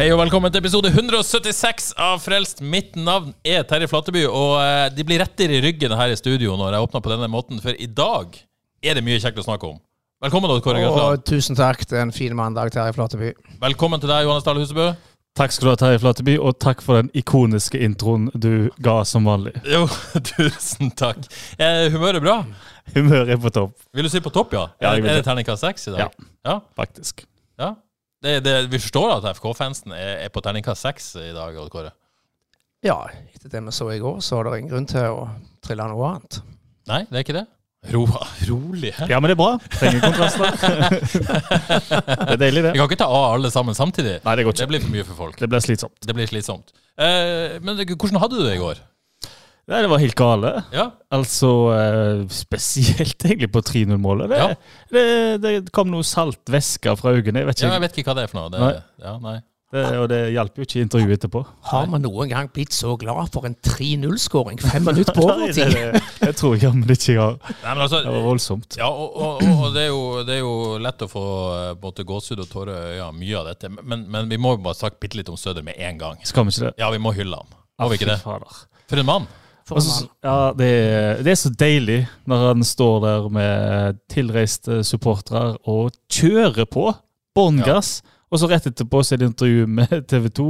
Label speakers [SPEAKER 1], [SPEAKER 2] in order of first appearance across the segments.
[SPEAKER 1] Hei og velkommen til episode 176 av Frelst. Mitt navn er Terje Flateby, og eh, de blir rettere i ryggen her i studio når jeg åpner på denne måten, for i dag er det mye kjekt å snakke om. Velkommen, Odd Kåre Grøtland.
[SPEAKER 2] Og tusen takk til en fin mandag, Terje Flateby.
[SPEAKER 1] Velkommen til deg, Johannes Dahl Husebø.
[SPEAKER 3] Takk skal du ha, Terje Flateby, og takk for den ikoniske introen du ga som vanlig.
[SPEAKER 1] Jo, tusen takk. Er humøret bra?
[SPEAKER 3] Humøret er på topp,
[SPEAKER 1] Vil du si på topp, ja?
[SPEAKER 3] Ja,
[SPEAKER 1] er,
[SPEAKER 3] jeg vil
[SPEAKER 1] er
[SPEAKER 3] det.
[SPEAKER 1] det terningkast seks i dag? Ja.
[SPEAKER 3] faktisk.
[SPEAKER 1] ja? Det, det, vi forstår at FK-fansen er, er på terningkast seks i dag, Odd Kåre.
[SPEAKER 2] Ja, etter det vi så i går, så er det ingen grunn til å trille noe annet.
[SPEAKER 1] Nei, det er ikke det? Ro, rolig. hæ?
[SPEAKER 3] Ja, men det er bra. Trenger kontraster. det er deilig, det.
[SPEAKER 1] Vi kan ikke ta av alle sammen samtidig.
[SPEAKER 3] Nei, det går
[SPEAKER 1] Det
[SPEAKER 3] ikke.
[SPEAKER 1] blir for mye for folk.
[SPEAKER 3] Det ble slitsomt.
[SPEAKER 1] Det blir slitsomt. Eh, men det- hvordan hadde du det i går?
[SPEAKER 3] Nei, det var helt gale.
[SPEAKER 1] Ja,
[SPEAKER 3] Altså eh, spesielt egentlig på 3-0-målet. Det,
[SPEAKER 1] Ja.
[SPEAKER 3] det, det kom noe saltvæske fra øynene, jeg vet
[SPEAKER 1] ja
[SPEAKER 3] ikke.
[SPEAKER 1] jeg vet ikke hva det er for noe. Det,
[SPEAKER 3] Nei.
[SPEAKER 1] Ja, nei.
[SPEAKER 3] Det, og det hjalp jo ikke i intervjuet etterpå.
[SPEAKER 2] Har vi noen gang blitt så glad for en 3-0-skåring fem minutter på
[SPEAKER 3] Nei, det,
[SPEAKER 2] overtid?
[SPEAKER 3] det, jeg tror jammen ikke jeg har
[SPEAKER 1] nei, men
[SPEAKER 3] Det var
[SPEAKER 1] altså
[SPEAKER 3] voldsomt.
[SPEAKER 1] ja, og, og, og, og det, er jo, det er jo lett å få eh, både gåsehud og tårer i øya, mye av dette. Men, men vi må jo bare snakke bitte litt om Søder med en gang.
[SPEAKER 3] Skal vi ikke det?
[SPEAKER 1] Ja, vi må hylle han. Må vi ikke det?
[SPEAKER 3] Fy fader.
[SPEAKER 1] For en mann!
[SPEAKER 2] For
[SPEAKER 3] Og
[SPEAKER 2] en
[SPEAKER 3] så-
[SPEAKER 2] mann.
[SPEAKER 3] ja, det, er- det er så deilig når han står der med tilreiste supportere og kjører på bånn gass. Og så rett etterpå så er det intervju med TV 2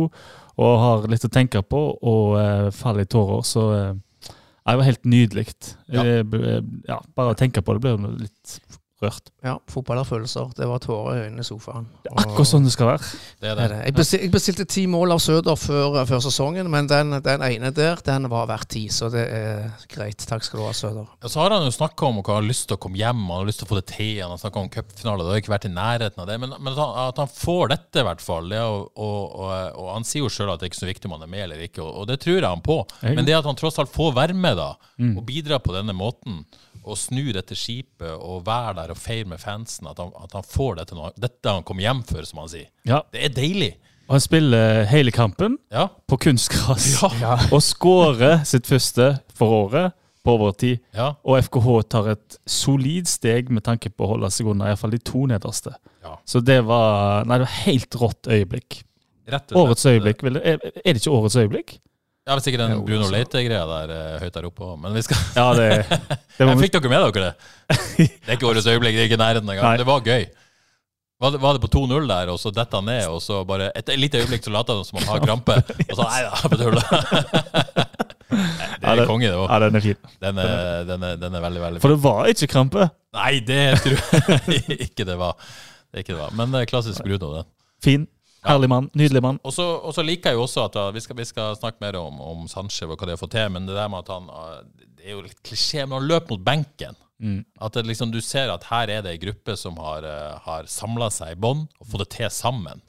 [SPEAKER 3] og har litt å tenke på og eh, faller i tårer. Så eh, ja, det var helt nydelig.
[SPEAKER 1] Ja.
[SPEAKER 3] Eh, b- Ja, bare å tenke på det blir jo litt rørt.
[SPEAKER 2] Ja, fotball har følelser. Det var tårer i øynene i sofaen.
[SPEAKER 3] Det er akkurat sånn det skal være.
[SPEAKER 1] Det er
[SPEAKER 2] Det
[SPEAKER 1] det.
[SPEAKER 2] er det. Jeg bestil- Jeg bestilte ti mål av Søder før, før sesongen, men den, den ene der, den var verdt ti. Så det er greit. Takk skal du ha, Søder.
[SPEAKER 1] Og så har han jo snakka om hva han har lyst til å komme hjem, han har lyst til å få det til, han har snakka om cupfinaler, det har ikke vært i nærheten av det. Men, men at, han, at han får dette, i hvert fall. Det, er jo- og, og, og han sier jo sjøl at det er ikke så viktig om han er med eller ikke, og, og det tror jeg han på.
[SPEAKER 3] Jeg-
[SPEAKER 1] Men det at han tross alt får være med, da,
[SPEAKER 3] Mm.
[SPEAKER 1] og bidra på denne måten, og snu dette skipet og være der og feire med fansen, at han, at han får dette nå, dette han kom hjem for, som han sier.
[SPEAKER 3] Ja.
[SPEAKER 1] Det er deilig.
[SPEAKER 3] Og han spiller hele kampen
[SPEAKER 1] Ja.
[SPEAKER 3] på kunstgras
[SPEAKER 1] Ja.
[SPEAKER 3] og skårer sitt første for året på overtid.
[SPEAKER 1] Ja.
[SPEAKER 3] Og FKH tar et solid steg med tanke på å holde seg unna iallfall de to nederste.
[SPEAKER 1] Ja.
[SPEAKER 3] Så det var Nei, det var helt rått øyeblikk.
[SPEAKER 1] Rett og
[SPEAKER 3] Årets
[SPEAKER 1] slett.
[SPEAKER 3] øyeblikk. vil det- Er er det ikke årets øyeblikk?
[SPEAKER 1] Ja, hvis ikke den Bruno Leite-greia der eh, høyt der oppe òg, men vi skal
[SPEAKER 3] Ja, det, det
[SPEAKER 1] Men
[SPEAKER 3] var,
[SPEAKER 1] fikk dere med dere det? Det er ikke årets øyeblikk, det er ikke nærheten engang.
[SPEAKER 3] Nei.
[SPEAKER 1] Det var gøy. Var det, var det på 2-0 der, og så dette han ned, og så bare Et, et lite øyeblikk så later han som han har krampe, og så Nei da, jeg bare tuller. Nei, Det
[SPEAKER 3] Ja,
[SPEAKER 1] er
[SPEAKER 3] det-
[SPEAKER 1] konge, det òg.
[SPEAKER 3] Ja, den er fin.
[SPEAKER 1] Den, er- den, er- den er veldig, veldig
[SPEAKER 3] For det var ikke krampe.
[SPEAKER 1] Nei, det tror jeg ikke det var. Det er ikke det var. Men eh, klassisk Bruno, den.
[SPEAKER 3] Fin. Herlig mann. Nydelig mann.
[SPEAKER 1] Og så, og så liker jeg jo også at da, vi, skal, vi skal snakke mer om, om Sanchez og hva det har fått til, men det der med at han eh, Det er jo litt klisjé, men han løp mot benken.
[SPEAKER 3] Mm.
[SPEAKER 1] At det liksom, du ser at her er det ei gruppe som har, eh, har samla seg i bånd og fått det til sammen.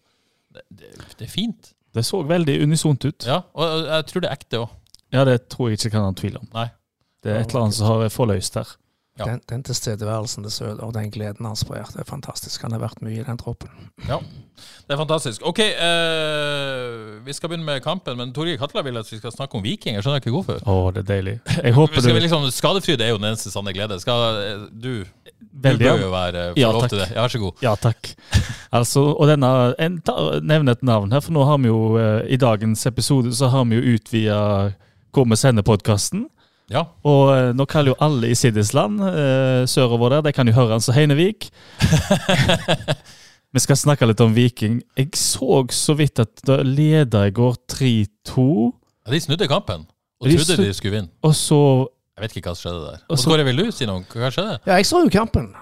[SPEAKER 1] Det, det, det er fint.
[SPEAKER 3] Det så veldig unisont ut.
[SPEAKER 1] Ja, og og jeg tror det er ekte òg.
[SPEAKER 3] Ja, det tror jeg ikke kan ha tvil om.
[SPEAKER 1] Nei.
[SPEAKER 3] Det er et eller annet som har forløst her.
[SPEAKER 1] Ja.
[SPEAKER 2] Den, den tilstedeværelsen til Søder og den gleden han sprer, det er fantastisk. Han har vært mye i den troppen.
[SPEAKER 1] Ja. Det er fantastisk. OK, eh, vi skal begynne med kampen, men Torgeir Katla vil at vi skal snakke om Viking. Jeg skjønner ikke hvorfor.
[SPEAKER 3] Å, det er deilig. Jeg håper
[SPEAKER 1] Skal vi
[SPEAKER 3] du
[SPEAKER 1] liksom, skadefryd er jo den eneste sanne glede. Skal eh, du Du
[SPEAKER 3] Veldig
[SPEAKER 1] bør jo
[SPEAKER 3] gjerne.
[SPEAKER 1] være få
[SPEAKER 3] Ja,
[SPEAKER 1] lov
[SPEAKER 3] takk.
[SPEAKER 1] til det. Ja, Vær så god.
[SPEAKER 3] Ja, takk. Altså, og denne, en, ta, nevne et navn her, for nå har vi jo eh, i dagens episode så har vi jo utvida hvor vi sender podkasten.
[SPEAKER 1] Ja.
[SPEAKER 3] Og eh, nå kaller jo alle i Siddisland eh, sørover der, de kan jo høre han som Heinevik. vi skal snakke litt om Viking. Jeg så så vidt at da leda i går 3-2,
[SPEAKER 1] Ja, De snudde kampen, og
[SPEAKER 3] De
[SPEAKER 1] trodde
[SPEAKER 3] snu-
[SPEAKER 1] de skulle vinne.
[SPEAKER 3] og så
[SPEAKER 1] Jeg vet ikke hva som skjedde der.
[SPEAKER 3] Og
[SPEAKER 1] Og
[SPEAKER 3] så-
[SPEAKER 1] Kåre, vil du si noe? Hva skjedde?
[SPEAKER 2] Ja, jeg så jo kampen.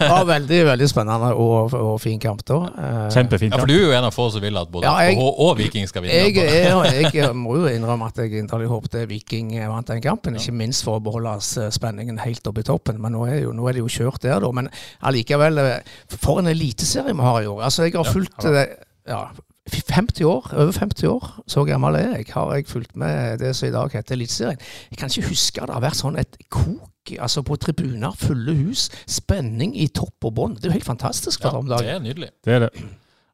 [SPEAKER 2] Ja, veldig veldig spennende og, og fin kamp, da. Eh,
[SPEAKER 3] Kjempefint.
[SPEAKER 1] Ja, for du er jo en av få som vil at både
[SPEAKER 2] Ja, jeg-
[SPEAKER 1] FKH og Viking skal vinne.
[SPEAKER 2] Jeg, jeg, jeg må jo innrømme at jeg inderlig håpte Viking eh, vant den kampen. Ikke minst for å beholde s- spenningen helt oppe i toppen. Men nå er, jo, nå er det jo kjørt der, da. Men allikevel, eh, for en eliteserie vi har i år. Altså, jeg har fulgt eh, ja, f- 50 år, Over 50 år, så gammel er jeg, har jeg fulgt med det som i dag heter Eliteserien. Jeg kan ikke huske at det har vært sånn et kok altså på tribuner, fulle hus, spenning i topp og bånn. Det er jo helt fantastisk for
[SPEAKER 1] Ja,
[SPEAKER 2] om
[SPEAKER 1] det
[SPEAKER 2] dagen.
[SPEAKER 1] er nydelig.
[SPEAKER 3] Det er det.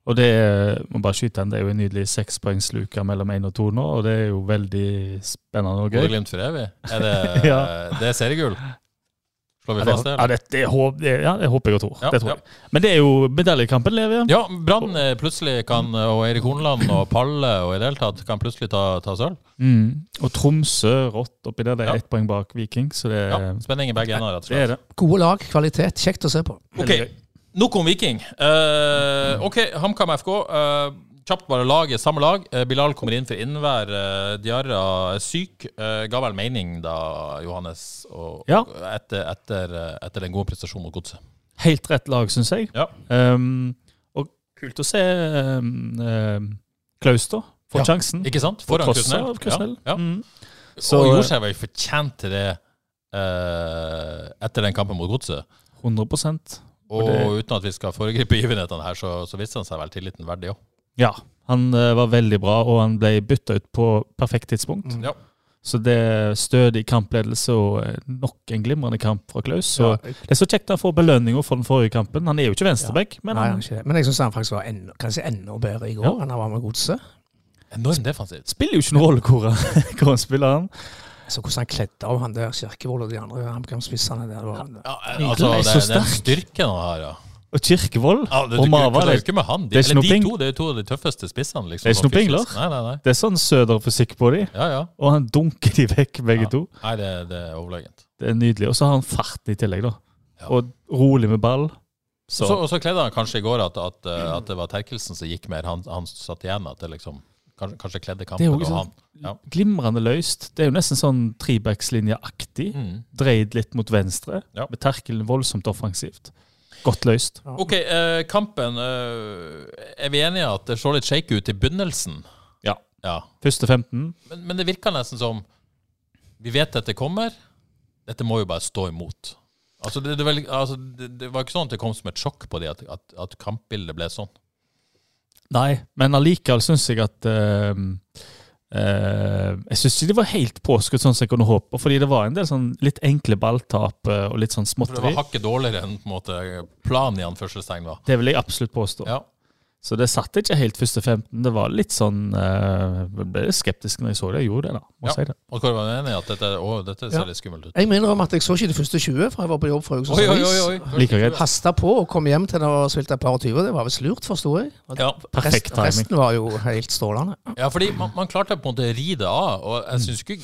[SPEAKER 3] Og det er, må bare skyte den, det er jo en nydelig sekspoengsluke mellom én og to nå, og det er jo veldig spennende og gøy.
[SPEAKER 1] Bodø-Glimt for evig. Er det,
[SPEAKER 3] Ja.
[SPEAKER 1] det er seriegull? Slår vi
[SPEAKER 3] Ja,
[SPEAKER 1] fast det? eller?
[SPEAKER 3] det, ja, det, det, håp, det, ja, det håper jeg og tror.
[SPEAKER 1] Ja,
[SPEAKER 3] det tror jeg. Men det er jo medaljekampen lever igjen.
[SPEAKER 1] Ja, Brann eh, plutselig kan, og Eirik Horneland og Palle og i det hele tatt kan plutselig ta, ta sølv.
[SPEAKER 3] Mm. Og Tromsø rått oppi der. Det er
[SPEAKER 1] Ja.
[SPEAKER 3] ett poeng bak Viking, så det,
[SPEAKER 1] Ja, spenning i begge ender, rett og
[SPEAKER 3] det
[SPEAKER 1] slett.
[SPEAKER 3] er det.
[SPEAKER 2] Gode lag, kvalitet. Kjekt å se på.
[SPEAKER 1] Ok, Nok om Viking. Eh, ok, HamKam FK. eh, kjapt bare laget, samme lag. Eh, Bilal kommer inn for innvær. eh, Diarra er syk. Uh, ga vel mening da, Johannes, og,
[SPEAKER 3] Ja.
[SPEAKER 1] etter, etter, eh, etter den gode prestasjonen mot Godset.
[SPEAKER 3] Helt rett lag, syns jeg.
[SPEAKER 1] Ja.
[SPEAKER 3] Um, og kult å se um, um, Klauster få
[SPEAKER 1] Ja.
[SPEAKER 3] sjansen.
[SPEAKER 1] Ikke sant? Foran
[SPEAKER 3] På tross
[SPEAKER 1] Krusnell.
[SPEAKER 3] av Krusnell.
[SPEAKER 1] Ja, ja.
[SPEAKER 3] Mm.
[SPEAKER 1] og
[SPEAKER 3] Så
[SPEAKER 1] gjorde seg vel fortjent til det eh, etter den kampen mot Godset.
[SPEAKER 3] eh, 100
[SPEAKER 1] Og
[SPEAKER 3] det-
[SPEAKER 1] uten at vi skal foregripe begivenhetene her, så, så viste han seg vel tilliten verdig òg.
[SPEAKER 3] Ja. Han eh, var veldig bra, og han ble bytta ut på perfekt tidspunkt.
[SPEAKER 1] Ja.
[SPEAKER 3] Så det er stødig kampledelse og eh, nok en glimrende kamp fra Klaus. Så
[SPEAKER 2] Ja.
[SPEAKER 3] det er så kjekt at han får belønninga for den forrige kampen. Han er jo ikke venstreback, men
[SPEAKER 2] Nei, han
[SPEAKER 3] han
[SPEAKER 2] er ikke det. Men jeg syns han faktisk var enda, kanskje enda bedre i går
[SPEAKER 3] Ja.
[SPEAKER 2] enn han var med godset.
[SPEAKER 1] Enormt defensivt.
[SPEAKER 3] spiller jo ikke noen rolle hvor han- hvor han spiller. han.
[SPEAKER 2] Så hvordan han kledde av han der Kirkevold og de andre HamKam-spissene der. det Var,
[SPEAKER 1] Ja,
[SPEAKER 3] Nydelig.
[SPEAKER 1] altså,
[SPEAKER 3] Han er
[SPEAKER 1] det,
[SPEAKER 3] så
[SPEAKER 1] det er den
[SPEAKER 3] sterk.
[SPEAKER 1] styrken han har, ja.
[SPEAKER 3] Og Kirkevold
[SPEAKER 1] ja det, du,
[SPEAKER 3] og
[SPEAKER 1] du,
[SPEAKER 3] Mava.
[SPEAKER 1] kødder jo
[SPEAKER 3] Det,
[SPEAKER 1] ikke med han. De,
[SPEAKER 3] det er ikke
[SPEAKER 1] eller
[SPEAKER 3] noe
[SPEAKER 1] de
[SPEAKER 3] peng-
[SPEAKER 1] to det er jo to av de tøffeste spissene. Liksom,
[SPEAKER 3] Det er ikke
[SPEAKER 1] sånn
[SPEAKER 3] noe pengler.
[SPEAKER 1] fysisk. Nei, nei, nei.
[SPEAKER 3] det er sånn Søder-fysikk på de,
[SPEAKER 1] Ja, ja.
[SPEAKER 3] og han dunker de vekk, begge
[SPEAKER 1] Ja.
[SPEAKER 3] to.
[SPEAKER 1] Nei, det, det er overlegent.
[SPEAKER 3] Det er nydelig. Og så har han farten i tillegg, da.
[SPEAKER 1] Ja.
[SPEAKER 3] Og rolig med ball.
[SPEAKER 1] Og
[SPEAKER 3] Så,
[SPEAKER 1] så- Og så kledde han kanskje i går at, at, eh, at det var Terkelsen som gikk mer. Han, han satt igjen at det liksom Kanskje, kanskje kledde
[SPEAKER 3] det
[SPEAKER 1] kampen
[SPEAKER 3] er jo
[SPEAKER 1] og
[SPEAKER 3] ikke
[SPEAKER 1] han.
[SPEAKER 3] sånn glimrende løst. Det er jo nesten sånn trebackslinjeaktig.
[SPEAKER 1] Mm.
[SPEAKER 3] Dreid litt mot venstre,
[SPEAKER 1] Ja.
[SPEAKER 3] med terkelen voldsomt offensivt. Godt løst.
[SPEAKER 1] OK, eh, kampen eh, Er vi enige at det så litt shaky ut i begynnelsen?
[SPEAKER 3] Ja.
[SPEAKER 1] Ja.
[SPEAKER 3] Første 15.
[SPEAKER 1] Men, men det virker nesten som Vi vet dette kommer. Dette må jo bare stå imot. Altså, det, det, var, altså, det, det var ikke sånn at det kom som et sjokk på dem at, at, at kampbildet ble sånn.
[SPEAKER 3] Nei, men allikevel syns jeg at eh, eh, Jeg syns ikke de var helt påskutt sånn som jeg kunne håpe, fordi det var en del sånn litt enkle balltap eh, og litt sånn
[SPEAKER 1] For det var
[SPEAKER 3] småtteri.
[SPEAKER 1] hakket dårligere enn på en måte, planen i anførselstegn var.
[SPEAKER 3] Det vil jeg absolutt påstå.
[SPEAKER 1] Ja.
[SPEAKER 3] Så det satt ikke helt første 15. Det var litt sånn eh, Jeg ble skeptisk når jeg så det. Jeg gjorde det, da. Må
[SPEAKER 1] Ja.
[SPEAKER 3] si det.
[SPEAKER 1] Og Kåre var enig i at dette, å, dette ser
[SPEAKER 2] Ja.
[SPEAKER 1] litt skummelt ut.
[SPEAKER 2] Jeg må innrømme at jeg så ikke de første 20, for jeg var på jobb for
[SPEAKER 1] Oi, oi, oi,
[SPEAKER 2] Haugesunds Avis.
[SPEAKER 1] oi.
[SPEAKER 3] Like greit.
[SPEAKER 2] Hasta på og kom hjem til det var svilt et par og 20. Det var visst lurt, forsto jeg. Og
[SPEAKER 1] Ja,
[SPEAKER 2] rest,
[SPEAKER 3] Perfekt timing.
[SPEAKER 2] resten var jo helt strålende.
[SPEAKER 1] ja fordi man, man klarte på en måte å ri det av, og jeg syns ikke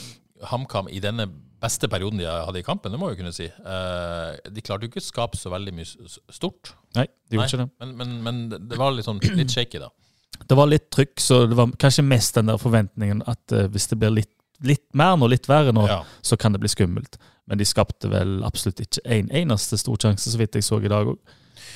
[SPEAKER 1] HamKam i denne beste perioden de hadde i kampen, det må jeg jo kunne si, eh, de klarte jo ikke å skape så veldig mye s- stort.
[SPEAKER 3] Nei, det gjorde
[SPEAKER 1] Nei,
[SPEAKER 3] ikke
[SPEAKER 1] Men,
[SPEAKER 3] det.
[SPEAKER 1] men, men det var liksom litt shaky, da.
[SPEAKER 3] Det var litt trykk, så det var kanskje mest den der forventningen at eh, hvis det blir litt, litt mer nå, litt verre nå,
[SPEAKER 1] Ja.
[SPEAKER 3] så kan det bli skummelt. Men de skapte vel absolutt ikke en eneste stor sjanse, så vidt jeg så i dag òg.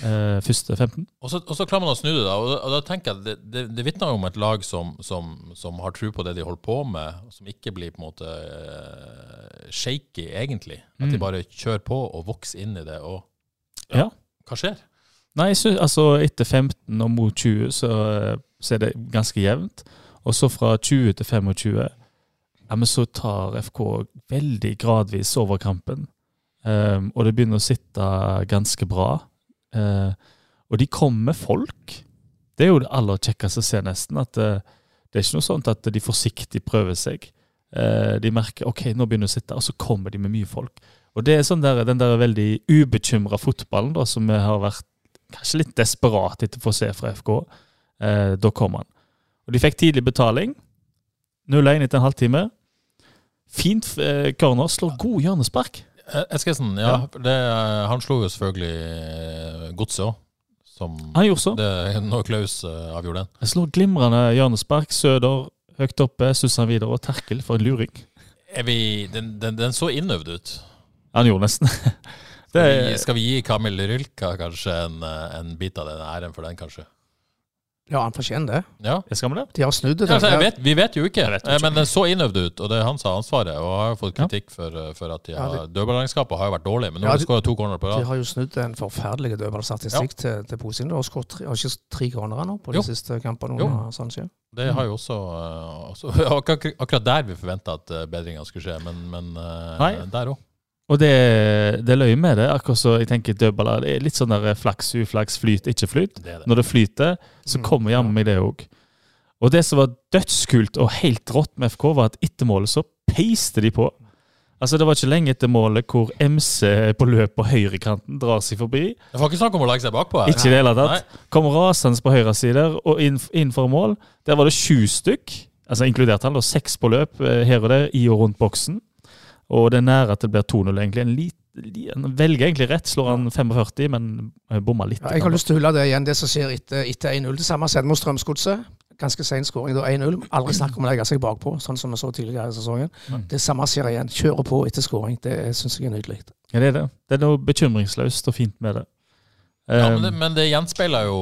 [SPEAKER 3] første 15.
[SPEAKER 1] Og så, og så klarer man å snu det, da. Og, og da tenker jeg at det, det, det vitner jo om et lag som, som, som har tro på det de holder på med, og som ikke blir på en måte eh, shaky, egentlig. At de bare kjører på og vokser inn i det, og
[SPEAKER 3] Ja.
[SPEAKER 1] hva skjer?
[SPEAKER 3] Nei, så, altså etter 15 og mot 20 så, eh, så er det ganske jevnt. Og så fra 20 til 25 ja, men så tar FK veldig gradvis over kampen. Ehm, og det begynner å sitte ganske bra. Eh, og de kommer med folk. Det er jo det aller kjekkeste å se, nesten. At eh, det er ikke noe sånt at de forsiktig prøver seg. Eh, de merker ok, nå begynner det å sitte, og så kommer de med mye folk. Og det er sånn der, den der veldig ubekymra fotballen da, som vi har vært kanskje litt desperat etter å få se fra FK. Eh, da kom han. Og de fikk tidlig betaling. 0-1 etter en halvtime. Fint eh, corner, slår god hjørnespark.
[SPEAKER 1] Eh, Eskesen, ja.
[SPEAKER 3] Ja.
[SPEAKER 1] for Det, eh, han slo jo selvfølgelig eh, Godset òg, som
[SPEAKER 3] Han gjorde så.
[SPEAKER 1] det, Når Klaus eh, avgjorde den.
[SPEAKER 3] Slår glimrende hjørnespark. Søder høyt oppe, Susann videre og Terkel for en luring.
[SPEAKER 1] Er vi, den, den, den så innøvd ut.
[SPEAKER 3] Han gjorde nesten. Det,
[SPEAKER 1] Vi, skal vi gi Kamil Rylka kanskje en, eh, en bit av den æren for den, kanskje?
[SPEAKER 2] Ja, han fortjener det.
[SPEAKER 1] Ja.
[SPEAKER 3] jeg skal med det.
[SPEAKER 2] De har snudd det.
[SPEAKER 1] Ja, altså, jeg vet, vi vet jo ikke,
[SPEAKER 3] vet
[SPEAKER 1] eh, men den så innøvd ut, og det er han som har ansvaret. Og har jo fått kritikk for, eh, for at de
[SPEAKER 2] Ja,
[SPEAKER 1] har,
[SPEAKER 2] det-
[SPEAKER 1] dødballangskapet har jo vært dårlig, men nå
[SPEAKER 2] Ja,
[SPEAKER 1] har de
[SPEAKER 2] det-
[SPEAKER 1] skåra to corner på
[SPEAKER 2] De
[SPEAKER 1] rad.
[SPEAKER 2] har jo snudd en forferdelig dødballstatistikk til, til Posin. Og skåret tre- har ikke tre cornerer nå på
[SPEAKER 1] Jo.
[SPEAKER 2] de siste kampene
[SPEAKER 1] Jo.
[SPEAKER 2] under Sanchez.
[SPEAKER 1] Det har jo også, eh, også akkurat, akkurat der vi forventa at eh, bedringa skulle skje, men, men eh,
[SPEAKER 3] Nei.
[SPEAKER 1] der òg.
[SPEAKER 3] Og det, det løy med det. Akkurat så jeg tenker dødballer. Det er litt sånn der flaks, uflaks, flyt, ikke flyt.
[SPEAKER 1] Det er det.
[SPEAKER 3] Når det flyter, så
[SPEAKER 2] Mm,
[SPEAKER 3] kommer jammen meg det òg. Og det som var dødskult og helt rått med FK, var at etter målet så peiste de på. Altså Det var ikke lenge etter målet hvor MC på løp på høyrekanten drar seg forbi.
[SPEAKER 1] Det var ikke snakk om å legge seg bakpå her.
[SPEAKER 3] Ikke i det hele tatt. Kom rasende på høyre side der, og inn, innenfor mål. Der var det sju stykk, altså inkludert han, og seks på løp eh, her og der i og rundt boksen. Og det er nære at det blir 2-0, egentlig. En lit, li- han velger egentlig rett, slår han 45, men eh, bomma litt.
[SPEAKER 2] Ja, jeg har lyst til å hylle det igjen, det som skjer etter, etter 1-0. Det samme skjedde mot Strømsgodset. Ganske sen skåring, da 1-0. Aldri snakk om å legge seg bakpå, sånn som vi så tidligere i sesongen. Det samme skjer igjen. Kjører på etter skåring. Det syns jeg er nydelig.
[SPEAKER 3] Ja, det er det. Det er noe bekymringsløst og fint med det.
[SPEAKER 1] Ja, men, det,
[SPEAKER 3] Eh,
[SPEAKER 1] men det gjenspeiler jo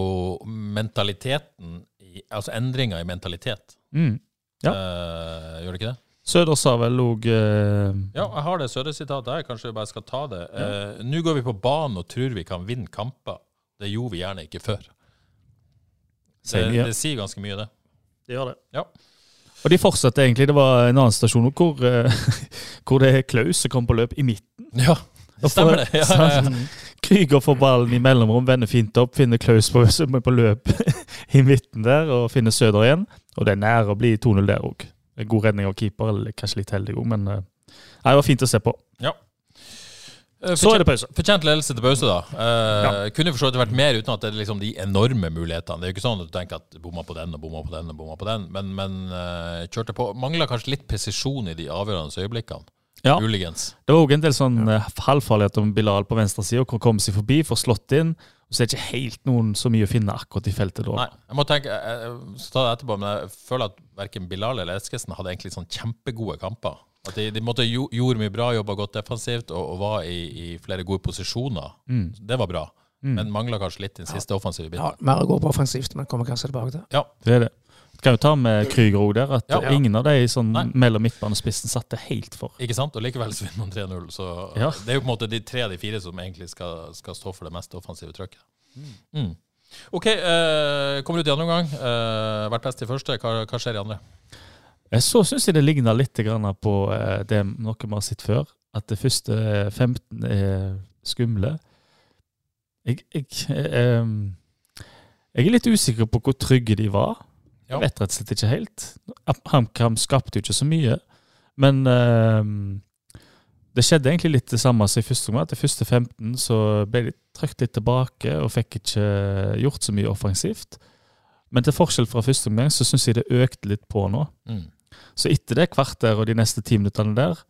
[SPEAKER 1] mentaliteten, i, altså endringa i mentalitet.
[SPEAKER 3] mm. Ja.
[SPEAKER 1] Eh, gjør det ikke det?
[SPEAKER 3] Søder sa vel òg eh,
[SPEAKER 1] Ja, jeg har det Sødde-sitatet her. Kanskje jeg bare skal ta det. Eh, Nå går vi på banen og tror vi kan vinne kamper. Det gjorde vi gjerne ikke før. Det,
[SPEAKER 3] Sier mye.
[SPEAKER 1] det sier ganske mye, det.
[SPEAKER 3] Det gjør det.
[SPEAKER 1] Ja.
[SPEAKER 3] Og de fortsatte egentlig. Det var en annen stasjon hvor, eh, hvor det er Klaus som kom på løp i midten.
[SPEAKER 1] Ja, det stemmer det. Ja, ja, ja.
[SPEAKER 3] Krüger får ballen i mellomrom, vender fint opp, finner Klaus på, som er på løp i midten der, og finner Søder igjen. Og det er nær å bli 2-0 der òg. God redning av keeper, eller kanskje litt heldig òg, men eh, nei, det var fint å se på.
[SPEAKER 1] Eh,
[SPEAKER 3] Så er
[SPEAKER 1] fortjent-
[SPEAKER 3] det pause.
[SPEAKER 1] Fortjent ledelse til pause, da. Eh, Kunne for så vidt vært mer uten at det er liksom de enorme mulighetene. Det er jo ikke sånn at du tenker at bomma på den og bomma på den og bomma på den, men, men eh, kjørte på. Mangla kanskje litt presisjon i de avgjørende øyeblikkene.
[SPEAKER 3] Ja.
[SPEAKER 1] Muligens.
[SPEAKER 3] Det var òg en del sånn ja. halvfarlighet om Bilal på venstre side, hvor han kom seg forbi, får slått inn. Og så er det ikke helt noen så mye å finne akkurat i feltet da.
[SPEAKER 1] Nei, jeg må tenke, jeg, jeg skal ta det etterpå, men jeg føler at verken Bilal eller Eskesen hadde egentlig sånn kjempegode kamper. At de, de måtte jo, gjorde mye bra, jobba godt defensivt og, og var i, i flere gode posisjoner. Det var bra, men mangla kanskje litt den siste offensive
[SPEAKER 2] Ja,
[SPEAKER 1] biten.
[SPEAKER 2] mer å gå på offensivt, men kommer kanskje tilbake til.
[SPEAKER 1] Ja.
[SPEAKER 3] Det er det. Kan jo ta med Krüger òg der, at
[SPEAKER 1] Ja, ja.
[SPEAKER 3] ingen av de sånn
[SPEAKER 1] Nei.
[SPEAKER 3] mellom midtbane og spissen satte helt for.
[SPEAKER 1] Ikke sant? Og likevel så vinner man 3-0. Så
[SPEAKER 3] Ja.
[SPEAKER 1] det er jo på en måte de tre av de fire som egentlig skal, skal stå for det mest offensive trøkket. Mm. OK, eh, kommer ut i andre omgang. Eh, vært best i første. Hva, hva skjer i andre?
[SPEAKER 3] Eh, Så syns jeg det ligner litt grann på eh, det noe vi har sett før. At det første eh, 15 er skumle. Jeg, jeg, eh, em, jeg er litt usikker på hvor trygge de var.
[SPEAKER 1] Ja.
[SPEAKER 3] Jeg vet rett og slett ikke helt. HamKam skapte jo ikke så mye. Men em, det skjedde egentlig litt det samme som i første omgang. at De første 15 så ble de trukket litt tilbake og fikk ikke gjort så mye offensivt. Men til forskjell fra første omgang så syns jeg det økte litt på nå.
[SPEAKER 1] Mm.
[SPEAKER 3] Så etter det kvarter og de neste ti minuttene der,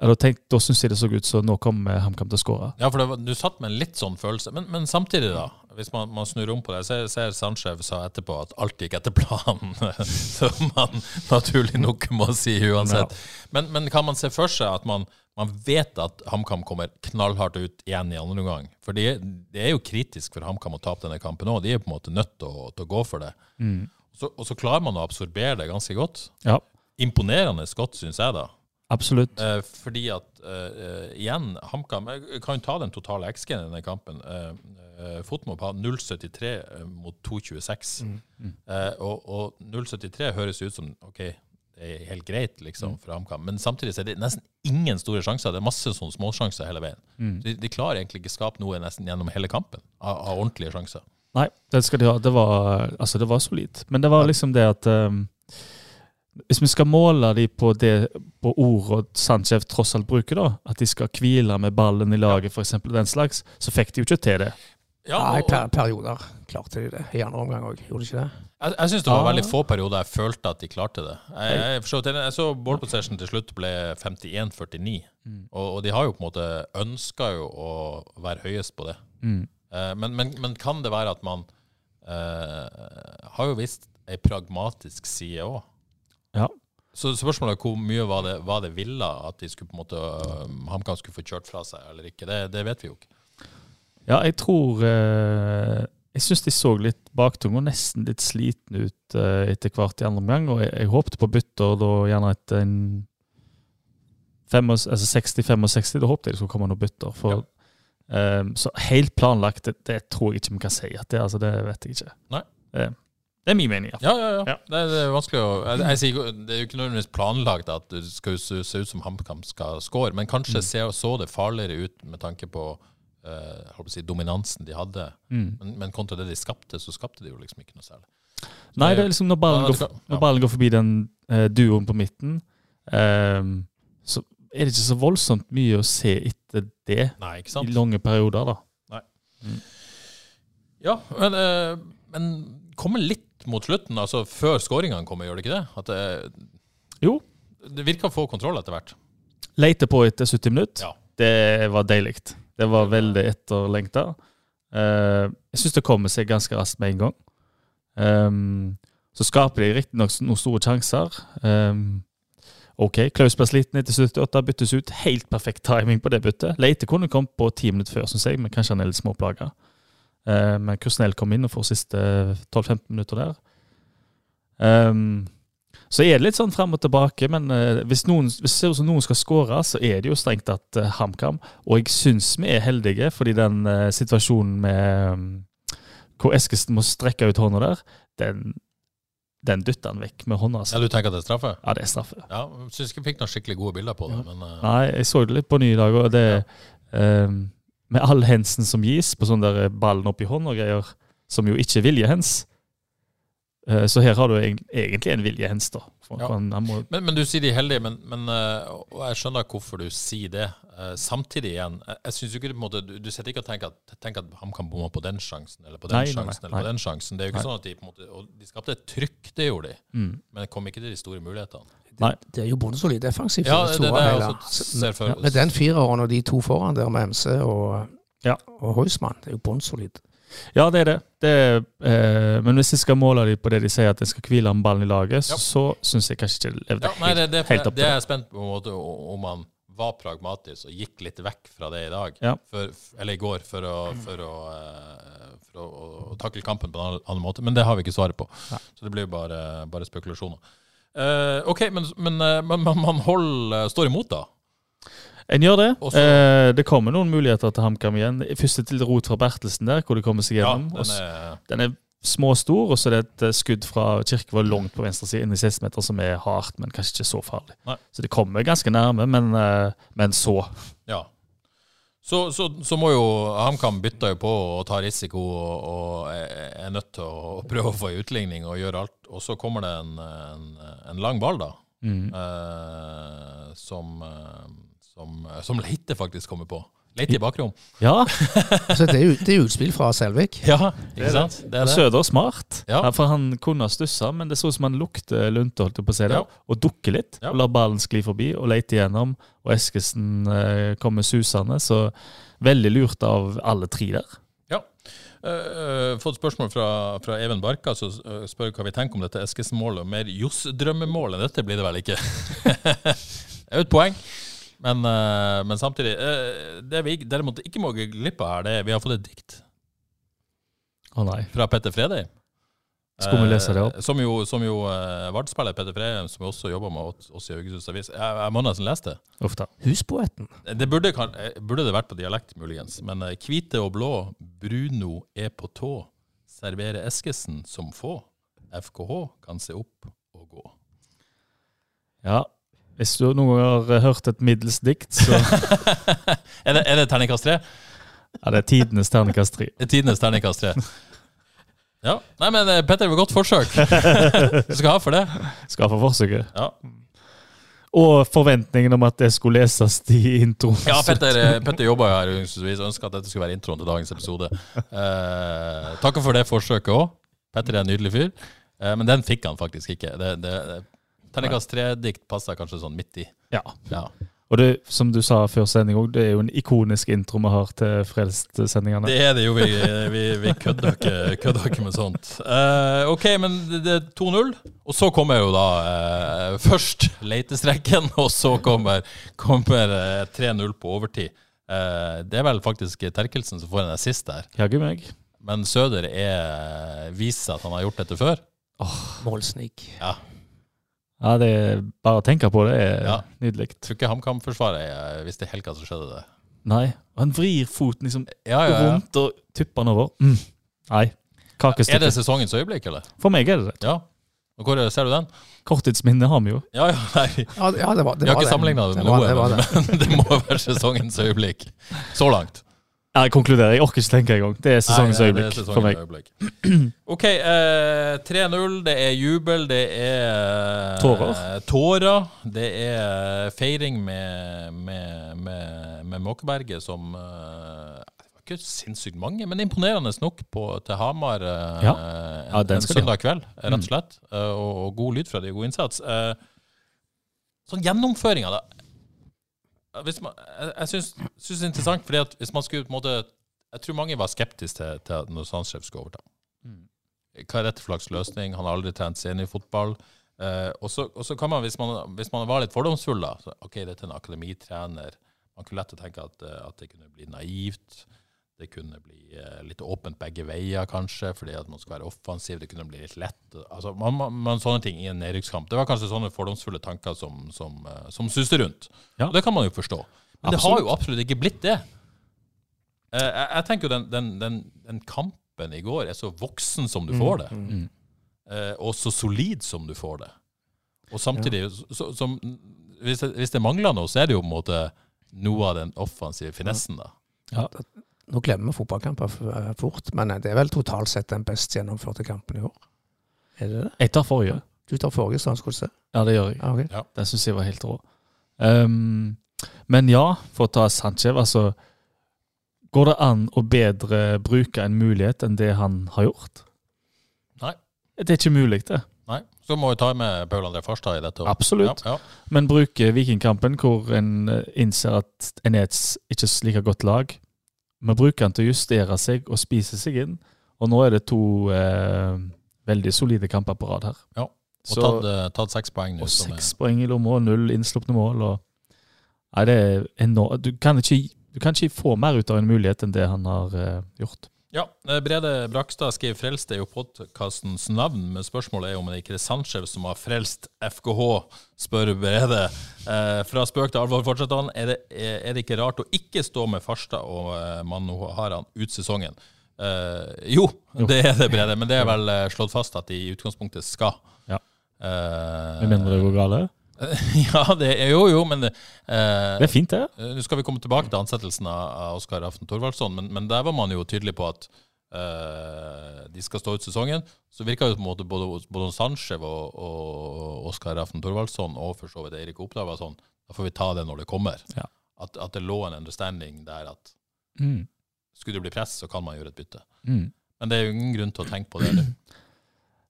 [SPEAKER 3] ja, da, tenk- da syns jeg det så ut som nå kommer HamKam til å skåre.
[SPEAKER 1] Ja, for det var, du satt med en litt sånn følelse. Men, men samtidig, da. Hvis man, man snur om på det. Ser, ser Sanchez sa etterpå at alt gikk etter planen. Som man naturlig nok må si uansett. Men, men kan man se for seg at man, man vet at HamKam kommer knallhardt ut igjen i andre omgang? For det, det er jo kritisk for HamKam å tape denne kampen òg. De er på en måte nødt til å, til å gå for det. Så, og så klarer man å absorbere det ganske godt.
[SPEAKER 3] Ja,
[SPEAKER 1] Imponerende godt, syns jeg, da.
[SPEAKER 3] absolutt.
[SPEAKER 1] Eh, fordi at, eh, eh, igjen, HamKam Jeg kan jo ta den totale XG-en i denne kampen. Eh, eh, Fotmob har 0,73 mot 2,26. Eh, og og 0,73 høres ut som OK, det er helt greit liksom, for HamKam, men samtidig så er det nesten ingen store sjanser. Det er masse sånne småsjanser hele veien.
[SPEAKER 3] Mm.
[SPEAKER 1] De, de klarer egentlig ikke skape noe nesten gjennom hele kampen av, av ordentlige sjanser.
[SPEAKER 3] Nei, det skal de ha. Det var, altså, det var solid. Men det var liksom det at ehm, Hvis vi skal måle de på det på ord og Sanchez tross alt bruker, da, at de skal hvile med ballen i laget for eksempel, den slags, så fikk de jo ikke til det.
[SPEAKER 1] Ja,
[SPEAKER 2] Nei,
[SPEAKER 1] og-
[SPEAKER 2] per perioder klarte de det. I andre omgang òg, gjorde de ikke det?
[SPEAKER 1] Jeg, jeg syns det var
[SPEAKER 3] Ah.
[SPEAKER 1] veldig få perioder jeg følte at de klarte det. Jeg, jeg, er for så vidt enig. jeg så ball possession til slutt ble 51-49, og, og de har jo på en måte ønska jo å være høyest på det. Eh, men, men, men kan det være at man eh, har jo visst ei pragmatisk side òg,
[SPEAKER 3] Ja.
[SPEAKER 1] Så spørsmålet er hvor mye var det, var det ville at de skulle på en måte, øh, HamKam skulle få kjørt fra seg eller ikke. Det, det vet vi jo ikke.
[SPEAKER 3] Ja, jeg tror eh, Jeg syns de så litt baktunge og nesten litt slitne ut eh, etter hvert i andre omgang. Og jeg, jeg håpte på bytter da gjerne etter en fem og- altså 60-65. Da håpte jeg det skulle komme noen bytter. For, eh, så helt planlagt, det, det tror jeg ikke vi kan si at det er. Altså, det vet jeg ikke.
[SPEAKER 1] Nei.
[SPEAKER 3] Eh, det er min mening.
[SPEAKER 1] Ja, ja, ja. Det, er- det er vanskelig å jeg, jeg, sier ikke- Det er jo ikke nødvendigvis planlagt at det skal se, se ut som HamKam skal score, men kanskje se, så det farligere ut med tanke på eh, jeg holdt på å si, dominansen de hadde.
[SPEAKER 3] Mm.
[SPEAKER 1] Men, men kontra det de skapte, så skapte de jo liksom ikke noe særlig. Så
[SPEAKER 3] Nei, det er liksom når ballen,
[SPEAKER 1] Ja,
[SPEAKER 3] går,
[SPEAKER 1] det kan-
[SPEAKER 3] for-
[SPEAKER 1] ja.
[SPEAKER 3] når ballen går forbi den eh, duoen på midten, eh, så er det ikke så voldsomt mye å se etter det
[SPEAKER 1] Nei, ikke
[SPEAKER 3] i
[SPEAKER 1] sant?
[SPEAKER 3] lange perioder, da.
[SPEAKER 1] Ja, men, eh, men kommer litt mot slutten, altså før skåringene kommer, gjør det ikke det? At det,
[SPEAKER 3] Jo.
[SPEAKER 1] Det virker å få kontroll etter hvert.
[SPEAKER 3] Leite på etter 70 minutter,
[SPEAKER 1] Ja.
[SPEAKER 3] det var deilig. Det var veldig etterlengta. Eh, jeg syns det kommer seg ganske raskt med en gang. Ehm, så skaper de riktignok noen store sjanser. Ehm, OK, Klaus ble sliten etter 78, byttes ut. Helt perfekt timing på det byttet. Leite kunne kommet på ti minutter før, syns jeg, men kanskje han er litt småplaga. Eh, men Krusnell kom inn og får siste 12-15 minutter der. Ehm, så er det litt sånn frem og tilbake, men eh, hvis, noen, hvis det ser ut som noen skal skåre, så er det jo strengt tatt eh, HamKam. Og jeg syns vi er heldige, fordi den eh, situasjonen med mm, hvor Eskesen må strekke ut hånda der, den, den dytter han vekk med hånda.
[SPEAKER 1] Ja,
[SPEAKER 3] Altså.
[SPEAKER 1] Du tenker at det er straffe?
[SPEAKER 3] Ja, det er straffe.
[SPEAKER 1] Ja, Syns ikke vi fikk noen skikkelig gode bilder på det, men eh,
[SPEAKER 3] Nei, jeg så det litt på ny i dag, og det eh, Med all hensen som gis på sånn der ballen opp i hånd og greier, som jo ikke er viljehens. Eh, så her har du egen- egentlig en viljehens, da. For,
[SPEAKER 1] Ja.
[SPEAKER 3] for han, han må
[SPEAKER 1] Men, men du sier de er heldige, men, men eh, og jeg skjønner hvorfor du sier det. Eh, Samtidig igjen, jeg, jeg synes jo ikke det på en måte, du, du sitter ikke og tenker at, tenker at han kan bomme på den sjansen, eller på den
[SPEAKER 3] Nei, nei, nei,
[SPEAKER 1] sjansen, eller
[SPEAKER 3] nei.
[SPEAKER 1] på den sjansen. Det er jo ikke
[SPEAKER 3] Nei.
[SPEAKER 1] sånn at de på en måte, og de skapte et trykk, det gjorde de,
[SPEAKER 3] mm.
[SPEAKER 1] men det kom ikke til de store mulighetene.
[SPEAKER 3] Nei.
[SPEAKER 2] Det er jo bondesolid defensivt.
[SPEAKER 1] Ja,
[SPEAKER 2] i
[SPEAKER 1] det,
[SPEAKER 2] store
[SPEAKER 1] det er altså
[SPEAKER 2] deler.
[SPEAKER 1] jeg også ser for
[SPEAKER 2] Med den fireren og de to foran der med MC og,
[SPEAKER 3] Ja.
[SPEAKER 2] og Heusmann, det er jo bunnsolid.
[SPEAKER 3] Ja, det er det. det er, eh, men hvis jeg skal måle dem på det de sier, at en skal hvile om ballen i laget,
[SPEAKER 1] Ja.
[SPEAKER 3] så syns jeg kanskje ikke det levde
[SPEAKER 1] Ja, nei, det, det,
[SPEAKER 3] helt opp
[SPEAKER 1] det
[SPEAKER 3] til
[SPEAKER 1] er
[SPEAKER 3] det.
[SPEAKER 1] jeg spent på på en måte o- om han var pragmatisk og gikk litt vekk fra det i dag,
[SPEAKER 3] Ja.
[SPEAKER 1] for, eller i går, for å, for å, eh, for å, å takle kampen på en annen- annen måte. Men det har vi ikke svaret på, så det blir jo bare, bare spekulasjoner. Eh, OK, men, men, eh, men man, man holder, står imot, da.
[SPEAKER 3] En gjør det.
[SPEAKER 1] Og så-
[SPEAKER 3] Eh, det kommer noen muligheter til HamKam igjen. Første til rot fra Bertelsen der, hvor de kommer seg
[SPEAKER 1] Ja,
[SPEAKER 3] gjennom.
[SPEAKER 1] den
[SPEAKER 3] Og s-
[SPEAKER 1] er,
[SPEAKER 3] den er småstor, og så er det et eh, skudd fra Kirkevold langt på venstre side inn i 16 meter som er hardt, men kanskje ikke så farlig.
[SPEAKER 1] Nei.
[SPEAKER 3] Så det kommer ganske nærme, men, eh, men så.
[SPEAKER 1] ja. Så, så, så må jo HamKam bytte jo på og ta risiko og, og er er nødt til å, å prøve å få en utligning og gjøre alt. Og så kommer det en, en, en lang ball, da.
[SPEAKER 3] Mm.
[SPEAKER 1] eh, som, eh, som, som Leite faktisk kommer på. Leite i bakrom.
[SPEAKER 3] Ja,
[SPEAKER 2] Så Altså, det er, jo- det er jo utspill fra Selvik.
[SPEAKER 1] Ja, ikke sant? Det er det.
[SPEAKER 3] Søder smart.
[SPEAKER 1] Ja.
[SPEAKER 3] Ja, for han kunne ha stussa, men det så ut som han lukter eh, lunte, holdt jeg på å si det,
[SPEAKER 1] Ja.
[SPEAKER 3] og dukker litt.
[SPEAKER 1] Ja.
[SPEAKER 3] Og lar ballen skli forbi og leter igjennom, og Eskesen eh, kommer susende. Så veldig lurt av alle tre der.
[SPEAKER 1] Ja. Eh, eh, fått spørsmål fra, fra Even Barka, som eh, spør hva vi tenker om dette Eskesen-målet. Mer Johs-drømmemål enn dette blir det vel ikke. det er jo et poeng. Men, eh, men samtidig eh, Det vi derimot ikke må gå glipp av her, det er vi har fått et dikt
[SPEAKER 3] Å nei.
[SPEAKER 1] fra Petter Fredheim.
[SPEAKER 3] Skal vi lese det opp?
[SPEAKER 1] Eh, Som jo, som jo eh, Vard-spiller Petter Fredheim, som jo også jobber med oss- oss i Haugesunds Avis. Jeg, jeg må nesten lese det.
[SPEAKER 3] Uff da.
[SPEAKER 2] Huspoeten.
[SPEAKER 1] Det burde, kan, eh, burde det vært på dialekt, muligens. Men eh, hvite og blå, Bruno er på tå. Servere Eskesen som få. FKH kan se opp og gå.
[SPEAKER 3] Ja. Hvis du noen gang har hørt et middels dikt, så
[SPEAKER 1] Er det, er det terningkast tre?
[SPEAKER 3] er det tidenes terningkast tre.
[SPEAKER 1] Det er Tidenes terningkast tre. Ja. Nei, men eh, Petter, det var godt forsøk. Du skal ha for det.
[SPEAKER 3] Skal få forsøket.
[SPEAKER 1] Ja,
[SPEAKER 3] Og forventningen om at det skulle leses i introen.
[SPEAKER 1] ja Petter, eh, Petter jobba jo her, så vi ønska at dette skulle være introen til dagens episode. Eh, Takker for det forsøket òg. Petter er en nydelig fyr. Eh, men den fikk han faktisk ikke. Det, det, det. Terningkast tre-dikt passer kanskje sånn midt i.
[SPEAKER 3] Ja.
[SPEAKER 1] Ja.
[SPEAKER 3] Og det, som du sa før sending òg, det er jo en ikonisk intro vi har til Frelst-sendingene.
[SPEAKER 1] Det er det jo. Vi, vi, vi kødder, ikke, kødder ikke med sånt. Eh, OK, men det det er 2-0. Og så kommer jo da eh, først letestreken, og så kommer, kommer eh, 3-0 på overtid. Eh, det er vel faktisk Terkelsen som får en assist der.
[SPEAKER 3] Jaggu meg.
[SPEAKER 1] Men Søder er, eh, viser at han har gjort dette før.
[SPEAKER 2] Målsnik.
[SPEAKER 1] Ja,
[SPEAKER 3] Ja, det er, bare å tenke på det er
[SPEAKER 1] Ja.
[SPEAKER 3] nydelig.
[SPEAKER 1] Tror ikke HamKam-forsvaret eh, visste helt hva som skjedde der.
[SPEAKER 3] Nei. Han vrir foten liksom
[SPEAKER 1] Ja, ja, ja.
[SPEAKER 3] rundt og tupper den over. Mm. Nei.
[SPEAKER 1] Er det
[SPEAKER 3] Kakestykke.
[SPEAKER 1] sesongens øyeblikk, eller?
[SPEAKER 3] For meg er det det.
[SPEAKER 1] Ja. Og hvor ser du den?
[SPEAKER 3] Korttidsminne har vi jo.
[SPEAKER 1] Ja, ja, nei.
[SPEAKER 2] Ja, det- ja, det var, det
[SPEAKER 1] Vi har
[SPEAKER 2] var
[SPEAKER 1] ikke sammenligna det med
[SPEAKER 2] var-
[SPEAKER 1] noe,
[SPEAKER 2] det var det.
[SPEAKER 1] men, men det må være sesongens øyeblikk. Så langt.
[SPEAKER 3] Ja, jeg konkluderer. Jeg orker ikke tenke engang. Det er sesongens
[SPEAKER 1] Nei, nei, det er
[SPEAKER 3] øyeblikk
[SPEAKER 1] sesongens
[SPEAKER 3] for meg.
[SPEAKER 1] øyeblikk. OK, eh, 3-0. Det er jubel, det er eh,
[SPEAKER 3] Tårer.
[SPEAKER 1] tårer. Det er eh, feiring med, med, med, med Måkeberget som eh, det var ikke sinnssykt mange, men imponerende nok på, til Hamar eh,
[SPEAKER 3] Ja.
[SPEAKER 1] en,
[SPEAKER 3] Ja, den
[SPEAKER 1] en
[SPEAKER 3] skal de ha.
[SPEAKER 1] søndag kveld, rett og slett. Eh, og, og god lyd fra de, og god innsats. Eh, sånn gjennomføring av det Eh, hvis man, Jeg, jeg syns, syns det er interessant, fordi at hvis man skulle på en måte Jeg tror mange var skeptiske til, til at når Sandskjev skulle overta. Hva er dette for slags løsning? Han har aldri trent seniorfotball. Eh, og så og så kan man, hvis man, hvis man var litt fordomsfull, da så, OK, dette er en akademitrener. Man kunne lett å tenke at, eh, at det kunne bli naivt. Det kunne bli eh, litt åpent begge veier, kanskje, fordi at man skal være offensiv. Det kunne bli litt lett. Altså, man, man, man, sånne ting i en nedrykkskamp. Det var kanskje sånne fordomsfulle tanker som, som, eh, som suste rundt.
[SPEAKER 3] Ja.
[SPEAKER 1] Og Det kan man jo forstå. Men det har jo absolutt ikke blitt det. Eh, jeg, jeg tenker jo den, den, den, den kampen i går er så voksen som du får det, Eh, og så solid som du får det. Og samtidig, så, som, hvis, det, hvis det mangler noe, så er det jo på en måte noe av den offensive finessen, da.
[SPEAKER 2] Nå glemmer vi fotballkamper f- fort, men eh, det er vel totalt sett den best gjennomførte kampen i år. Er det det?
[SPEAKER 3] Jeg tar forrige.
[SPEAKER 2] Du tar forrige Strandskose.
[SPEAKER 3] Ja, det gjør jeg.
[SPEAKER 2] Ja, ok.
[SPEAKER 3] Den syns jeg var helt rå. Ehm, men ja, for å ta Sanchez, altså Går det an å bedre bruke en mulighet enn det han har gjort?
[SPEAKER 1] Nei.
[SPEAKER 3] Det er ikke mulig, det.
[SPEAKER 1] Nei, så må vi ta med Paul André Farstad i dette. også.
[SPEAKER 3] Absolutt.
[SPEAKER 1] Ja,
[SPEAKER 3] Men bruke Vikingkampen, hvor en eh, innser at en er et s- ikke et like godt lag. Vi bruker den til å justere seg og spise seg inn. Og nå er det to eh, veldig solide kamper på rad her.
[SPEAKER 1] Ja, Og
[SPEAKER 3] Så,
[SPEAKER 1] tatt, eh, tatt seks poeng nå.
[SPEAKER 3] og
[SPEAKER 1] som er-
[SPEAKER 3] seks poeng i lomma, og null innslupne mål. Og, nei, det er enormt. Du, kan ikke, du kan ikke få mer ut av en mulighet enn det han har eh, gjort.
[SPEAKER 1] Ja, eh, Brede Brakstad skriver 'Frelst' er jo podkastens navn, men spørsmålet er om det ikke er Sandskjev som har frelst FKH, spør Brede. Eh, fra spøk til alvor fortsetter han. Er det, eh, er er det ikke rart å ikke stå med Farstad og eh, Manu Haran ut sesongen? Eh, jo, det er det, Brede, men det er vel eh, slått fast at de i utgangspunktet skal.
[SPEAKER 3] Ja.
[SPEAKER 1] Eh,
[SPEAKER 3] Med mindre det går galt.
[SPEAKER 1] Ja, det er jo, jo, men eh,
[SPEAKER 3] Det er fint, det.
[SPEAKER 1] Eh, Nå skal vi komme tilbake til ansettelsen av av Oskar Aften Thorvaldsson, men, men der var man jo tydelig på at eh, de skal stå ut sesongen. Så virka jo på en måte både, både Sanchez og, og Oskar Aften Thorvaldsson og for så vidt Eirik Oppdal var sånn Da får vi ta det når det kommer.
[SPEAKER 3] Ja.
[SPEAKER 1] At, at det lå en understanding der at
[SPEAKER 3] Mm.
[SPEAKER 1] skulle det bli press, så kan man gjøre et bytte.
[SPEAKER 3] Mm.
[SPEAKER 1] Men det er jo ingen grunn til å tenke på det nå.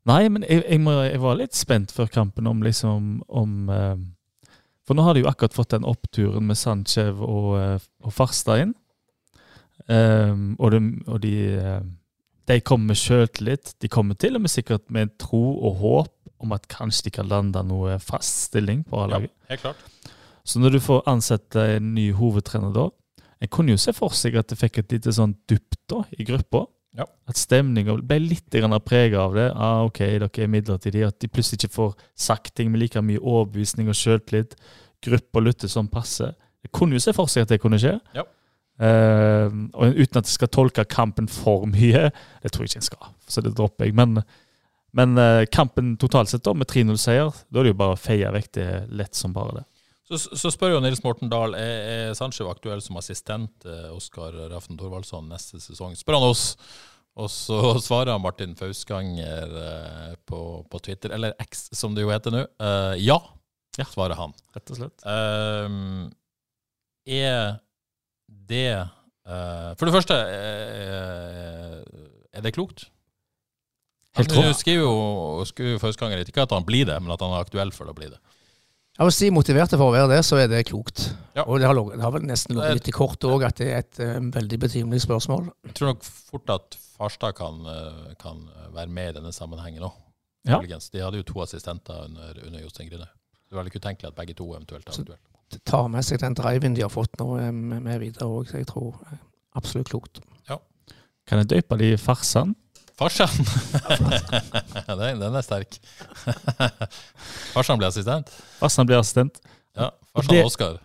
[SPEAKER 3] Nei, men jeg, jeg, må, jeg var litt spent før kampen om liksom om eh, For nå har de jo akkurat fått den oppturen med Sanchez og, eh, og Farstad inn. Ehm, og de, og de, eh, de kommer med sjøltillit. De kommer til og med sikkert med en tro og håp om at kanskje de kan lande noe fast stilling på
[SPEAKER 1] Ja,
[SPEAKER 3] A-laget.
[SPEAKER 1] helt klart.
[SPEAKER 3] Så når du får ansette en ny hovedtrener da En kunne jo se for seg at det fikk et lite sånn dupp da, i gruppa.
[SPEAKER 1] Ja.
[SPEAKER 3] At stemninga ble litt prega av det. Ah, OK, dere er midlertidige. At de plutselig ikke får sagt ting med like mye overbevisning og sjøltillit. Gruppa lytter som passe. Jeg kunne jo se for seg at det kunne skje.
[SPEAKER 1] Ja.
[SPEAKER 3] Eh, og uten at jeg skal tolke kampen for mye. Det tror jeg ikke jeg skal, så det dropper jeg. Men, men eh, kampen totalt sett, da, med 3-0-seier, da er det jo bare å feie vekk det lett som bare det.
[SPEAKER 1] Så, så spør jo Nils Morten Dahl er, er Sanchez aktuell som assistent eh, Oskar Raften Thorvaldsson neste sesong. Spør han oss! Og så svarer Martin Fausganger eh, på, på Twitter, eller X som det jo heter nå. Eh, ja, svarer han.
[SPEAKER 3] Rett og slett.
[SPEAKER 1] Ehm, er det eh, For det første, eh, er det klokt?
[SPEAKER 3] Helt
[SPEAKER 1] Han
[SPEAKER 3] rå.
[SPEAKER 1] skriver jo skriver Fausganger ikke at han blir det, men at han er aktuell for å bli det.
[SPEAKER 2] Ja, Hvis de er motiverte for å være det, så er det klokt.
[SPEAKER 1] Ja.
[SPEAKER 2] Og det har, log- det har vel nesten
[SPEAKER 1] Det er-
[SPEAKER 2] ligget litt i kortet òg at det er et eh, veldig betimelig spørsmål.
[SPEAKER 1] Jeg tror nok fort at Farstad kan, eh, kan være med i denne sammenhengen òg.
[SPEAKER 3] Ja.
[SPEAKER 1] De hadde jo to assistenter under, under Jostein Grine. Det er vel ikke utenkelig at begge to eventuelt har
[SPEAKER 2] Så-
[SPEAKER 1] en duell.
[SPEAKER 2] De tar med seg den driven de har fått nå eh, med med videre òg, så jeg tror eh, absolutt klokt.
[SPEAKER 3] Kan jeg døpe de i Farsan?
[SPEAKER 1] Farsan! den, den er sterk. Farsan blir assistent.
[SPEAKER 3] Farsan blir assistent.
[SPEAKER 1] Ja, Farsan
[SPEAKER 3] Det-
[SPEAKER 1] og Oskar.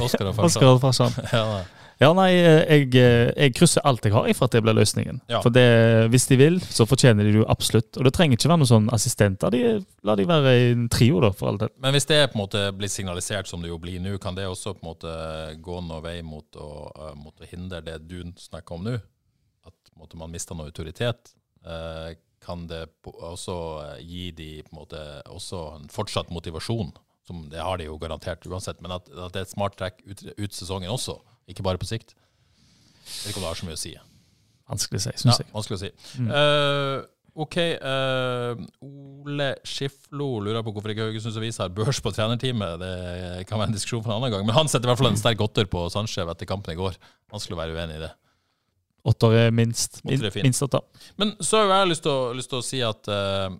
[SPEAKER 1] Oskar og Farsan.
[SPEAKER 3] Oskar og Farsan.
[SPEAKER 1] Ja, nei.
[SPEAKER 3] Ja, nei, eh, jeg, jeg krysser alt jeg har jeg for at det blir løsningen.
[SPEAKER 1] Ja.
[SPEAKER 3] For det, hvis de vil, så fortjener de det jo absolutt. Og det trenger ikke være noen sånn assistenter. De, la de være i en trio, da, for all del.
[SPEAKER 1] Men hvis det på en måte blir signalisert som det jo blir nå, kan det også på en måte gå noen vei mot å, eh, mot å hindre det du snakker om nå? At på en måte, man mister noe autoritet? Eh, Kan det på- også eh, gi de på en måte også en fortsatt motivasjon? Som det har de jo garantert uansett, men at, at det er et smart trekk ut, ut sesongen også, ikke bare på sikt. Jeg vet ikke om det har så mye å si.
[SPEAKER 3] Vanskelig å si, syns
[SPEAKER 1] Ja, vanskelig å si. Eh, ok, eh, Ole Skiflo lurer på hvorfor ikke Haugesunds Avis har børs på trenerteamet. Det kan være en diskusjon for en annen gang, men han setter i hvert fall en sterk åtter på Sanchez etter kampen i går. Vanskelig å være uenig i det.
[SPEAKER 3] jeg. Åtter er minst. Min,
[SPEAKER 1] Åtter er fint.
[SPEAKER 3] minst åtter.
[SPEAKER 1] Men så har jeg lyst til å, lyst til å si at eh,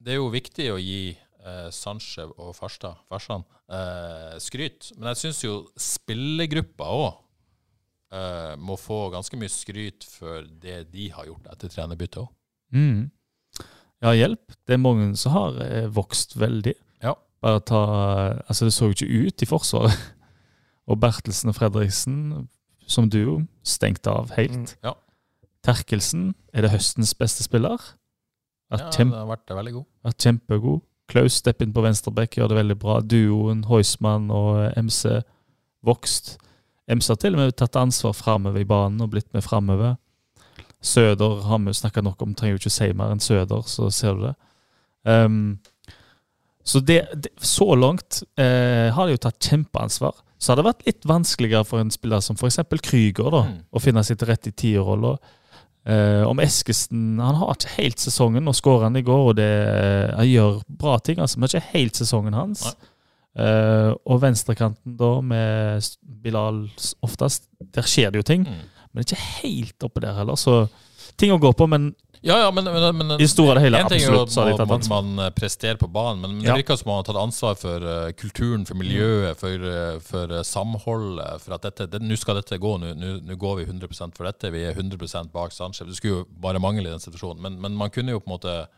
[SPEAKER 1] det er jo viktig å gi eh, Sanchez og Farstad, Farsan, eh, skryt. Men jeg syns jo spillergruppa òg eh, må få ganske mye skryt for det de har gjort etter trenerbyttet òg.
[SPEAKER 3] Mm. Ja, hjelp. Det er mange som har eh, vokst veldig.
[SPEAKER 1] Ja.
[SPEAKER 3] Bare ta Altså, det så jo ikke ut i Forsvaret. Og Bertelsen og Fredriksen som duo stengt av
[SPEAKER 2] Mm.
[SPEAKER 3] helt.
[SPEAKER 1] Ja.
[SPEAKER 3] Terkelsen er det høstens beste spiller. Er
[SPEAKER 1] Ja,
[SPEAKER 3] kjempe
[SPEAKER 1] den har vært veldig god.
[SPEAKER 3] er kjempegod. Klaus stepper inn på venstreback, gjør det veldig bra. Duoen Heusmann og eh, MC vokst. MC har til og med tatt ansvar framover i banen og blitt med framover. Søder har vi snakka nok om, trenger jo ikke si mer enn Søder, så ser du det. Ehm, så det, det, så langt eh, har de jo tatt kjempeansvar. Så har det vært litt vanskeligere for en spiller som f.eks. Krüger da,
[SPEAKER 1] Mm.
[SPEAKER 3] å finne sitt rett i tierrolla. Eh, om Eskesen Han har ikke helt sesongen. Nå skårer han i går, og det, eh, han gjør bra ting, altså, men ikke helt sesongen hans. Eh, og venstrekanten, da, med s- Bilal s- oftest, der skjer det jo ting.
[SPEAKER 1] Mm.
[SPEAKER 3] Men ikke helt oppe der heller, så ting å gå på. Men
[SPEAKER 1] Ja, ja, men, men, men
[SPEAKER 3] i det store og det hele,
[SPEAKER 1] en ting er jo
[SPEAKER 3] absolutt, så har de
[SPEAKER 1] at
[SPEAKER 3] tatt
[SPEAKER 1] man,
[SPEAKER 3] ansvar.
[SPEAKER 1] man eh, presterer på banen, men, men
[SPEAKER 3] Ja.
[SPEAKER 1] det virker som man har tatt ansvar for eh, kulturen, for miljøet, for, eh, for eh, samholdet. For at dette, det- nå skal dette gå, nå- nå nå går vi 100 for dette. Vi er 100 bak Sanchez. Det skulle jo bare mangle i den situasjonen, men, men man kunne jo på en måte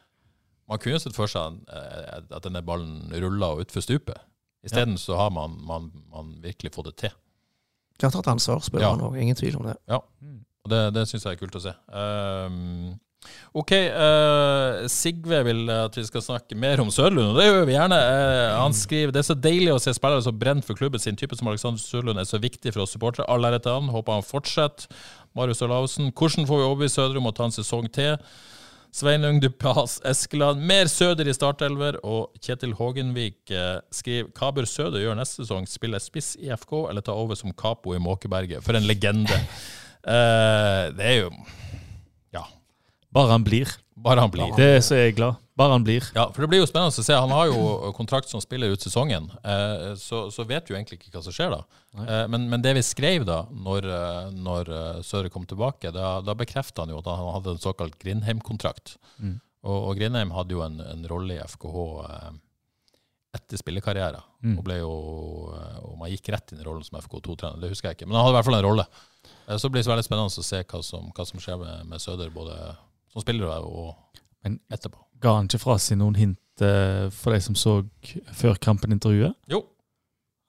[SPEAKER 1] Man kunne jo sett for seg eh, at denne ballen ruller og utfor stupet. Isteden så har man, man, man virkelig fått det til.
[SPEAKER 2] De har tatt ansvar,
[SPEAKER 1] Ja.
[SPEAKER 2] spillerne òg. Ingen tvil om det.
[SPEAKER 1] Og Det, det syns jeg er kult å se. Ehm, OK, eh, Sigve vil at vi skal snakke mer om Sørlund, og det gjør vi gjerne. Eh, han skriver det er så deilig å se spillere som brenner for klubben sin. Type som Alexander Sørlund er så viktig for oss supportere. All ære til han. Håper han fortsetter. Marius Olavsen, hvordan får vi overbevist Søder om å ta en sesong til? Sveinung Dupas Eskeland, mer Søder i startelver. Og Kjetil Hågenvik eh, skriver hva bør Søder gjøre neste sesong? Spille spiss i FK eller ta over som Capo i Måkeberget? For en legende. Eh, det er jo Ja,
[SPEAKER 3] bare han blir.
[SPEAKER 1] bare han blir.
[SPEAKER 3] Det er så jeg er glad. Bare han blir.
[SPEAKER 1] Ja, for det blir jo spennende å se. Han har jo kontrakt som spiller ut sesongen, eh, så, så vet vi jo egentlig ikke hva som skjer da. Eh, Men, men det vi skrev da, når, eh, når eh, Søre kom tilbake, da, da bekrefta han jo at han hadde en såkalt Grindheim-kontrakt. Og, og Grindheim hadde jo en, en rolle i FKH eh, etter spillekarrieren. Og ble jo, eh, om han gikk rett inn i rollen som FK2-trener, det husker jeg ikke. Men han hadde i hvert fall en rolle. Eh, Så blir det så veldig spennende å se hva som, hva som skjer med, med Søder, både som spiller og
[SPEAKER 3] Men-
[SPEAKER 1] etterpå.
[SPEAKER 3] Ga han ikke fra seg noen hint eh, for de som så før kampen intervjuet?
[SPEAKER 1] Jo.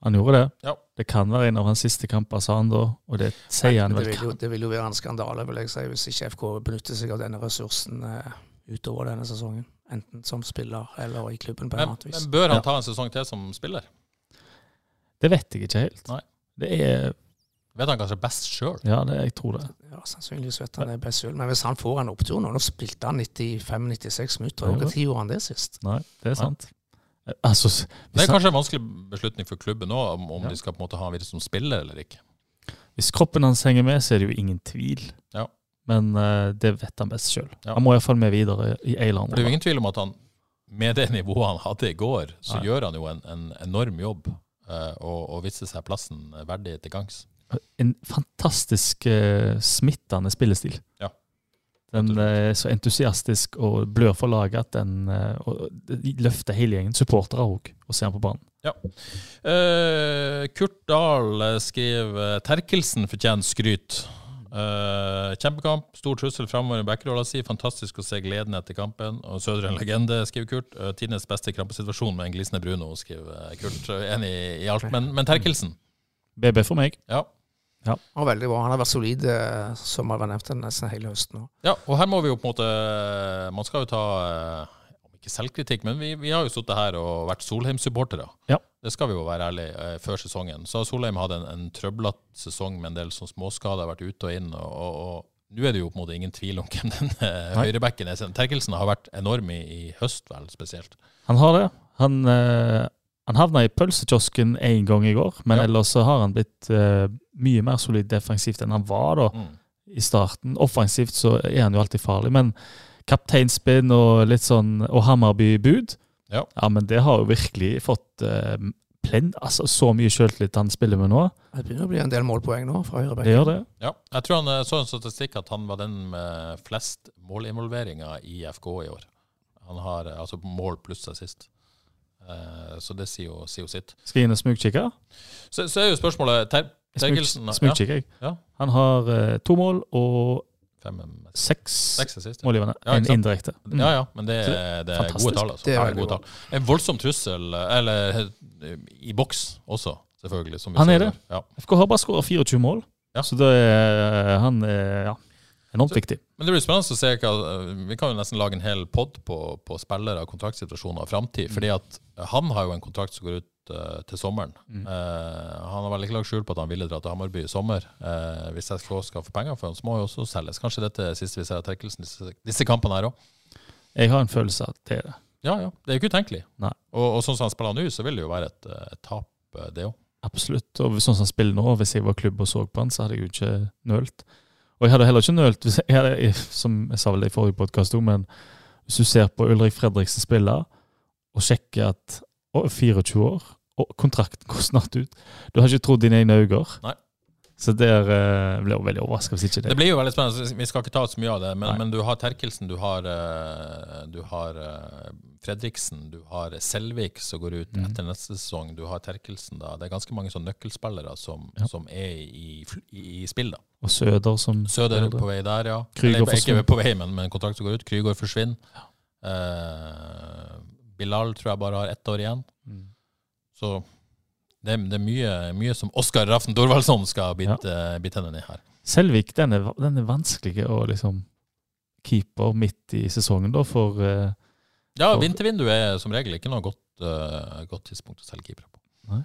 [SPEAKER 3] Han gjorde det.
[SPEAKER 1] Ja.
[SPEAKER 3] Det kan være en av hans siste kamper, sa han da, og det sier han
[SPEAKER 2] Men
[SPEAKER 3] vel
[SPEAKER 2] det, vil jo,
[SPEAKER 3] kan.
[SPEAKER 2] det vil jo være en skandale vil jeg si, hvis ikke FK benytter seg av denne ressursen eh, utover denne sesongen. Enten som spiller eller i klubben på et
[SPEAKER 1] Men,
[SPEAKER 2] eller annet vis.
[SPEAKER 1] men bør han
[SPEAKER 3] Ja.
[SPEAKER 1] ta en sesong til som spiller?
[SPEAKER 3] Det vet jeg ikke helt.
[SPEAKER 1] Nei.
[SPEAKER 3] Det er
[SPEAKER 1] Vet han kanskje best sjøl?
[SPEAKER 3] Ja, det, jeg tror det.
[SPEAKER 2] Ja, Sannsynligvis vet han det best selv. Men hvis han får en opptur nå Nå spilte han 95-96 minutter.
[SPEAKER 3] Ja,
[SPEAKER 2] og
[SPEAKER 3] ja.
[SPEAKER 2] Når gjorde han det sist?
[SPEAKER 3] Nei, det er sant. Eh, Altså, s-
[SPEAKER 1] Det
[SPEAKER 3] hvis,
[SPEAKER 1] er
[SPEAKER 3] han,
[SPEAKER 1] kanskje en vanskelig beslutning for klubben nå, om, om
[SPEAKER 3] Ja.
[SPEAKER 1] de skal på en måte ha han videre som spiller eller ikke.
[SPEAKER 3] hvis kroppen hans henger med, så er det jo ingen tvil.
[SPEAKER 1] Ja.
[SPEAKER 3] Men eh, det vet han best sjøl.
[SPEAKER 1] Ja.
[SPEAKER 3] Han må iallfall med videre i en eller
[SPEAKER 1] For Det er jo
[SPEAKER 3] annen
[SPEAKER 1] ingen tvil om at han, med det nivået han hadde i går, så
[SPEAKER 3] Nei.
[SPEAKER 1] gjør han jo en, en enorm jobb. eh, og, og viste seg plassen verdig til gangs.
[SPEAKER 3] En fantastisk eh, smittende spillestil.
[SPEAKER 1] Ja.
[SPEAKER 3] Den eh, er så entusiastisk og blør for laget at den eh, og- og løfter hele gjengen. Supportere òg, og ser han på banen.
[SPEAKER 1] Eh, Kurt Dahl eh, skriver Terkelsen fortjener skryt. Eh, kjempekamp, stor trussel framover i backerolla si. Fantastisk å se gleden etter kampen. Og Sødre en legende, skriver Kurt. Uh, Tidenes beste krampesituasjon med en glisne Bruno, skriver eh, Kurt. Så Enig i alt, men, men Terkelsen.
[SPEAKER 3] BB for meg.
[SPEAKER 1] Ja.
[SPEAKER 2] Han var veldig bra. Han har vært solid, eh, som jeg har nevnt, nesten hele høsten. nå.
[SPEAKER 1] ja, og her må vi jo på en måte Man skal jo ta eh, om ikke selvkritikk, men vi, vi har jo sittet her og vært Solheim-supportere.
[SPEAKER 3] Ja.
[SPEAKER 1] Det skal vi jo være ærlige eh, før sesongen. Så har Solheim hatt en, en trøblete sesong med en del sånn småskader, vært ute og inn. og, og, og nå er det jo på en måte ingen tvil om hvem den eh,
[SPEAKER 3] Nei.
[SPEAKER 1] høyrebacken er. Terkelsen har vært enorm i, i høst, vel, spesielt.
[SPEAKER 3] Han har det. Han, eh, han havna i pølsekiosken én gang i går, men
[SPEAKER 1] Ja.
[SPEAKER 3] ellers så har han blitt eh, mye mer solid defensivt enn han var da
[SPEAKER 1] Mm.
[SPEAKER 3] i starten. Offensivt så er han jo alltid farlig, men kapteinspinn og litt sånn og Hammarby-bud,
[SPEAKER 1] Ja.
[SPEAKER 3] men det har jo virkelig fått eh, plen, altså så mye sjøltillit han spiller med nå.
[SPEAKER 2] Det begynner å bli en del målpoeng nå fra høyrebekken.
[SPEAKER 3] Det gjør det.
[SPEAKER 1] Ja, jeg tror han eh, så en statistikk at han var den med flest målinvolveringer i FK i år. Han har eh, altså mål pluss assist. Eh, Så det sier jo, sier jo sitt.
[SPEAKER 3] Skal jeg inn og smugkikke?
[SPEAKER 1] Så, så er jo spørsmålet Ter
[SPEAKER 3] Jeg
[SPEAKER 1] Terkelsen
[SPEAKER 3] smug- Smugkikker, jeg.
[SPEAKER 1] Ja.
[SPEAKER 3] Han har eh, to mål og
[SPEAKER 1] ja, fem, eh,
[SPEAKER 3] seks,
[SPEAKER 1] seks assist, ja.
[SPEAKER 3] målgivende.
[SPEAKER 1] Ja, ikke
[SPEAKER 3] en
[SPEAKER 1] sant?
[SPEAKER 3] indirekte. Mm.
[SPEAKER 1] Ja, ja, men det, er- det er
[SPEAKER 3] Fantastisk.
[SPEAKER 1] gode tall. Altså.
[SPEAKER 2] Det er
[SPEAKER 1] Ja,
[SPEAKER 2] veldig
[SPEAKER 1] gode
[SPEAKER 2] bra.
[SPEAKER 1] tall. En voldsom trussel, eh, eller eh, i boks også, selvfølgelig. Som vi
[SPEAKER 3] Han
[SPEAKER 1] ser
[SPEAKER 3] er det.
[SPEAKER 1] der. Ja.
[SPEAKER 3] Mm. FK har bare skåra 24 mål,
[SPEAKER 1] Ja.
[SPEAKER 3] så det er, eh, han er ja, enormt
[SPEAKER 1] Så-
[SPEAKER 3] viktig.
[SPEAKER 1] Men det blir spennende å se hva eh, Vi kan jo nesten lage en hel pod på, på spillere, kontraktsituasjoner og framtid. Fordi at han har jo en kontrakt som går ut eh, til sommeren. Eh, han har vel ikke lagt skjul på at han ville dra til Hammarby i sommer. Eh, hvis FK skal få penger for han, så må han jo også selges. Kanskje dette er siste vi ser av Terkelsen disse, disse kampene her òg.
[SPEAKER 3] Jeg har en følelse av at det er det.
[SPEAKER 1] Ja, ja. Det er jo ikke utenkelig.
[SPEAKER 3] Nei.
[SPEAKER 1] Og, og sånn som han spiller nå, så vil det jo være et eh, tap, eh, det òg.
[SPEAKER 3] Absolutt. Og sånn som han spiller nå, hvis jeg var klubb og så på han, så hadde jeg jo ikke nølt. Og jeg hadde heller ikke nølt, hvis jeg hadde, som jeg sa vel i forrige podkast òg, men hvis du ser på Ulrik Fredriksen spille, og sjekker at å, 24 år, og kontrakten går snart ut Du har ikke trodd dine egne øyne.
[SPEAKER 1] Nei.
[SPEAKER 3] Så der eh, ble jeg veldig overraska hvis ikke det.
[SPEAKER 1] Det blir jo veldig spennende. Vi skal ikke ta så mye av det, men,
[SPEAKER 3] Nei.
[SPEAKER 1] men du har Terkelsen, du har, eh, du har eh, Fredriksen, du har Selvik som går ut
[SPEAKER 3] Mhm.
[SPEAKER 1] etter neste sesong, du har Terkelsen da. Det er ganske mange sånne nøkkelspillere som,
[SPEAKER 3] Ja.
[SPEAKER 1] som er i, fl- i, i spill, da.
[SPEAKER 3] Og Søder som
[SPEAKER 1] Søder på vei der, ja.
[SPEAKER 3] Krüger
[SPEAKER 1] Eller,
[SPEAKER 3] forsvinner.
[SPEAKER 1] ikke på vei, men med en kontrakt som går ut. Krygård forsvinner. Eh, Bilal tror jeg bare har ett år igjen.
[SPEAKER 3] Mm.
[SPEAKER 1] Så det, er- det er mye, mye som Oskar Raften Dorvaldsson skal bite, bite hendene i her.
[SPEAKER 3] Selvik, den er, den er vanskelig å liksom keeper midt i sesongen, da, for eh,
[SPEAKER 1] Ja,
[SPEAKER 3] Og-
[SPEAKER 1] vintervinduet er som regel ikke noe godt, eh, godt tidspunkt å selge keepere på.
[SPEAKER 3] Nei.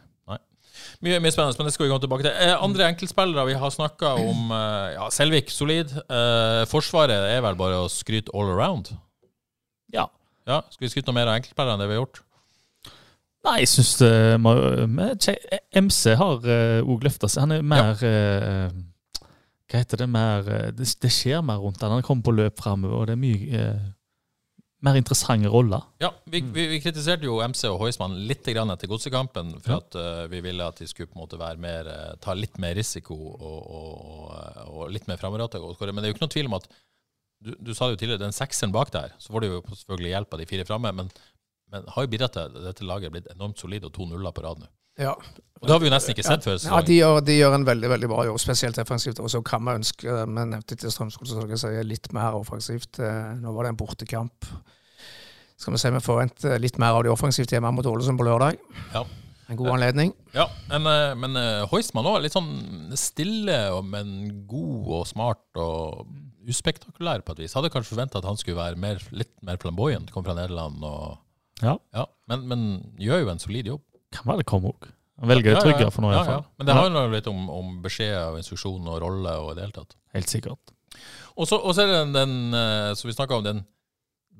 [SPEAKER 1] Mye, mye spennende, men det skal vi komme tilbake til. Eh, andre enkeltspillere vi har snakka om eh, ja, Selvik, solid. Eh, forsvaret er vel bare å skryte all around?
[SPEAKER 3] Ja.
[SPEAKER 1] Ja, Skal vi skryte noe mer av enkeltspillere enn det vi har gjort?
[SPEAKER 3] Nei, jeg syns MC har òg løfta seg. Han er mer eh, Hva heter det? Mer, eh, det, det skjer mer rundt han. Han kommer på løp framover, og det er mye eh, mer interessante roller.
[SPEAKER 1] Ja, vi,
[SPEAKER 2] Mm.
[SPEAKER 1] vi, vi kritiserte jo MC og Heusmann litt grann etter godsekampen for at eh, vi ville at de skulle på en måte være mer, eh, ta litt mer risiko og, og, og, og litt mer framåtrettet. og skåre. Men det er jo ikke noe tvil om at du, du sa det jo tidligere, den sekseren bak der, så får du jo selvfølgelig hjelp av de fire framme, men, men har jo bidratt til at dette laget er blitt enormt solid og to nuller på rad nå.
[SPEAKER 2] Ja.
[SPEAKER 1] Og det har vi jo nesten ikke sett før.
[SPEAKER 2] Ja,
[SPEAKER 1] sesongen.
[SPEAKER 2] de gjør, de gjør en veldig veldig bra jobb, spesielt defensivt. Og så kan man ønske, vi nevnte til Strømskog, så skal jeg si litt mer offensivt. Eh, Nå var det en bortekamp. Skal vi si vi forventer eh, litt mer av de offensivt hjemme mot Ålesund på lørdag.
[SPEAKER 1] Ja.
[SPEAKER 2] En god anledning.
[SPEAKER 1] Ja, men, eh, men eh, Heusmann òg. Litt sånn stille, og- men god og smart og uspektakulær på et vis. Hadde kanskje forventa at han skulle være mer, litt mer flamboyant, kom fra Nederland og
[SPEAKER 3] Ja.
[SPEAKER 1] Ja, men, men gjør jo en solid jobb.
[SPEAKER 3] Kan være det kommer òg. Han velger det tryggere for nå,
[SPEAKER 1] ja, ja.
[SPEAKER 3] iallfall.
[SPEAKER 1] Men det handler jo litt om, om beskjeder og instruksjon og rolle og i det hele tatt.
[SPEAKER 3] Helt sikkert.
[SPEAKER 1] Og så og så er det den, den eh, som vi snakka om, den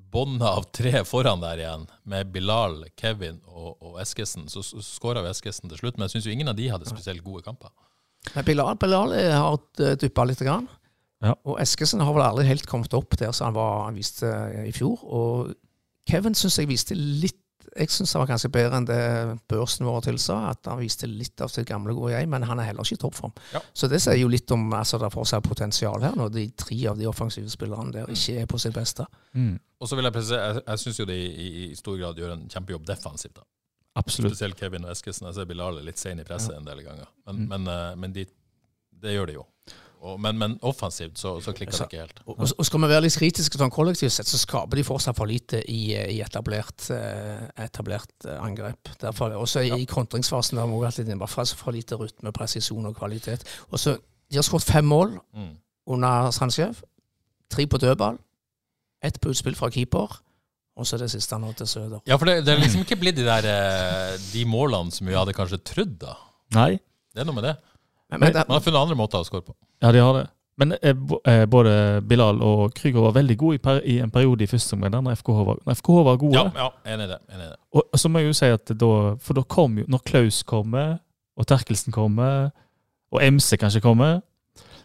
[SPEAKER 1] bånda av tre foran der igjen, med Bilal, Kevin og, og Eskesen. Så skåra jo Eskesen til slutt, men jeg syns jo ingen av de hadde spesielt gode kamper.
[SPEAKER 2] Men Bilal, Bilal har duppa litt. Grann.
[SPEAKER 3] Ja.
[SPEAKER 2] Og Eskesen har vel aldri eh, helt kommet opp der som han, var, han viste i fjor. Og Kevin syns jeg viste litt jeg syns han var ganske bedre enn det børsen vår tilsa. At han viste litt av sitt gamle gode jeg, men han er heller ikke i toppform.
[SPEAKER 1] Ja.
[SPEAKER 2] Så det sier jo litt om altså, det er fortsatt potensial her, når de tre av de offensive spillerne der ikke er på sitt beste.
[SPEAKER 1] Og så vil jeg presisere, jeg, jeg syns jo de i, i stor grad gjør en kjempejobb defensivt. da.
[SPEAKER 3] Absolutt.
[SPEAKER 1] Spesielt Kevin og Eskesen. Jeg ser Bilal er litt sein i presset en del ganger. Men,
[SPEAKER 3] Mm.
[SPEAKER 1] men, eh, men de, det gjør de jo. Og, men, men offensivt så, så klikker det
[SPEAKER 2] Så-
[SPEAKER 1] ikke helt.
[SPEAKER 2] Og, og- og skal vi være litt kritiske sånn kollektivt sett, så skaper de fortsatt for lite i, eh, i etablert, eh, etablert eh, angrep. Derfor, også i, i kontringsfasen der har vi også vært litt inne, for, altså for lite rytme, presisjon og kvalitet. Og så, de har skåret fem mål
[SPEAKER 1] Mm.
[SPEAKER 2] under Sandskjev. Tre på dødball, ett på utspill fra keeper, og så det siste nå til Søder.
[SPEAKER 1] Ja, for det, det er liksom ikke blitt de der eh, de målene som vi hadde kanskje trodd, da.
[SPEAKER 3] Nei.
[SPEAKER 1] Det er noe med det.
[SPEAKER 2] Men, men,
[SPEAKER 1] Man har funnet andre måter å score på.
[SPEAKER 3] Ja, de har det. Men eh, bo- eh, både Bilal og Krüger var veldig gode i, per i en periode i første omgang, der når FKH var, når FKH var gode.
[SPEAKER 1] Ja, ja enig i det. Enig i det.
[SPEAKER 3] Og og så må jeg jo si at da For da kom jo Når Klaus kommer, og Terkelsen kommer, og MC kanskje kommer,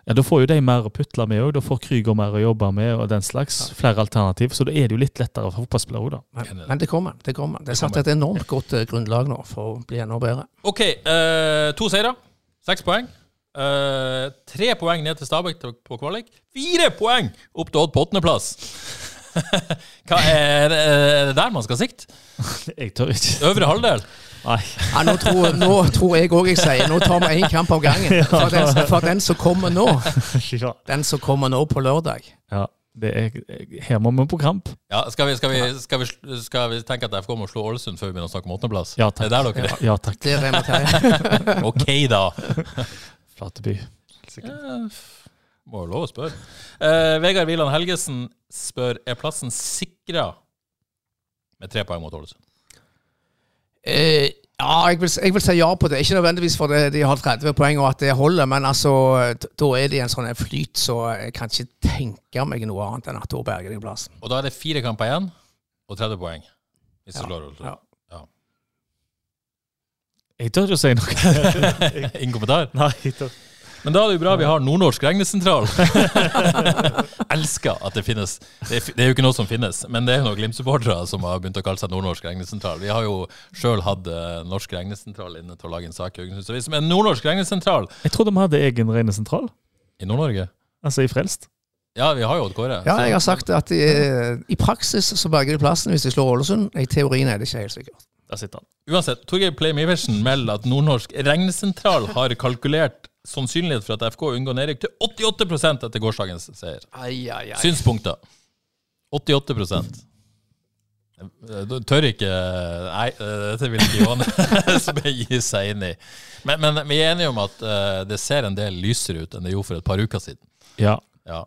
[SPEAKER 3] ja, da får jo de mer å putle med òg. Da får Krüger mer å jobbe med og den slags. Flere alternativ. Så da er det jo litt lettere for fotballspillere òg, da.
[SPEAKER 2] men, men det kommer. Det kommer. Det er satt et enormt godt eh, grunnlag nå for å bli enda bedre.
[SPEAKER 1] OK. eh, to seire. Seks poeng. Eh, tre poeng ned til Stabæk til- på kvalik. Fire poeng opp til Odd på åttendeplass! Hva er, det- er det der man skal sikte?
[SPEAKER 3] Jeg tør ikke.
[SPEAKER 1] Øvre halvdel?
[SPEAKER 3] Nei.
[SPEAKER 2] Ja, nå, tror, nå tror jeg òg jeg sier nå tar vi én kamp av gangen. For den, for den som kommer nå,
[SPEAKER 3] fy faen.
[SPEAKER 2] den som kommer nå på lørdag
[SPEAKER 3] Ja, det er, her må vi på kamp.
[SPEAKER 1] Ja, skal vi, skal, vi, skal, vi, sl- skal vi tenke at FK må slå Ålesund før vi begynner å snakke om åttendeplass?
[SPEAKER 3] Ja,
[SPEAKER 1] Det
[SPEAKER 3] takk.
[SPEAKER 1] er der dere
[SPEAKER 3] Ja takk,
[SPEAKER 2] Det er Rema Terje.
[SPEAKER 1] er? OK, da.
[SPEAKER 3] Flateby.
[SPEAKER 1] Ja, f- Må jo lov å spørre. Eh, Vegard Wieland Helgesen spør er plassen sikra med tre poeng mot Ålesund.
[SPEAKER 2] Eh, Ja, jeg vil, jeg vil si ja på det. Ikke nødvendigvis fordi de har 30 poeng og at det holder, men altså, d- da er de i en sånn en flyt, så jeg kan ikke tenke meg noe annet enn at da berger de plassen.
[SPEAKER 1] Og da er det fire kamper igjen og 30 poeng. Hvis du slår Ålesund.
[SPEAKER 2] Ja.
[SPEAKER 3] Jeg tør ikke å si noe.
[SPEAKER 1] Ingen kommentar.
[SPEAKER 3] Nei, jeg tør.
[SPEAKER 1] Men da er det jo bra vi har nordnorsk regnesentral. Elsker at det finnes. Det er, f- det er jo ikke noe som finnes, men det er jo noen Glimt-supportere som har begynt å kalle seg nordnorsk regnesentral. Vi har jo sjøl hatt eh, norsk regnesentral inne til å lage en sak i Haugesund. Så hvis vi er nordnorsk regnesentral
[SPEAKER 3] jeg trodde vi hadde egen rene sentral,
[SPEAKER 1] i Nord-Norge
[SPEAKER 3] altså i Frelst.
[SPEAKER 1] Ja, vi har jo Odd Kåre.
[SPEAKER 2] Ja,
[SPEAKER 1] så-
[SPEAKER 2] jeg har sagt at de, eh, i praksis så berger de plassen hvis de slår Ålesund. I teorien er det ikke helt sikkert.
[SPEAKER 3] Der sitter han.
[SPEAKER 1] Uansett, Torgeir Pleim Iversen melder at Nordnorsk regnesentral har kalkulert sannsynlighet for at FK unngår nedrykk til 88 etter gårsdagens seier.
[SPEAKER 2] Ai, ai, ai.
[SPEAKER 1] Synspunkter. 88 Du tør ikke Nei, eh, dette vil ikke Johannes gi seg inn i. Men, men vi er enige om at eh, det ser en del lysere ut enn det gjorde for et par uker siden.
[SPEAKER 3] Ja.
[SPEAKER 1] Ja.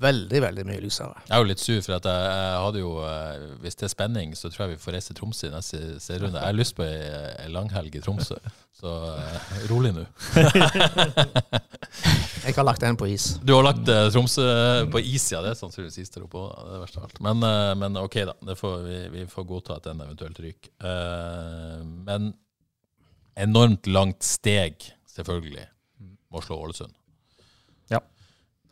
[SPEAKER 2] Veldig, veldig mye lysere.
[SPEAKER 1] Jeg er jo litt sur, for at jeg, jeg hadde jo eh, Hvis det er spenning, så tror jeg vi får reise til Tromsø i neste serierunde. Jeg har lyst på ei, ei langhelg i Tromsø, så eh, rolig nå.
[SPEAKER 2] Jeg har lagt den på is.
[SPEAKER 1] Du har lagt eh, Tromsø på is, ja. Det er sannsynligvis is der oppe òg, det er verst av alt. Men, eh, men ok, da. Det får, vi, vi får godta at den eventuelt ryker. Eh, men enormt langt steg, selvfølgelig, må slå Ålesund.
[SPEAKER 3] Ja.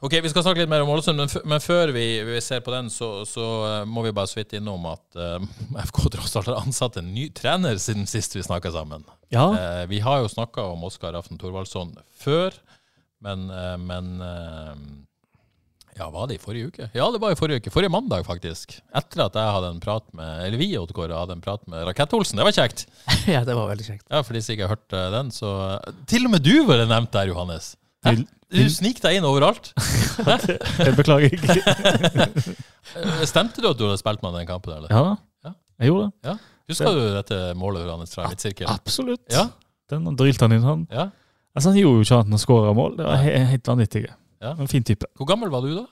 [SPEAKER 1] Ok, Vi skal snakke litt mer om Ålesund, men, f men før vi, vi ser på den, så, så eh, må vi bare så vidt innom at eh, FK tross alt har ansatt en ny trener siden sist vi snakka sammen.
[SPEAKER 3] ja.
[SPEAKER 1] Eh, vi har jo snakka om Oskar Aften Thorvaldsson før, men, eh, men eh, Ja, var det i forrige uke? Ja, det var i forrige uke. Forrige mandag, faktisk. Etter at jeg hadde en prat med eller vi Odd Kåre, hadde en prat med Rakett-Olsen. Det var kjekt!
[SPEAKER 2] Ja, det var veldig kjekt.
[SPEAKER 1] Ja, For de som ikke har hørt eh, den, så Til og med du var det nevnt der, Johannes! Hæ?
[SPEAKER 3] Til-
[SPEAKER 1] Du snik deg inn overalt.
[SPEAKER 3] Jeg beklager ikke.
[SPEAKER 1] Eh, Stemte du at du hadde spilt med den kampen, eller?
[SPEAKER 3] Ja da.
[SPEAKER 1] Ja.
[SPEAKER 3] Jeg gjorde det.
[SPEAKER 1] Husker du dette målet Johannes fra midtsirkelen?
[SPEAKER 3] Absolutt.
[SPEAKER 1] Ja?
[SPEAKER 3] Den drylte han inn, han.
[SPEAKER 1] ja?
[SPEAKER 3] Altså, han gjorde jo ikke annet enn å skåre mål. Det var
[SPEAKER 1] Nei.
[SPEAKER 3] he helt vanvittig.
[SPEAKER 1] Ja.
[SPEAKER 3] En fin type.
[SPEAKER 1] Hvor gammel var du da?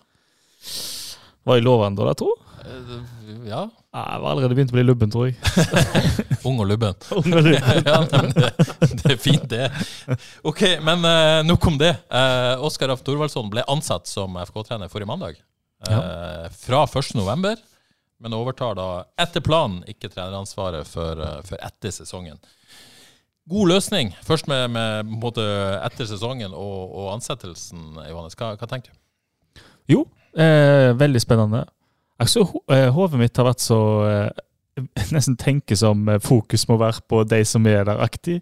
[SPEAKER 3] Var i Loven da, tror jeg.
[SPEAKER 1] Eh, Ja,
[SPEAKER 3] Ja, Jeg var allerede begynt å bli lubben, tror jeg.
[SPEAKER 1] ung og lubben.
[SPEAKER 3] Ung og lubben.
[SPEAKER 1] ja, men det, det er fint, det. Ok, men eh, nok om det. Eh, Oskar Aft Thorvaldsson ble ansatt som FK-trener forrige mandag. Eh, Fra 1.11., men overtar da etter planen ikke treneransvaret før, eh, før etter sesongen. God løsning, først med, med på en måte etter sesongen og, og ansettelsen, Johannes. Hva, hva tenker du?
[SPEAKER 3] Jo, eh, veldig spennende. Altså, ho- eh, Hodet mitt har vært så eh, nesten tenker som eh, fokus må være på de som er der aktig,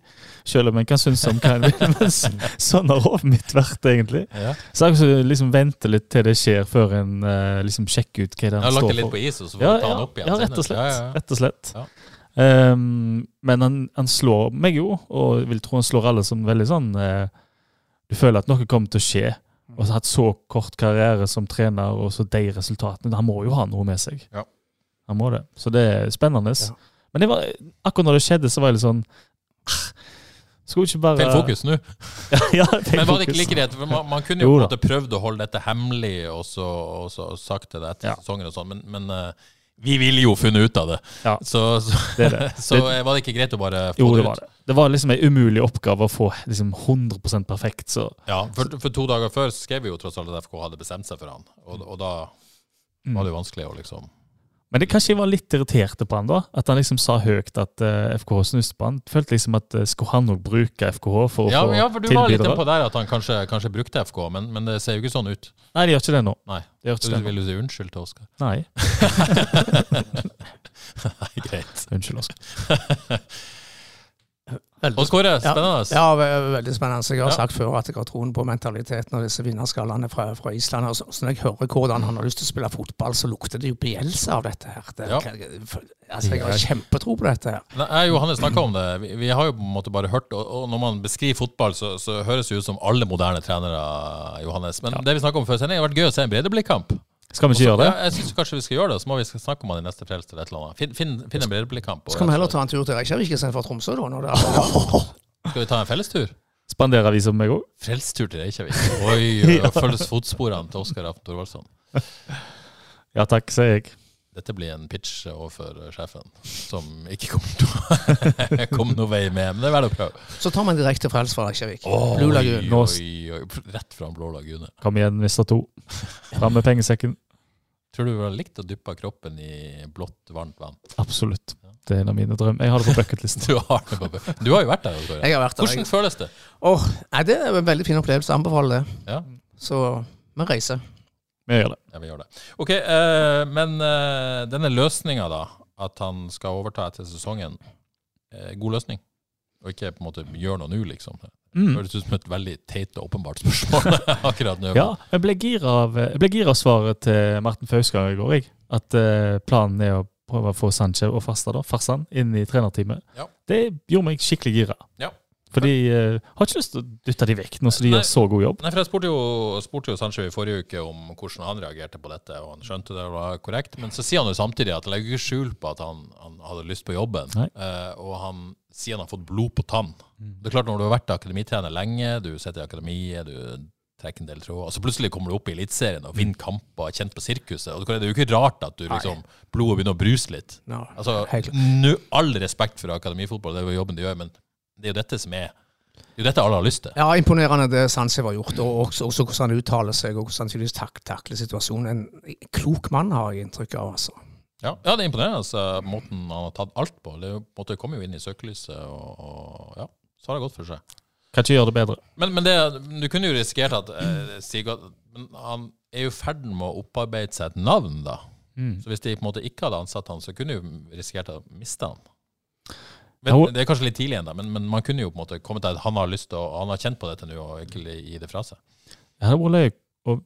[SPEAKER 3] selv om en kan synes om hva en vil. Men s- sånn har hodet mitt vært, egentlig.
[SPEAKER 1] Ja.
[SPEAKER 3] Så jeg også liksom venter litt til det skjer, før en eh, liksom sjekker ut hva det er
[SPEAKER 1] Jeg har
[SPEAKER 3] han
[SPEAKER 1] lagt
[SPEAKER 3] står
[SPEAKER 1] det litt
[SPEAKER 3] for.
[SPEAKER 1] på is, og så får
[SPEAKER 3] Ja,
[SPEAKER 1] vi ta
[SPEAKER 3] ja,
[SPEAKER 1] den opp igjen.
[SPEAKER 3] ja, rett og
[SPEAKER 1] senere. Ja, ja,
[SPEAKER 3] slett.
[SPEAKER 1] ja.
[SPEAKER 3] Rett og slett.
[SPEAKER 1] Ja.
[SPEAKER 3] Ehm, men han, han slår meg jo, og jeg vil tro han slår alle som veldig sånn eh, Du føler at noe kommer til å skje. Og så hatt så kort karriere som trener, og så de resultatene. Han må jo ha noe med seg.
[SPEAKER 1] Ja.
[SPEAKER 3] Han må det. Så det er spennende.
[SPEAKER 2] Ja.
[SPEAKER 3] Men det var, akkurat når det skjedde, så var jeg litt sånn ah, Skulle ikke bare
[SPEAKER 1] Feil fokus nå.
[SPEAKER 3] ja, feil
[SPEAKER 1] Men var det ikke
[SPEAKER 3] fokus.
[SPEAKER 1] like greit? For man, man kunne
[SPEAKER 3] Jo
[SPEAKER 1] jo på en
[SPEAKER 3] da.
[SPEAKER 1] måte prøvd å holde dette hemmelig, og så, og så sagt det etter
[SPEAKER 3] Ja.
[SPEAKER 1] sesongen og sånn, men, men eh, vi ville jo funnet ut av det.
[SPEAKER 3] Ja.
[SPEAKER 1] Så, så,
[SPEAKER 3] Det er det.
[SPEAKER 1] så eh, var det ikke greit å bare få
[SPEAKER 3] Jo,
[SPEAKER 1] det
[SPEAKER 3] det
[SPEAKER 1] ut?
[SPEAKER 3] var det. Det var liksom en umulig oppgave å få liksom 100 perfekt, så
[SPEAKER 1] Ja, for, for to dager før skrev vi jo tross alt at FK hadde bestemt seg for han, og, og da
[SPEAKER 3] Mm.
[SPEAKER 1] var det jo vanskelig å liksom
[SPEAKER 3] Men det kanskje jeg var litt irriterte på han da, at han liksom sa høyt at eh, FKH snuste på han. Følte liksom at eh, skulle han nok bruke FKH for å
[SPEAKER 1] ja,
[SPEAKER 3] få
[SPEAKER 1] ja, for du var litt
[SPEAKER 3] tilbydere?
[SPEAKER 1] innpå der at han kanskje, kanskje brukte FK, men, men det ser jo ikke sånn ut.
[SPEAKER 3] Nei, de gjør ikke det nå.
[SPEAKER 1] Nei.
[SPEAKER 3] De gjør
[SPEAKER 1] Du
[SPEAKER 3] ikke det nå.
[SPEAKER 1] vil jo si unnskyld til Oskar.
[SPEAKER 3] Nei,
[SPEAKER 1] Nei, greit.
[SPEAKER 3] unnskyld Oskar.
[SPEAKER 1] Og Kåre, spennende.
[SPEAKER 2] Ja, ve- veldig spennende. Jeg har
[SPEAKER 1] Ja.
[SPEAKER 2] sagt før at jeg har troen på mentaliteten og disse vinnerskallene fra, fra Island. Og så, så når jeg hører hvordan han har lyst til å spille fotball, så lukter det jo bjelse av dette her. Det,
[SPEAKER 1] Ja.
[SPEAKER 2] altså, jeg har kjempetro på dette her.
[SPEAKER 1] Nei, Jeg og Johannes snakka om det. Vi, vi har jo på en måte bare hørt Og, og når man beskriver fotball, så, så høres det ut som alle moderne trenere, Johannes. Men det vi snakka om før sending, har vært gøy å se en bredeblikkamp.
[SPEAKER 3] Skal vi ikke gjøre
[SPEAKER 1] Ja,
[SPEAKER 3] det?
[SPEAKER 1] jeg syns kanskje vi skal gjøre det, så må vi snakke om han i neste frelst eller et eller annet. Finn, finn, finn en bredeblikkamp. og-
[SPEAKER 2] Så kan vi heller ta en tur til Reykjavik istedenfor Tromsø, da. Når det er,
[SPEAKER 1] Skal vi ta en fellestur?
[SPEAKER 3] Spanderer vi som meg òg?
[SPEAKER 1] Frelstur til Reykjavik. Oi, og følges fotsporene til Oskar Aften Thorvaldsson.
[SPEAKER 3] Ja takk, sier jeg.
[SPEAKER 1] Dette blir en pitch overfor eh, sjefen, som ikke kommer til å komme noe vei med. Men det er verdt å prøve.
[SPEAKER 2] så tar vi en direkte frelst fra Reykjavik. Blue Lagoon.
[SPEAKER 1] Oi, oi, oi. Rett fra Blå lagune.
[SPEAKER 3] Kom igjen, mister to. Fram med pengesekken.
[SPEAKER 1] Tror du du ville likt å dyppe kroppen i blått, varmt vann?
[SPEAKER 3] Absolutt. Det er en av mine drømmer. Jeg har det på bucketlisten.
[SPEAKER 1] Du har, det på- du har jo vært der. Tore.
[SPEAKER 2] Jeg har vært der.
[SPEAKER 1] Hvordan føles det?
[SPEAKER 2] Åh, nei, det er en veldig fin opplevelse. Jeg Anbefaler det.
[SPEAKER 1] Ja.
[SPEAKER 2] Så vi reiser.
[SPEAKER 3] Vi gjør det.
[SPEAKER 1] Ja, vi gjør det. Ok, eh, men eh, denne løsninga, da. At han skal overta etter sesongen. eh, god løsning. Og ikke på en måte gjøre noe nå, liksom.
[SPEAKER 3] Mm.
[SPEAKER 1] Høres ut som et veldig teit og åpenbart spørsmål akkurat nå.
[SPEAKER 3] Ja, jeg ble gira av, jeg ble gira av svaret til Martin Fauskar i går. Jeg. At eh, planen er å prøve å få Sanchez og Farsa, da, Farsan inn i trenerteamet.
[SPEAKER 1] Ja.
[SPEAKER 3] Det gjorde meg skikkelig gira.
[SPEAKER 1] Ja.
[SPEAKER 3] Fordi jeg har ikke lyst til å dytte de vekk nå som de
[SPEAKER 1] Nei.
[SPEAKER 3] gjør så god jobb.
[SPEAKER 1] Nei, for Jeg spurte jo, spurte jo Sancho i forrige uke om hvordan han reagerte på dette, og han skjønte det var korrekt. Men så sier han jo samtidig at han legger ikke skjul på at han, han hadde lyst på jobben.
[SPEAKER 3] Nei.
[SPEAKER 1] Eh, og han sier han har fått blod på tann.
[SPEAKER 2] Mm.
[SPEAKER 1] Det er klart Når du har vært akademitrener lenge, du sitter i akademiet, du trekker en del tråder, og så plutselig kommer du opp i Eliteserien og
[SPEAKER 2] Mm.
[SPEAKER 1] vinner kamper, er kjent på sirkuset. og Det er jo ikke rart at du liksom, blodet begynner å bruse litt.
[SPEAKER 2] No.
[SPEAKER 1] Altså,
[SPEAKER 2] Helt klart.
[SPEAKER 1] nå, All respekt for akademifotball, det er jo jobben de gjør, men det er jo dette som er det er jo dette alle har lyst til.
[SPEAKER 2] Ja, imponerende det Sansi har gjort, og også, også hvordan han uttaler seg, og hvordan han tydeligvis tak takler situasjonen. En klok mann har jeg inntrykk av, altså.
[SPEAKER 1] Ja, ja det er imponerende altså, måten han har tatt alt på. Det er jo, på en måte kommer jo inn i søkelyset, og, og ja, så har det gått for seg.
[SPEAKER 3] Kan ikke gjøre det bedre.
[SPEAKER 1] Men, men det, du kunne jo risikert at eh, Sigurd men Han er jo i ferd med å opparbeide seg et navn, da. Så hvis de på en måte ikke hadde ansatt han, så kunne du risikert å miste han. Men,
[SPEAKER 3] Jo.
[SPEAKER 1] det er kanskje litt tidlig ennå, men, men man kunne jo på en måte kommet til at han har lyst til å, han har kjent på dette nå og ikke gi det fra seg.
[SPEAKER 3] Det hadde vært løye å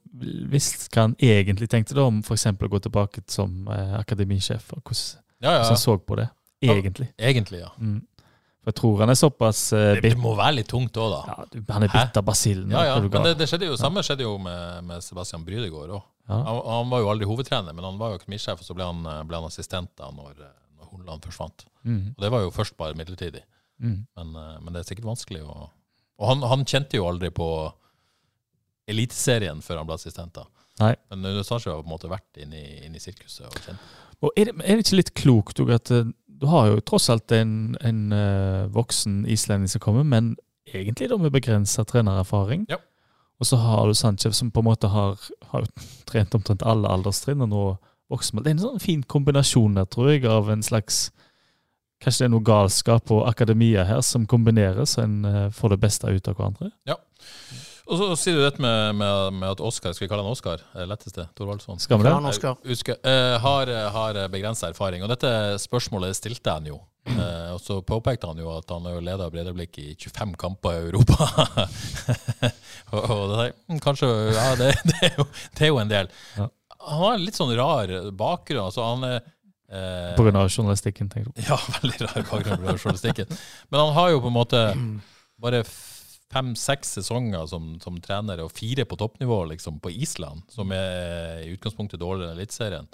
[SPEAKER 3] visst hva han egentlig tenkte da, om f.eks. å gå tilbake som eh, akademisjef, og hvordan,
[SPEAKER 1] Ja,
[SPEAKER 3] hvordan
[SPEAKER 1] ja,
[SPEAKER 3] han så på det. Egentlig.
[SPEAKER 1] Egentlig, ja.
[SPEAKER 3] Mm. For jeg tror han er såpass eh,
[SPEAKER 1] Det, det
[SPEAKER 3] bit,
[SPEAKER 1] må være litt tungt òg, da.
[SPEAKER 3] ja, du- Han er
[SPEAKER 1] Hæ?
[SPEAKER 3] bitt av basillen.
[SPEAKER 1] Ja, ja.
[SPEAKER 3] er du
[SPEAKER 1] Men
[SPEAKER 3] gal?
[SPEAKER 1] det, det skjedde jo, samme skjedde jo med, med Sebastian Brydegård òg.
[SPEAKER 3] Ja.
[SPEAKER 1] Han, han var jo aldri hovedtrener, men han var jo økonomisjef, og så ble han, eh, ble han assistent da når, eh, når Horneland forsvant.
[SPEAKER 3] Mm.
[SPEAKER 1] Og Det var jo først bare midlertidig,
[SPEAKER 3] Mm.
[SPEAKER 1] men, eh, men det er sikkert vanskelig å Og han, han kjente jo aldri på Eliteserien før han ble assistent, da.
[SPEAKER 3] Nei.
[SPEAKER 1] Men Nuno Sancho har på en måte vært inne i, inn i sirkuset og kjent.
[SPEAKER 3] Og er det, er det ikke litt klokt òg at eh, du har jo tross alt en, en eh, voksen islending som kommer, men egentlig da med begrensa trenererfaring.
[SPEAKER 1] Ja.
[SPEAKER 3] Og så har du Sanchez som på en måte har, har jo trent omtrent alle alderstrinn og nå vokser med. Det er en sånn fin kombinasjon der, tror jeg, av en slags Kanskje det er noe galskap og akademia her som kombineres, så en eh, får det beste ut av hverandre.
[SPEAKER 1] Og så sier du dette med, med, med at Oscar, skal vi kalle han Oscar? Eh, Letteste, Thorvaldsson.
[SPEAKER 3] Skal vi det?
[SPEAKER 2] Klar, nå skal-
[SPEAKER 1] Jeg husker, eh, har har begrensa erfaring. Og dette spørsmålet stilte han jo. Eh, og så påpekte han jo at han har jo leda Breidablikk i 25 kamper i Europa. og, og det der, mm, kanskje Ja, det, det, er, jo, det er jo en del.
[SPEAKER 3] Ja.
[SPEAKER 1] Han har en litt sånn rar bakgrunn. altså han er eh,
[SPEAKER 3] På grunn av journalistikken, tenker du.
[SPEAKER 1] ja, veldig rar bakgrunn fra journalistikken. Men han har jo på en måte bare fem-seks sesonger som, som trener, og fire på toppnivå liksom, på Island, som er i utgangspunktet dårligere enn Eliteserien.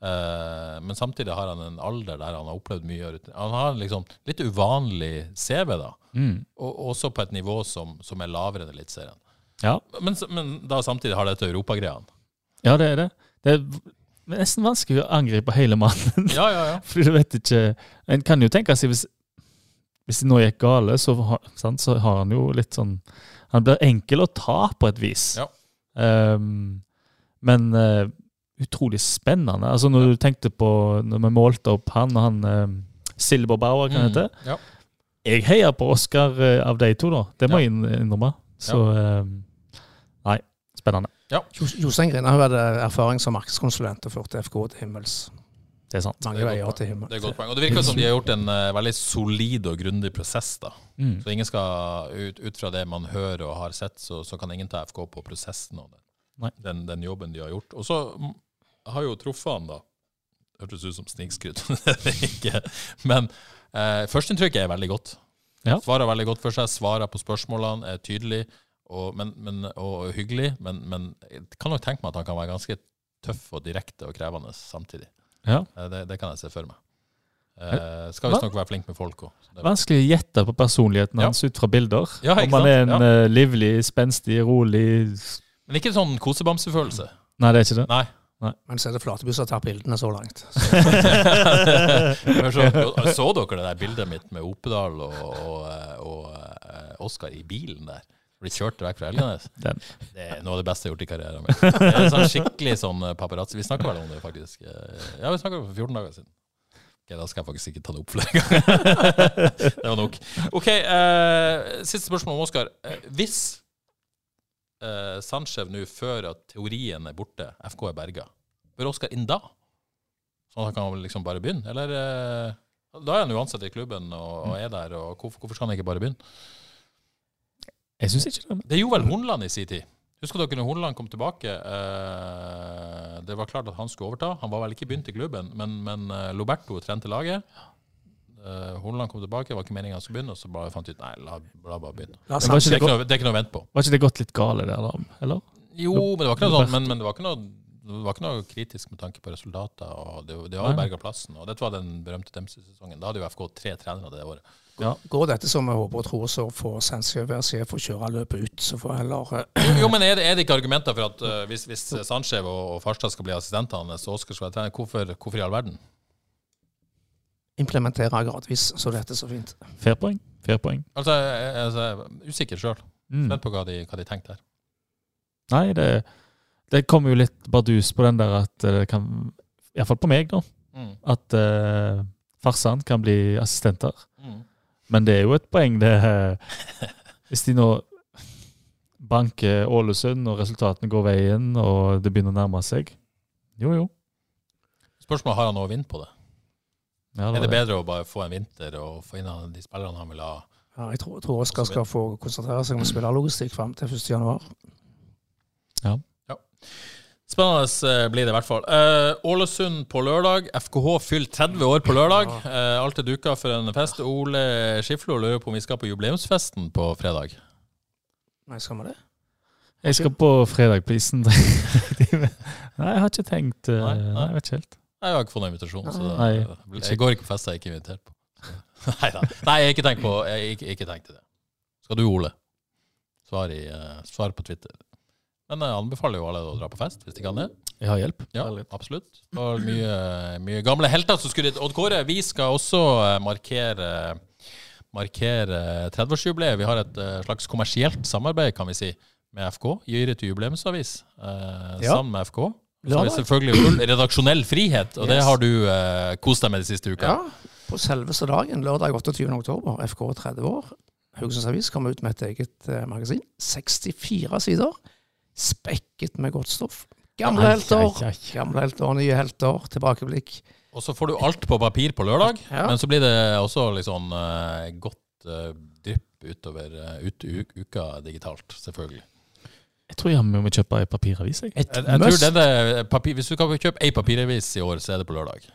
[SPEAKER 1] Eh, men samtidig har han en alder der han har opplevd mye. rutin- Han har liksom litt uvanlig CV, da. Og også på et nivå som, som er lavere enn Eliteserien.
[SPEAKER 3] Ja.
[SPEAKER 1] Men, s- men da samtidig har dette europagreiene.
[SPEAKER 3] ja, det er det. Det er nesten vanskelig å angripe hele mannen.
[SPEAKER 1] Ja, ja, ja.
[SPEAKER 3] Fordi du vet ikke En kan jo tenke seg hvis, hvis det nå gikk gale, så har, sant, så har han jo litt sånn Han blir enkel å ta på et vis.
[SPEAKER 1] Ja.
[SPEAKER 3] Ehm, men eh, utrolig spennende. Altså Når du tenkte på Når vi målte opp han og han eh, Silberbauer, kan det hete.
[SPEAKER 1] Mm, ja.
[SPEAKER 3] Jeg heier på Oscar eh, av de to, da. Det må
[SPEAKER 1] Ja.
[SPEAKER 3] jeg inn- innrømme. Så ehm, Nei, spennende.
[SPEAKER 2] Jo- Jostein Grinahaug hadde erfaring som markedskonsulent og førte FK til himmels.
[SPEAKER 3] Det er sant.
[SPEAKER 2] Mange
[SPEAKER 1] Det er et
[SPEAKER 2] veier
[SPEAKER 1] godt
[SPEAKER 2] til
[SPEAKER 1] poeng. Det er et godt
[SPEAKER 2] himmels.
[SPEAKER 1] poeng. Og det virker som de har gjort en eh, veldig solid og grundig prosess, da.
[SPEAKER 3] Mm.
[SPEAKER 1] Så ingen skal, ut, ut fra det man hører og har sett, så, så kan ingen ta FK på prosessen og
[SPEAKER 3] Nei.
[SPEAKER 1] den, den, den jobben de har gjort. Og så mm, har jo truffet han, da. Hørtes ut som snikskryt, men det er det ikke. Men eh, førsteinntrykket er veldig godt.
[SPEAKER 3] Ja.
[SPEAKER 1] Svarer veldig godt for seg, svarer på spørsmålene, er tydelig og, men, men, og hyggelig. Men, men jeg kan nok tenke meg at han kan være ganske tøff og direkte og krevende samtidig.
[SPEAKER 3] Ja.
[SPEAKER 1] Eh, Det, det kan jeg se for meg. Eh, skal visstnok være flink med folk òg.
[SPEAKER 3] Vanskelig å gjette på personligheten
[SPEAKER 1] Ja.
[SPEAKER 3] hans ut fra bilder.
[SPEAKER 1] Ja, ikke
[SPEAKER 3] Om han er en
[SPEAKER 1] sant?
[SPEAKER 3] eh, livlig, spenstig, rolig
[SPEAKER 1] Men ikke sånn kosebamsefølelse.
[SPEAKER 3] Nei, det er ikke det.
[SPEAKER 1] Nei.
[SPEAKER 2] Men så er det Flateby som har tatt bildene så langt.
[SPEAKER 1] Men så, så dere det der bildet mitt med Opedal og, og, og, eh, Oskar i bilen der? Hvor De kjørte vekk fra Elgenes.
[SPEAKER 3] Den.
[SPEAKER 1] Det er noe av det beste jeg har gjort i karrieren min. Det er sånn skikkelig sånn paparazzi. Vi snakka vel om det, faktisk. eh, Ja, vi snakka om det for 14 dager siden. Ok, da skal jeg faktisk ikke ta det opp flere ganger. det var nok. Ok, eh, Siste spørsmål om Oskar. Hvis eh, Sanchez nå fører at teorien er borte, FK er berga, bør Oskar inn da? Sånn at han kan liksom bare begynne? Eller eh, Da er han uansett i klubben og, og er der, og hvorfor, hvorfor skal han ikke bare begynne?
[SPEAKER 3] Jeg syns ikke det.
[SPEAKER 1] Det gjorde vel Hornland i sin tid. Husker dere når Hornland kom tilbake? Eh, det var klart at han skulle overta. Han var vel ikke begynt i klubben, men, men eh, Loberto trente laget. Eh, Hornland kom tilbake, det var ikke meningen han skulle begynne, og så bare fant de ut nei, la, la bare begynne.
[SPEAKER 2] La
[SPEAKER 3] Men var
[SPEAKER 2] Sanchez-
[SPEAKER 1] Det
[SPEAKER 3] ikke
[SPEAKER 1] er ikke
[SPEAKER 3] det, gått,
[SPEAKER 1] noe, det er ikke noe å vente på.
[SPEAKER 3] var ikke det gått litt gale der, da? Eller?
[SPEAKER 1] Jo, men det var ikke noe sånn, men, men det, var ikke noe, det var ikke noe kritisk med tanke på resultater. og Det, det har jo
[SPEAKER 3] Nei.
[SPEAKER 1] berga plassen. og Dette var den berømte Dempsey-sesongen. Da hadde jo FK tre trenere det året.
[SPEAKER 2] Går dette som vi håper og tror, så får Sanchez være sjef og kjøre løpet ut. Så får heller eh,
[SPEAKER 1] Jo, men er det, er det ikke argumenter for at eh, hvis, hvis Sanchez og, og Farstad skal bli assistentene hans, og Oskar skal være trener, hvorfor, hvorfor i all verden?
[SPEAKER 2] implementere gradvis, så dette er så fint.
[SPEAKER 3] Fair poeng. Fair poeng.
[SPEAKER 1] Altså, jeg, jeg- altså, jeg er usikker sjøl.
[SPEAKER 3] Mm.
[SPEAKER 1] Spent på hva de, hva de tenkte her.
[SPEAKER 3] Nei, det, det kom jo litt bardus på den der at eh, det kan Iallfall på meg, da. At uh, farsan kan bli assistenter.
[SPEAKER 1] Mm.
[SPEAKER 3] Men det er jo et poeng, det. eh, Hvis de nå banker Ålesund, og resultatene går veien, og det begynner å nærme seg Jo, jo.
[SPEAKER 1] Spørsmålet har han noe å vinne på det.
[SPEAKER 3] Ja,
[SPEAKER 1] Er
[SPEAKER 3] var
[SPEAKER 1] det bedre å bare få en vinter og få inn han- de spillerne han vil ha?
[SPEAKER 2] Ja, jeg tror, tror Oskar skal få konsentrere seg om spillerlogistikk fram til 1. januar.
[SPEAKER 1] Spennende eh, blir det i hvert fall. Eh, Ålesund på lørdag. FKH fyller 30 år på lørdag. Eh, alt er duka for en fest. Ole Skiflo lurer på om vi skal på jubileumsfesten på fredag.
[SPEAKER 2] Nei, skal vi det?
[SPEAKER 3] Jeg skal på Fredagprisen. nei, jeg har ikke tenkt eh,
[SPEAKER 1] Nei, nei.
[SPEAKER 3] Nei, jeg vet ikke helt.
[SPEAKER 1] Jeg har ikke fått noen invitasjon, så det,
[SPEAKER 3] Nei.
[SPEAKER 1] jeg går ikke på fester jeg ikke er invitert på. Nei da. Nei, jeg har ikke tenkt på jeg, har ikke, ikke tenkt til det. Skal du, Ole? Svar, i, eh, svar på Twitter. Men jeg anbefaler jo alle å dra på fest, hvis de kan det.
[SPEAKER 3] Jeg har hjelp.
[SPEAKER 1] Ja, absolutt. Det var mye, mye gamle helter som skulle dit. Odd Kåre, vi skal også eh, markere markere 30-årsjubileet. Vi har et eh, slags kommersielt samarbeid, kan vi si, med FK. Gir ut jubileumsavis eh,
[SPEAKER 2] Ja.
[SPEAKER 1] sammen med FK. Så har
[SPEAKER 2] Lørdag.
[SPEAKER 1] vi selvfølgelig full redaksjonell frihet, og det
[SPEAKER 2] Yes.
[SPEAKER 1] har du eh, kost deg med de siste uka.
[SPEAKER 2] Ja. På selveste dagen, lørdag 28. oktober, FK 30 år, Haugesunds Avis kom ut med et eget eh, magasin. 64 sider, spekket med godt stoff. Gamle
[SPEAKER 3] Ai,
[SPEAKER 2] helter,
[SPEAKER 3] ai, ai.
[SPEAKER 2] gamle helter, nye helter, tilbakeblikk.
[SPEAKER 1] Og så får du alt på papir på lørdag,
[SPEAKER 2] Ja.
[SPEAKER 1] men så blir det også litt sånn eh, godt eh, drypp utover eh, ut, u- uka digitalt, selvfølgelig.
[SPEAKER 3] Jeg tror jammen vi må kjøpe ei papiravis. Jeg.
[SPEAKER 2] Et
[SPEAKER 1] Jeg, jeg tror
[SPEAKER 2] must,
[SPEAKER 1] denne papir, Hvis du kan kjøpe ei papiravis i år, så er det på lørdag.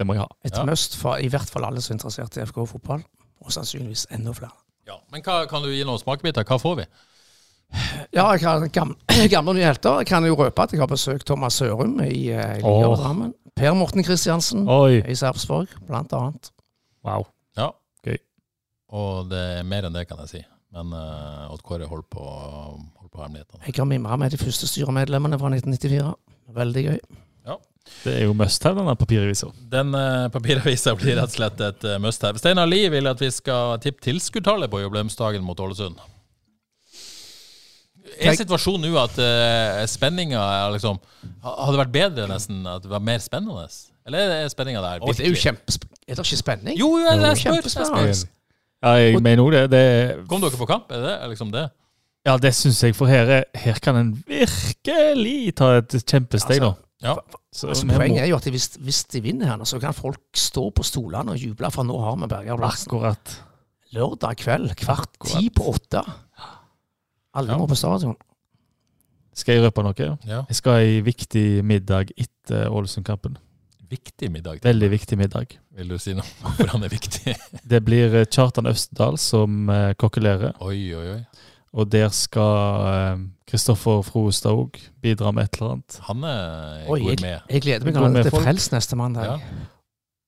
[SPEAKER 3] Det må jeg ha.
[SPEAKER 2] et
[SPEAKER 1] ja.
[SPEAKER 2] must for i hvert fall alle som er interessert i FK fotball, og sannsynligvis enda flere.
[SPEAKER 1] Ja, Men hva, kan du gi noen smakebiter? Hva får vi?
[SPEAKER 2] Ja, jeg har gamle, gamle og nye helter. Jeg kan jo røpe at jeg har besøkt Thomas Sørum i, eh, i
[SPEAKER 3] Åh.
[SPEAKER 2] Drammen. Per Morten Kristiansen
[SPEAKER 3] Oi.
[SPEAKER 2] i Sarpsborg, blant annet.
[SPEAKER 3] Wow.
[SPEAKER 1] Ja.
[SPEAKER 3] Gøy.
[SPEAKER 1] Og det er mer enn det, kan jeg si. Men uh, Odd Kåre holder på, holder på hemmelighetene.
[SPEAKER 2] Jeg har mimra med de første styremedlemmene fra 1994. Veldig gøy.
[SPEAKER 3] Det er jo must have, denne papiravisa.
[SPEAKER 1] Den eh, papiravisa blir rett og slett et eh, must have. Steinar Lie vil at vi skal tippe tilskuertallet på jubileumsdagen mot Ålesund. Er situasjonen nå at uh, spenninga er liksom ha- Hadde vært bedre nesten at det var mer spennende? Eller er spenninga der?
[SPEAKER 2] Og det er jo
[SPEAKER 1] virkelig?
[SPEAKER 2] kjempesp... Er det ikke spenning?
[SPEAKER 1] Jo, jeg, jeg, spør, jeg spør.
[SPEAKER 2] kjempespennende.
[SPEAKER 3] Ja, jeg mener jo det. det er-
[SPEAKER 1] Kom dere på kamp? Er det er liksom det?
[SPEAKER 3] ja, det syns jeg, for her, er- her kan en virkelig ta et kjempesteg, da.
[SPEAKER 1] Ja.
[SPEAKER 3] Så
[SPEAKER 2] Altså,
[SPEAKER 3] vi må-
[SPEAKER 2] poenget er jo at de- hvis, hvis de vinner her, nå, så kan folk stå på stolene og juble, for nå har vi Berger Larsen.
[SPEAKER 3] Akkurat.
[SPEAKER 2] Lørdag kveld kvart ti på åtte. Alle
[SPEAKER 1] Ja.
[SPEAKER 2] må på stadion.
[SPEAKER 3] Skal jeg røpe noe?
[SPEAKER 1] ja.
[SPEAKER 3] Jeg skal ha ei viktig middag etter Ålesund-kampen.
[SPEAKER 1] Viktig middag.
[SPEAKER 3] Veldig viktig middag.
[SPEAKER 1] Vil du si noe om hvorfor han er viktig?
[SPEAKER 3] Det blir eh, Kjartan Østerdal som eh, kokkelerer,
[SPEAKER 1] Oi, oi, oi.
[SPEAKER 3] og der skal eh, Kristoffer Froestad òg bidra med et eller annet.
[SPEAKER 1] Han er
[SPEAKER 2] Oi,
[SPEAKER 1] god med.
[SPEAKER 2] Jeg gleder meg
[SPEAKER 3] Går med
[SPEAKER 2] allerede til
[SPEAKER 3] folk.
[SPEAKER 2] Frels neste mandag.
[SPEAKER 1] Ja.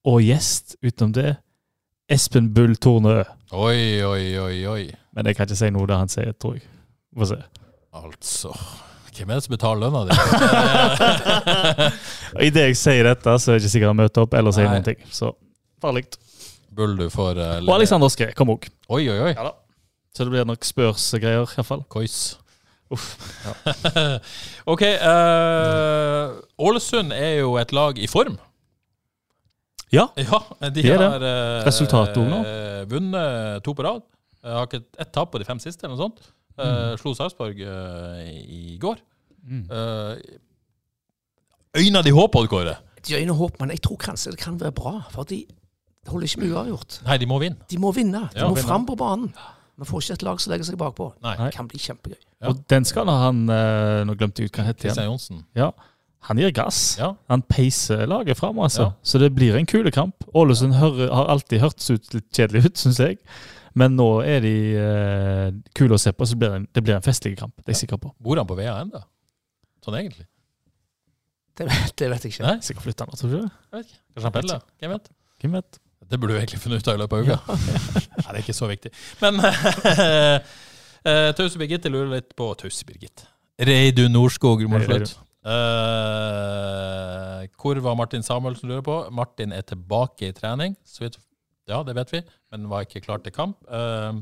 [SPEAKER 3] Og gjest utenom det, Espen Bull Tornø.
[SPEAKER 1] Oi, oi, oi, oi.
[SPEAKER 3] Men jeg kan ikke si noe det han sier, tror jeg. Få se.
[SPEAKER 1] Altså Hvem er det som betaler lønna di?
[SPEAKER 3] Idet jeg sier dette, så er jeg ikke sikkert han møter opp eller sier
[SPEAKER 1] Nei.
[SPEAKER 3] noen ting. Så farlig.
[SPEAKER 1] Bull, du får eh,
[SPEAKER 3] Og Alexander Skræ kom òg.
[SPEAKER 1] Oi, oi, oi.
[SPEAKER 3] Ja da. Så det blir nok spørsgreier, iallfall.
[SPEAKER 1] Kois.
[SPEAKER 3] Uff.
[SPEAKER 1] OK. eh, Ålesund er jo et lag i form.
[SPEAKER 3] Ja.
[SPEAKER 1] Ja, de
[SPEAKER 3] Det er det.
[SPEAKER 1] har eh,
[SPEAKER 3] Resultatet også nå.
[SPEAKER 1] eh, vunnet to på rad. Eh, har ikke ett tap på de fem siste, eller noe sånt. Eh, Slo Sarpsborg eh, i går. Eh, øyna de håp, Odd Kåre?
[SPEAKER 2] De øyner håp, men jeg tror kanskje det kan være bra. For de holder ikke med uavgjort.
[SPEAKER 1] Nei, de må vinne.
[SPEAKER 2] De må vinne. De
[SPEAKER 1] Ja,
[SPEAKER 2] må
[SPEAKER 1] vinne.
[SPEAKER 2] fram på banen. Vi får ikke et lag som legger seg bakpå.
[SPEAKER 1] Nei.
[SPEAKER 2] Det kan bli kjempegøy.
[SPEAKER 1] Ja.
[SPEAKER 3] Og den skal da han eh, Nå glemte jeg ut hva han heter igjen.
[SPEAKER 1] Kristian Johnsen.
[SPEAKER 3] Ja. Han gir gass.
[SPEAKER 1] Ja.
[SPEAKER 3] Han peiser laget fram, altså.
[SPEAKER 1] Ja.
[SPEAKER 3] Så det blir en kule kamp. Ålesund hører, har alltid hørtes ut litt kjedelig ut, syns jeg. Men nå er de eh, kule å se på, så blir det, en, det blir en festlig kamp. Det er jeg sikker på.
[SPEAKER 1] Bor han på VA ennå? Sånn egentlig?
[SPEAKER 2] Det, vet- det vet jeg ikke.
[SPEAKER 1] Nei?
[SPEAKER 3] Sikkert flytter han, tror du det?
[SPEAKER 1] Jeg vet ikke. Kanskje han pendler? Hvem vet?
[SPEAKER 3] Hvem vet?
[SPEAKER 1] Det burde du egentlig funnet ut av i løpet av uka. Nei, det er ikke så viktig. Men eh, uh, Tause Birgitte lurer litt på Tause Birgitte. Reidun Norskog må
[SPEAKER 3] Hei,
[SPEAKER 1] slutt. Eh, hvor var Martin Samuelsen lurer på? Martin er tilbake i trening. Så vidt, ja, det vet vi, men var ikke klar til kamp. Eh,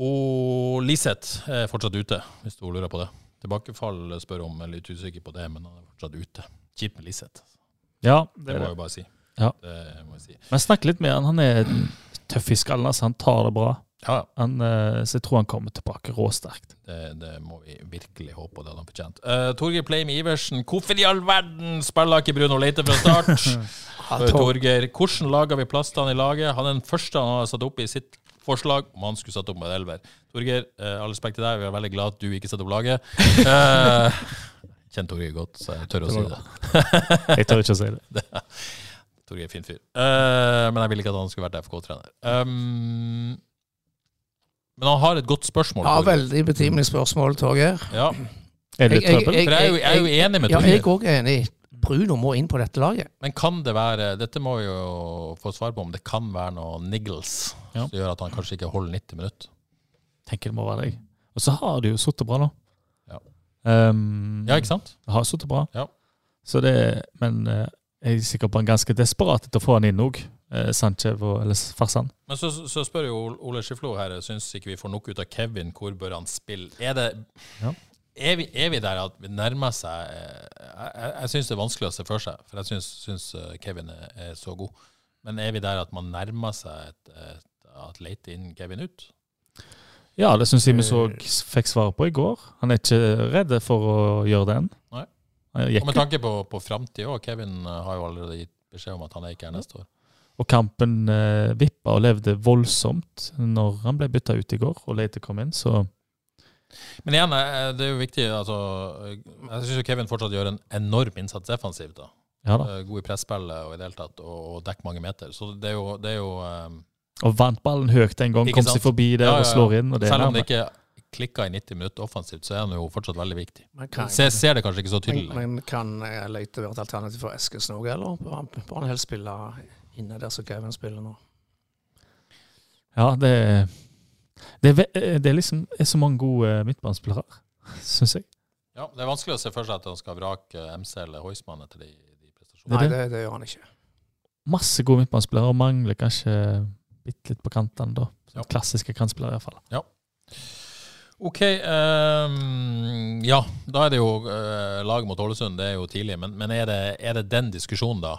[SPEAKER 1] og Liseth er fortsatt ute, hvis du lurer på det. Tilbakefall spør om, jeg er litt usikker på det, men han er fortsatt ute. Kjipt med Liseth.
[SPEAKER 3] Ja,
[SPEAKER 1] Det
[SPEAKER 3] det
[SPEAKER 1] må
[SPEAKER 3] var
[SPEAKER 1] jeg bare si.
[SPEAKER 3] Ja.
[SPEAKER 1] Det må jeg si.
[SPEAKER 3] Men snakk litt med han. Han er tøff i skallen, altså. Han tar det bra.
[SPEAKER 1] Ja, ja.
[SPEAKER 3] Han, eh, så jeg tror han kommer tilbake råsterkt.
[SPEAKER 1] Det, det må vi virkelig håpe, og det hadde han fortjent. Uh, Torgeir Pleim Iversen, hvorfor i all verden spiller ikke Bruno Leite fra start? Spør Torgeir, hvordan lager vi plass til han i laget? Han er den første han har satt opp i sitt forslag, om han skulle satt opp med en elver. Torgeir, eh, all respekt til deg, vi er veldig glad at du ikke setter opp laget. Uh, Kjenner Torgeir godt, så jeg tør å si det.
[SPEAKER 3] Jeg tør ikke å si det.
[SPEAKER 1] Torgeir er fin fyr. Eh, men jeg ville ikke at han skulle vært FK-trener. Um, men han har et godt spørsmål.
[SPEAKER 2] Ja,
[SPEAKER 1] Torgeir.
[SPEAKER 2] veldig betimelig spørsmål, Torgeir.
[SPEAKER 1] Ja,
[SPEAKER 3] Er det
[SPEAKER 2] Jeg- jeg-
[SPEAKER 3] trøbbel?
[SPEAKER 1] for jeg er jo, jeg er jo enig med
[SPEAKER 2] Ja,
[SPEAKER 1] Torgeir.
[SPEAKER 2] jeg òg er enig. Bruno må inn på dette laget.
[SPEAKER 1] Men kan det være Dette må vi jo få svar på om det kan være noe niggles
[SPEAKER 3] Ja.
[SPEAKER 1] som gjør at han kanskje ikke holder 90 minutter.
[SPEAKER 3] tenker det må være deg. Og så har det jo sittet bra nå.
[SPEAKER 1] Ja.
[SPEAKER 3] Um,
[SPEAKER 1] Ja, ikke sant?
[SPEAKER 3] Det har sittet bra.
[SPEAKER 1] Ja.
[SPEAKER 3] Så det, men eh, jeg er sikker på han er ganske desperat etter å få han inn òg. Eh, Sanchez og eller Farsan.
[SPEAKER 1] Men så, så spør jo Ole Skiflo her, syns ikke vi får nok ut av Kevin, hvor bør han spille? Er det
[SPEAKER 3] Ja.
[SPEAKER 1] er, vi, er vi der at vi nærmer seg eh, Jeg, jeg, jeg syns det er vanskelig å se for seg, for jeg syns, syns eh, Kevin er, er så god. Men er vi der at man nærmer seg et, et at late in Kevin ut?
[SPEAKER 3] Ja, det syns jeg vi så Eh, fikk svar på i går. Han er ikke redd for å gjøre den.
[SPEAKER 1] Nei.
[SPEAKER 3] Han
[SPEAKER 1] Og
[SPEAKER 3] gikk
[SPEAKER 1] med tanke på, på framtida, Kevin eh, har jo allerede gitt beskjed om at han er ikke her neste år.
[SPEAKER 3] Og kampen eh, vippa og levde voldsomt når han ble bytta ut i går og Leite kom inn, så
[SPEAKER 1] Men igjen, eh, det er jo viktig altså, eh, Jeg syns Kevin fortsatt gjør en enorm innsats defensivt. da.
[SPEAKER 3] ja da.
[SPEAKER 1] Eh, God i presspillet og i det hele tatt, og, og dekker mange meter. Så det er jo, det er jo eh,
[SPEAKER 3] Og vant ballen høyt en gang,
[SPEAKER 1] Ikke
[SPEAKER 3] kom
[SPEAKER 1] sant?
[SPEAKER 3] seg forbi der
[SPEAKER 1] Ja, ja,
[SPEAKER 3] og
[SPEAKER 1] ja.
[SPEAKER 3] slår inn. Og det er
[SPEAKER 1] Selv om det
[SPEAKER 3] nærme.
[SPEAKER 1] ikke klikka i 90 minutter offensivt, så er han jo fortsatt veldig viktig.
[SPEAKER 2] Men kan,
[SPEAKER 1] Se, ser det kanskje ikke så tydelig.
[SPEAKER 2] men, men kan eh, Leite være et alternativ for Eskesen òg, eller bør han- bør han helst spille inne der som Kevin spiller nå?
[SPEAKER 3] Ja, det, det, er ve- eh, det er liksom er så mange gode midtbanespillere, syns jeg.
[SPEAKER 1] Ja, det er vanskelig å se for seg at han skal vrake MC eller Heusmann etter de, de
[SPEAKER 3] Det
[SPEAKER 1] prestasjonene.
[SPEAKER 3] er
[SPEAKER 2] Nei,
[SPEAKER 3] det.
[SPEAKER 2] det, det gjør han ikke.
[SPEAKER 3] Masse gode midtbanespillere, og mangler kanskje bitte litt på kantene, da.
[SPEAKER 1] Ja.
[SPEAKER 3] Klassiske kantspillere, iallfall.
[SPEAKER 1] OK. ehm, ja, da er det jo eh, lag mot Ålesund, det er jo tidlig. Men, men er, det, er det den diskusjonen da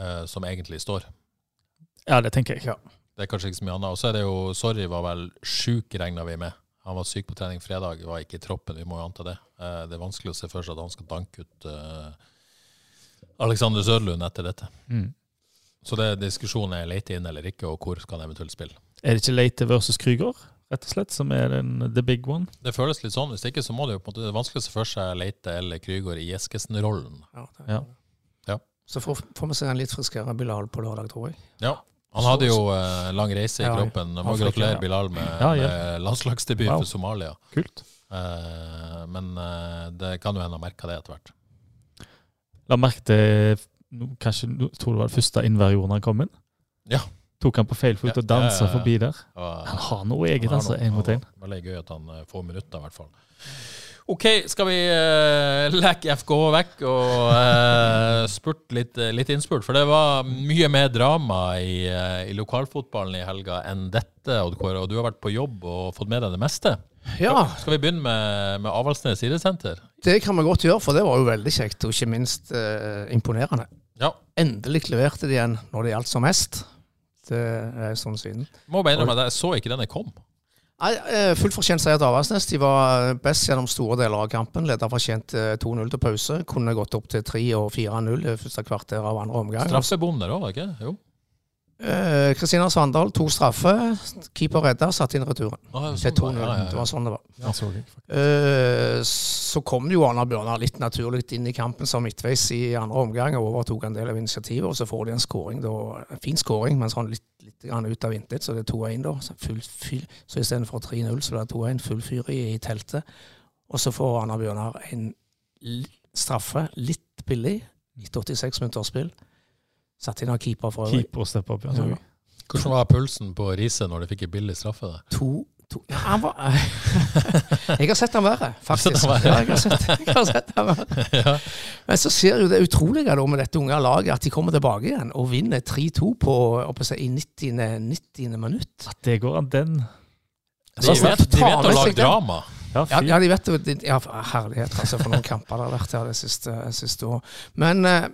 [SPEAKER 1] eh, som egentlig står?
[SPEAKER 3] Ja, det tenker jeg.
[SPEAKER 1] Det er kanskje ikke så mye annet. Og så er det jo Sorry var vel sjuk, regna vi med. Han var syk på trening fredag, var ikke i troppen. Vi må jo anta det. Eh, det er vanskelig å se for seg at han skal danke ut eh, Alexander Sørlund etter dette.
[SPEAKER 3] Mm.
[SPEAKER 1] Så det diskusjonen er lete inn eller ikke, og hvor skal han eventuelt spille.
[SPEAKER 3] Er det ikke Leite versus Krüger, rett og slett, som er den, the big one?
[SPEAKER 1] Det føles litt sånn. Hvis ikke så må det jo på en måte Det er vanskelig å se for seg Leite eller Krygård i Eskesen-rollen.
[SPEAKER 2] Ja, det,
[SPEAKER 3] Ja.
[SPEAKER 1] Ja.
[SPEAKER 2] Så får, får vi se en litt friskere Bilal på lørdag, tror jeg.
[SPEAKER 1] Ja. Han hadde jo eh, lang reise i
[SPEAKER 2] Ja,
[SPEAKER 1] kroppen. Må
[SPEAKER 2] Afrika,
[SPEAKER 1] gratulere
[SPEAKER 2] ja.
[SPEAKER 1] Bilal med,
[SPEAKER 3] Ja, ja.
[SPEAKER 1] med landslagsdebut
[SPEAKER 3] Wow.
[SPEAKER 1] for Somalia.
[SPEAKER 3] Kult.
[SPEAKER 1] Eh, men eh, det kan jo hende han merka det etter hvert.
[SPEAKER 3] La merke til no- Kanskje no- tror det var det første innværjorden han kom inn.
[SPEAKER 1] Ja.
[SPEAKER 3] Tok han på feil fot
[SPEAKER 1] Ja,
[SPEAKER 3] og dansa
[SPEAKER 1] ja, ja, ja.
[SPEAKER 3] forbi der.
[SPEAKER 1] Og, eh,
[SPEAKER 3] Han har noe eget,
[SPEAKER 1] han har
[SPEAKER 3] altså,
[SPEAKER 1] noe-
[SPEAKER 3] én mot én.
[SPEAKER 1] Veldig gøy at han eh, får minutter, i hvert fall. OK, skal vi uh, leke FK vekk og eh, spurt litt, litt innspurt? For det var mye mer drama i, eh, i lokalfotballen i helga enn dette, Odd Kåre. Og du har vært på jobb og fått med deg det meste.
[SPEAKER 2] Ja,
[SPEAKER 1] Skal vi begynne med, med Avaldsnes idrettssenter?
[SPEAKER 2] det kan vi godt gjøre, for det var jo veldig kjekt, og ikke minst eh, imponerende.
[SPEAKER 1] Ja.
[SPEAKER 2] Endelig leverte de igjen når det gjaldt som mest. Det er sånn en stund siden.
[SPEAKER 1] Må bare innrømme at jeg så ikke denne kom.
[SPEAKER 2] Nei, eh, Fullt fortjent seier til Avaldsnes. De var eh, best gjennom store deler av kampen. Leder fortjent eh, 2-0 til pause. Kunne gått opp til 3 og 4-0 i første kvarter av andre omgang.
[SPEAKER 1] Straffebom der òg, ikke Jo.
[SPEAKER 2] Eh, Kristina Svandal tok straffe. Keeper redda, satte inn returen.
[SPEAKER 1] Ah,
[SPEAKER 2] Til 2-0. Det var sånn det var. Eh, Så kom jo Arna Bjørnar litt naturlig inn i kampen som midtveis i andre omgang og overtok en del av initiativet. Og så får de en scoring, da. En fin scoring, men sånn litt, litt grann ut av intet. Så det er 2-1, da. Så, full, fyr- så istedenfor 3-0, så blir det 2-1. Full fyr i, i teltet. Og så får Arna Bjørnar en l- straffe, litt billig, etter 86 minutter spill. Satt inn av keeper for øvrig.
[SPEAKER 3] Keeper og stepper opp.
[SPEAKER 2] Ja.
[SPEAKER 3] Ja.
[SPEAKER 1] Hvordan var pulsen på Riise når de fikk en billig straffe? der?
[SPEAKER 2] To, to ja, han var, Jeg har sett han verre,
[SPEAKER 1] Sett
[SPEAKER 2] faktisk.
[SPEAKER 1] han verre.
[SPEAKER 2] Ja, jeg har sett, jeg har sett han verre. Men så ser jo det utrolige da, med dette unge laget, at de kommer tilbake igjen og vinner 3-2 på, oppe seg, i 90. 90. minutt.
[SPEAKER 3] At det går an, den.
[SPEAKER 1] De vet, de vet å lage drama.
[SPEAKER 3] Ja,
[SPEAKER 2] Ja,
[SPEAKER 3] fy.
[SPEAKER 2] ja, de vet jo de- ja, Herlighet, altså, for noen kamper det har vært her det siste, siste året. Men eh,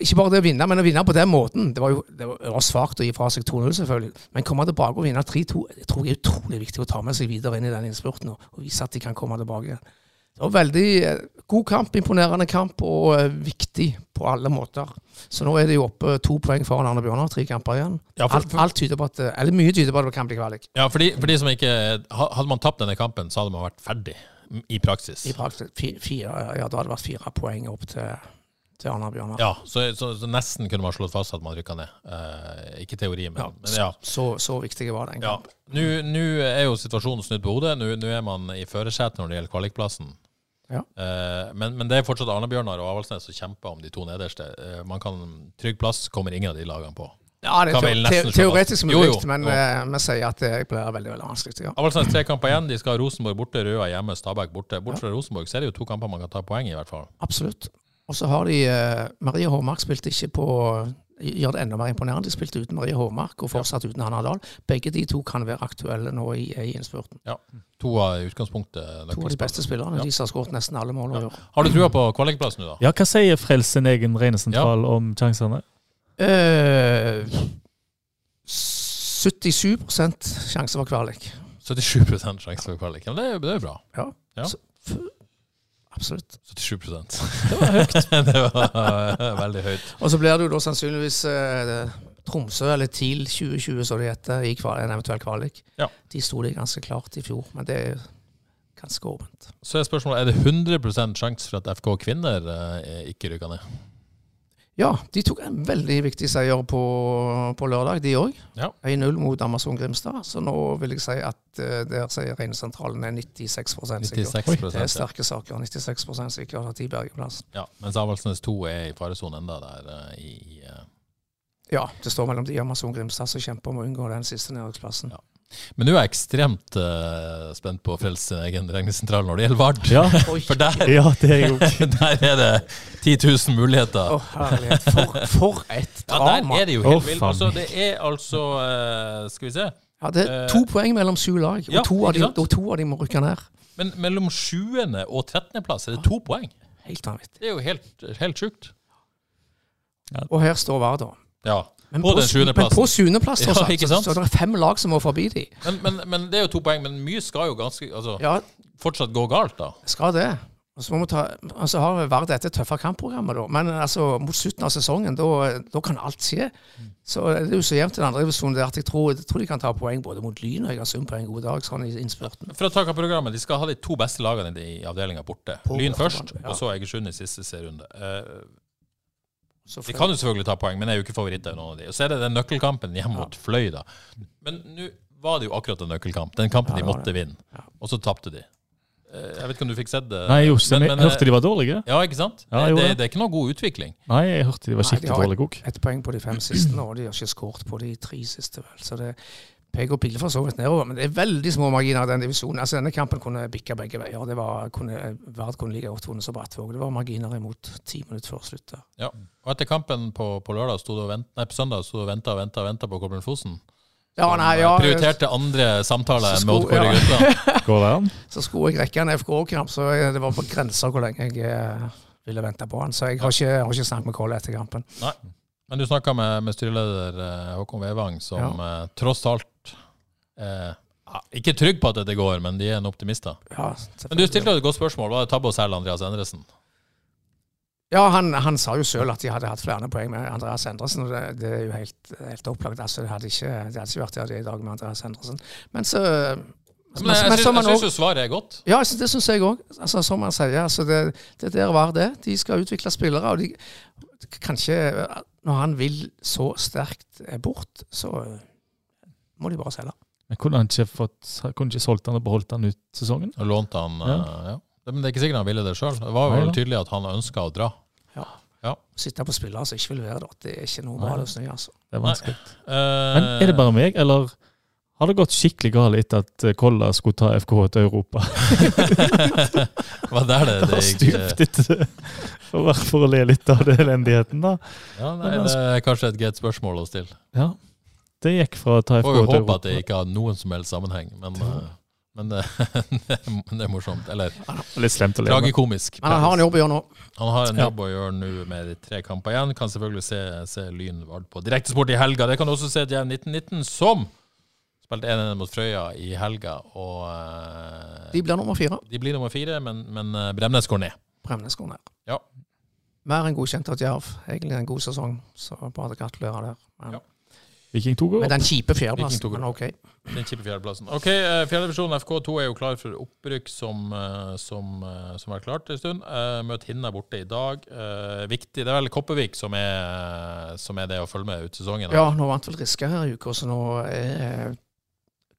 [SPEAKER 2] ikke bare det å vinne, men å vinne på den måten. Det var jo det var, det var svakt å gi fra seg 2-0, selvfølgelig. Men komme tilbake og vinne 3-2 det tror jeg er utrolig viktig å ta med seg videre inn i den innspurten og, og vise at de kan komme tilbake. igjen. Det var veldig eh, god kamp, imponerende kamp og eh, viktig på alle måter. Så nå er det jo oppe to poeng foran Arne Bjørnar, tre kamper igjen.
[SPEAKER 1] Ja, for-
[SPEAKER 2] alt, alt tyder på at, eh, eller Mye tyder på at det kan bli kvalik
[SPEAKER 1] Ja, for de, for de som ikke ha- Hadde man tapt denne kampen, så hadde man vært ferdig m- i praksis.
[SPEAKER 2] i praksis. Fi- Fire, ja, da hadde det vært fire poeng opp til, til Arne Bjørnar.
[SPEAKER 1] Ja, så, så, så nesten kunne man slått fast at man rykka ned. Eh, ikke teori, men ja.
[SPEAKER 2] Ja.
[SPEAKER 1] Men ja.
[SPEAKER 2] Så, så viktige var den
[SPEAKER 1] ja.
[SPEAKER 2] kampen.
[SPEAKER 1] Nå nå er jo situasjonen snudd på hodet. Nå nå er man i førersetet når det gjelder kvalikplassen.
[SPEAKER 2] Ja.
[SPEAKER 1] Eh, men, men det er fortsatt Arne-Bjørnar og Avaldsnes som kjemper om de to nederste. Eh, man kan, Trygg plass kommer ingen av de lagene på.
[SPEAKER 2] Ja, det
[SPEAKER 1] Kan
[SPEAKER 2] er
[SPEAKER 1] vel
[SPEAKER 2] te
[SPEAKER 1] nesten
[SPEAKER 2] te
[SPEAKER 1] slå
[SPEAKER 2] teoretisk
[SPEAKER 1] fast.
[SPEAKER 2] mulig,
[SPEAKER 1] Jo, jo,
[SPEAKER 2] men
[SPEAKER 1] jo.
[SPEAKER 2] eh, vi sier at det blir veldig veldig vanskelig. Ja.
[SPEAKER 1] Avaldsnes tre kamper igjen. De skal ha Rosenborg borte, Røa hjemme, Stabæk borte. Bort fra Rosenborg så er det jo to kamper man kan ta poeng i, i hvert fall.
[SPEAKER 2] Absolutt. Og så har de eh, Marie Håmark spilte ikke på Gjør det enda mer imponerende. De spilte uten Marie Håmark og fortsatt uten Hanna Dahl. Begge de to kan være aktuelle nå i, i innspurten.
[SPEAKER 1] To av i utgangspunktet
[SPEAKER 2] To av de beste spillerne.
[SPEAKER 1] Ja.
[SPEAKER 2] De som har skåret nesten alle mål. i år.
[SPEAKER 1] Har du trua på kvalikplass nå, da?
[SPEAKER 3] ja, hva sier Frels sin egen regnesentral om sjansene?
[SPEAKER 2] Eh, s- 77 sjanse for kvalik.
[SPEAKER 1] 77 sjanse for kvalik. Men det, er- det er bra.
[SPEAKER 2] Ja.
[SPEAKER 1] Ja.
[SPEAKER 2] Så, f- absolutt.
[SPEAKER 1] 77
[SPEAKER 2] Det var høyt.
[SPEAKER 1] Det var veldig høyt.
[SPEAKER 2] Og så blir det jo da sannsynligvis eh, Tromsø eller TIL 2020, som det heter, i kval en eventuell kvalik.
[SPEAKER 1] Ja.
[SPEAKER 2] De sto det ganske klart i fjor, men det er jo ganske åpent.
[SPEAKER 1] Så er spørsmålet er det 100 sjanse for at FK kvinner eh, ikke rykker ned.
[SPEAKER 2] Ja, de tok en veldig viktig seier på, på lørdag, de òg.
[SPEAKER 1] Ja.
[SPEAKER 2] 1-0 mot Amazon Grimstad. Så nå vil jeg si at eh, der sier Reinesentralen er 96 sikker.
[SPEAKER 1] 96
[SPEAKER 2] Det er
[SPEAKER 1] ja.
[SPEAKER 2] sterke saker. 96 sikker at de berger plassen.
[SPEAKER 1] ja, Mens Avaldsnes 2 er i faresonen enda der eh, i eh.
[SPEAKER 2] Ja, det står mellom de og Amazon Grimstad som kjemper om å unngå den siste nedrykksplassen.
[SPEAKER 1] Ja. Men nå er jeg ekstremt eh, spent på å frelse sin egen regnesentral når det gjelder Vard.
[SPEAKER 3] Ja,
[SPEAKER 2] Oi.
[SPEAKER 1] For der,
[SPEAKER 3] ja det er jo
[SPEAKER 1] der er det 10 000 muligheter.
[SPEAKER 2] Å, herlighet. For, for et
[SPEAKER 1] Ja,
[SPEAKER 2] drama!
[SPEAKER 1] der er det jo
[SPEAKER 3] Å,
[SPEAKER 1] helt vilt.
[SPEAKER 3] faen.
[SPEAKER 1] Altså, det er altså eh, Skal vi se.
[SPEAKER 2] Ja, det er to poeng mellom sju lag, og,
[SPEAKER 1] Eh, ja,
[SPEAKER 2] to av
[SPEAKER 1] ikke
[SPEAKER 2] de,
[SPEAKER 1] sant?
[SPEAKER 2] og to av de må rykke ned.
[SPEAKER 1] Men mellom 7. og 13. plass er det to poeng.
[SPEAKER 2] Helt vanvittig.
[SPEAKER 1] Det er jo helt, helt sjukt.
[SPEAKER 2] Og her står Vard, da.
[SPEAKER 1] Ja. På den 7.
[SPEAKER 2] men på
[SPEAKER 1] plassen.
[SPEAKER 2] sjuendeplass,
[SPEAKER 1] Ja,
[SPEAKER 2] tross alt.
[SPEAKER 1] ikke
[SPEAKER 2] så,
[SPEAKER 1] sant?
[SPEAKER 2] så det er fem lag som må forbi de.
[SPEAKER 1] Men, men, men det er jo to poeng. Men mye skal jo ganske altså,
[SPEAKER 2] Ja,
[SPEAKER 1] fortsatt gå galt, da.
[SPEAKER 2] skal det. Og så må vi ta, altså har Vard dette tøffe kampprogrammet, da. Men altså, mot slutten av sesongen, da da kan alt skje. Så er det er jo så jevnt i den andre divisjonen der at jeg tror, jeg tror de kan ta poeng både mot Lyn og Egersund på en god dag, sånn i innspurten.
[SPEAKER 1] For å ta programmet, De skal ha de to beste lagene i avdelinga borte. Lyn først, og så Egersund i siste serierunde. Eh,
[SPEAKER 2] Så
[SPEAKER 1] De kan jo selvfølgelig ta poeng, men jeg er jo ikke favoritt av noen av de. Og så er det den nøkkelkampen hjemme mot Fløy, da. Men nå var det jo akkurat en nøkkelkamp. Den kampen de
[SPEAKER 2] det var
[SPEAKER 1] måtte vinne. Og så tapte de. Eh, Jeg vet ikke om du fikk sett det?
[SPEAKER 3] Nei, jo, så jeg hørte de var dårlige.
[SPEAKER 1] Ja, ikke sant?
[SPEAKER 3] Ja, jeg gjorde
[SPEAKER 1] det,
[SPEAKER 3] det.
[SPEAKER 1] det er ikke noe god utvikling.
[SPEAKER 3] eh, Nei, jeg hørte de var skikkelig
[SPEAKER 2] Nei, de har-
[SPEAKER 3] dårlige òg.
[SPEAKER 2] ett poeng på de fem siste, nå, og de har ikke skåret på de tre siste. vel. Så det peker og piler for så vidt nedover, men det er veldig små marginer i den divisjonen. Altså Denne kampen kunne bikka begge veier. Det var, kunne, Vard kunne like godt vunnet som Brattvåg. Det var marginer imot ti minutter før slutt. der.
[SPEAKER 1] Ja. Og etter kampen på, på lørdag sto det og vent, nei, på søndag sto det og venta og venta og venta på Koblen Fosen.
[SPEAKER 2] Ja, nei, ja,
[SPEAKER 1] Prioriterte andre samtaler
[SPEAKER 2] Så
[SPEAKER 1] enn med
[SPEAKER 2] sko- ja.
[SPEAKER 1] Odd-Kåre Grøtland.
[SPEAKER 3] Går det an?
[SPEAKER 2] Så skulle jeg rekke en FK-kamp, så jeg- det var på grensa hvor lenge jeg eh, ville vente på han. Så jeg har ikke, jeg har ikke snakket med Kolle etter kampen.
[SPEAKER 1] Men du snakka med, med styreleder eh, Håkon Vevang, som eh, tross alt eh, ja, Ikke trygg på at dette går, men de er en optimister.
[SPEAKER 2] Ja,
[SPEAKER 1] Men du stilte jo et godt spørsmål. Var det tabbe å selge Andreas Endresen?
[SPEAKER 2] Ja, han, han sa jo sjøl at de hadde hatt flere poeng med Andreas Endresen, og det, det er jo helt, helt opplagt. Altså, det, hadde ikke, det hadde ikke vært der det er i dag med Andreas Endresen. Men så
[SPEAKER 1] Men jeg,
[SPEAKER 2] men
[SPEAKER 1] syns-
[SPEAKER 2] som han
[SPEAKER 1] jeg syns
[SPEAKER 2] også-
[SPEAKER 1] jo svaret er godt.
[SPEAKER 2] ja, altså, det syns jeg òg. Altså, som han sier, altså, det, det der var det. De skal utvikle spillere. og de, Kanskje når han vil så sterkt eh, bort, så eh, må de bare selge.
[SPEAKER 3] Men Kunne han ikke fått, kunne ikke solgt han og beholdt han ut sesongen?
[SPEAKER 1] Og lånte han eh, ja. Men det er ikke sikkert han ville det sjøl. Det var
[SPEAKER 3] Nei,
[SPEAKER 1] vel
[SPEAKER 3] da.
[SPEAKER 1] tydelig at han ønska å dra.
[SPEAKER 2] Sitte på spillere som ikke vil være der, det er ikke noe bra
[SPEAKER 3] Nei.
[SPEAKER 2] løsning. altså.
[SPEAKER 3] Det er vanskelig.
[SPEAKER 1] Eh,
[SPEAKER 3] Men er det bare meg, eller har det gått skikkelig galt etter at eh, Kolla skulle ta FK til Europa?
[SPEAKER 1] Eh, Var der det,
[SPEAKER 3] Det
[SPEAKER 1] det gikk
[SPEAKER 3] har
[SPEAKER 1] eh,
[SPEAKER 3] stupt etter For bare for å le litt av den elendigheten, da.
[SPEAKER 1] Ja, nei, det er kanskje et greit spørsmål å stille.
[SPEAKER 3] Ja. Det gikk fra å ta FK
[SPEAKER 1] Får jo
[SPEAKER 3] til
[SPEAKER 1] håpe at
[SPEAKER 3] Europa.
[SPEAKER 1] det ikke har noen som helst sammenheng, men, eh, men det, det er morsomt. Eller
[SPEAKER 3] Litt slemt å le med.
[SPEAKER 1] tragikomisk.
[SPEAKER 2] Men han har en jobb å gjøre nå.
[SPEAKER 1] Han har en jobb å gjøre nå med de tre kamper igjen. Kan selvfølgelig se, se Lyn Vard på direktesport i helga. Det kan du også se til 1919, som spilte 1-1 mot Frøya i helga. Og eh,
[SPEAKER 2] De blir nummer fire.
[SPEAKER 1] de blir nummer fire, men, men eh, Bremnes går ned.
[SPEAKER 2] Bremnes går ned.
[SPEAKER 1] Ja.
[SPEAKER 2] Mer enn godkjent av Djerv. Egentlig en god sesong, så bare gratulerer der. Men,
[SPEAKER 1] Ja.
[SPEAKER 3] Viking 2 går
[SPEAKER 2] men
[SPEAKER 3] opp.
[SPEAKER 2] den
[SPEAKER 1] Viking tok
[SPEAKER 2] kjipe fjerdeplassen,
[SPEAKER 1] det.
[SPEAKER 2] men OK.
[SPEAKER 1] Den kjipe fjerdeplassen. OK, eh, fjerdedivisjon FK2 er jo klar for opprykk, som, eh, som, eh, som er klart en stund. Eh, Møt Hinna borte i dag. Eh, Viktig. Det er vel Kopervik som er, eh, som er det å følge med ut sesongen.
[SPEAKER 2] Ja, nå vant vel Riske her i uka, så nå er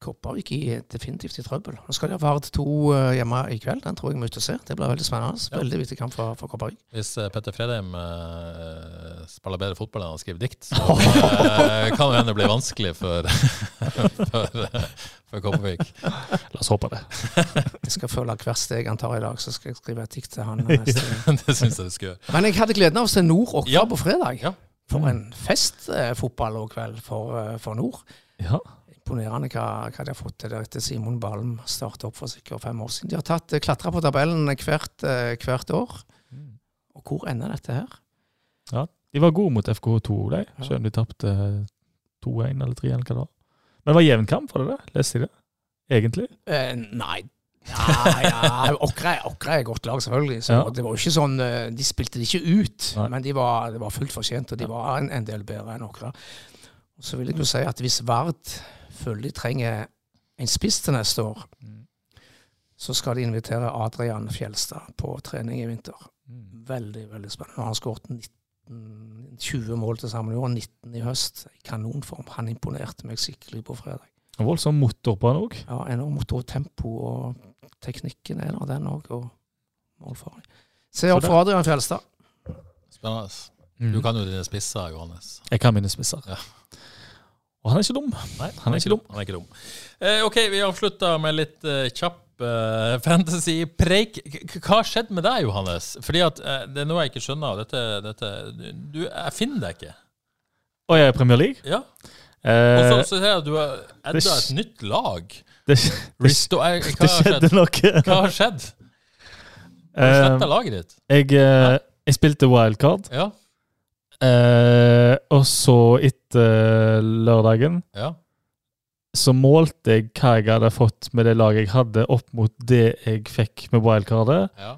[SPEAKER 2] Kopervik i definitivt i trøbbel. Nå skal de ha Vard 2 eh, hjemme i kveld. Den tror jeg vi er ute og ser. Det blir veldig spennende.
[SPEAKER 1] Ja.
[SPEAKER 2] Veldig viktig kamp for, for Kopervik.
[SPEAKER 1] Hvis eh, Petter Fredheim eh, spiller bedre fotball enn han skriver dikt, så eh, kan det hende det blir vanskelig for, for, eh, for Kopervik.
[SPEAKER 3] La oss håpe det.
[SPEAKER 2] Jeg skal følge hvert steg han tar i dag, så skal jeg skrive et dikt til han. eh, neste gang.
[SPEAKER 1] Det syns jeg du skulle gjøre.
[SPEAKER 2] Men jeg hadde gleden av å se Nord Åkra
[SPEAKER 1] Ja.
[SPEAKER 2] på fredag.
[SPEAKER 1] Ja.
[SPEAKER 2] For en festfotball og kveld for, eh, for Nord.
[SPEAKER 3] Ja.
[SPEAKER 2] Imponerende hva, hva de har fått til der etter Simon Balm startet opp for sikkert fem år siden. De har tatt klatra på tabellen hvert, eh, hvert år. Og hvor ender dette her?
[SPEAKER 3] eh, De var gode mot FK2, de. Selv om de tapte 2-1 eller 3-1, eller hva det var. Men det var jevn kamp, var det det? Leste jeg det? Egentlig?
[SPEAKER 2] Eh, nei. Ja, ja. Åkra Åkra er et godt lag, selvfølgelig. Så
[SPEAKER 3] Ja.
[SPEAKER 2] det var jo ikke sånn, eh, De spilte det ikke ut,
[SPEAKER 3] Nei.
[SPEAKER 2] men de var, det var fullt fortjent, og de var en, en del bedre enn Åkra. Og Så vil jeg jo si at hvis Vard føler de trenger en spiss til neste år, så skal de invitere Adrian Fjelstad på trening i vinter. Veldig, veldig spennende. Han har skåret 19 20 mål til sammen i år, 19 i høst. I kanonform. Han imponerte meg skikkelig på fredag.
[SPEAKER 3] En voldsom motor på han òg.
[SPEAKER 2] Ja, enormt motor, tempo og teknikken er der, den òg, og målfaring. Se opp for Adrian Fjelstad.
[SPEAKER 1] Spennende.
[SPEAKER 3] Mm.
[SPEAKER 1] Du kan jo dine spisser, Johannes.
[SPEAKER 3] Jeg kan mine spisser.
[SPEAKER 1] Ja.
[SPEAKER 3] Og han er ikke dum.
[SPEAKER 1] Nei,
[SPEAKER 3] han er ikke dum.
[SPEAKER 1] Han er ikke dum. Eh, OK, vi avslutter med litt eh, kjapp eh, fantasy-preik. K- k- Hva har skjedd med deg, Johannes? Fordi at eh, det er noe jeg ikke skjønner. og Dette, dette du, Jeg finner deg ikke.
[SPEAKER 3] Og jeg er i Premier League.
[SPEAKER 1] Ja. Og så
[SPEAKER 3] Eh,
[SPEAKER 1] så ser jeg at du har
[SPEAKER 3] det
[SPEAKER 1] edda
[SPEAKER 3] sk-
[SPEAKER 1] et nytt lag.
[SPEAKER 3] det, det,
[SPEAKER 1] Risto, jeg, hva
[SPEAKER 3] det
[SPEAKER 1] har
[SPEAKER 3] skjedde
[SPEAKER 1] skjedd?
[SPEAKER 3] noe.
[SPEAKER 1] Hva har skjedd? Har du
[SPEAKER 3] Eh,
[SPEAKER 1] sletta laget ditt?
[SPEAKER 3] jeg, eh, jeg spilte wildcard,
[SPEAKER 1] Ja.
[SPEAKER 3] eh, og så etter eh, lørdagen
[SPEAKER 1] ja.
[SPEAKER 3] så målte jeg hva jeg hadde fått med det laget jeg hadde, opp mot det jeg fikk med wildcardet,
[SPEAKER 1] ja.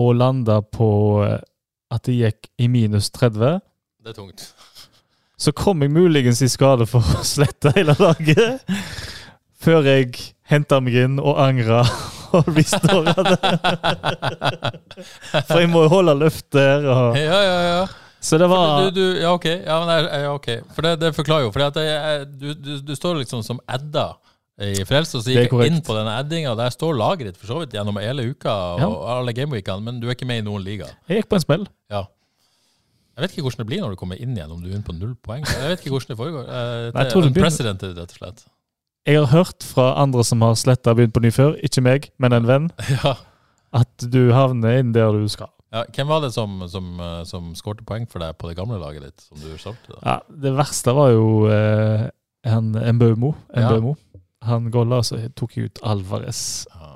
[SPEAKER 3] og landa på eh, at det gikk i minus 30.
[SPEAKER 1] Det er tungt.
[SPEAKER 3] Så kom jeg muligens i skade for å slette hele laget. Før jeg henta meg inn og angra og restora det. For jeg må jo holde løfter. Og...
[SPEAKER 1] Ja, ja, ja.
[SPEAKER 3] Så det
[SPEAKER 1] Du,
[SPEAKER 3] var
[SPEAKER 1] du, ja, OK. Ja, men, jeg- ja, ok. For det, det forklarer jo. For du, du, du står liksom som Edda i Frelst, og så
[SPEAKER 3] Det er
[SPEAKER 1] gikk jeg inn
[SPEAKER 3] korrekt.
[SPEAKER 1] på denne eddinga. Der står laget ditt for så vidt gjennom hele uka og
[SPEAKER 3] Ja.
[SPEAKER 1] alle gameweekene, men du er ikke med i noen liga.
[SPEAKER 3] Jeg gikk på en smell.
[SPEAKER 1] Ja. Jeg vet ikke hvordan det blir når du kommer inn igjen, om du er inne på null poeng. Jeg vet ikke hvordan det foregår. Eh,
[SPEAKER 3] Nei,
[SPEAKER 1] Det
[SPEAKER 3] jeg tror
[SPEAKER 1] er
[SPEAKER 3] det begynner-
[SPEAKER 1] unprecedented, rett og slett.
[SPEAKER 3] Jeg har hørt fra andre som har sletta og begynt på ny før, ikke meg, men en venn,
[SPEAKER 1] Ja.
[SPEAKER 3] at du havner inn der du skal.
[SPEAKER 1] Ja, hvem var det som, som, eh, som skårte poeng for deg på det gamle laget ditt, som du solgte? da?
[SPEAKER 3] Ja, det verste var jo eh, han Mbaumo.
[SPEAKER 1] Ja.
[SPEAKER 3] Mbaumo. Han golla, så tok jeg ut Alvarez
[SPEAKER 1] Ja.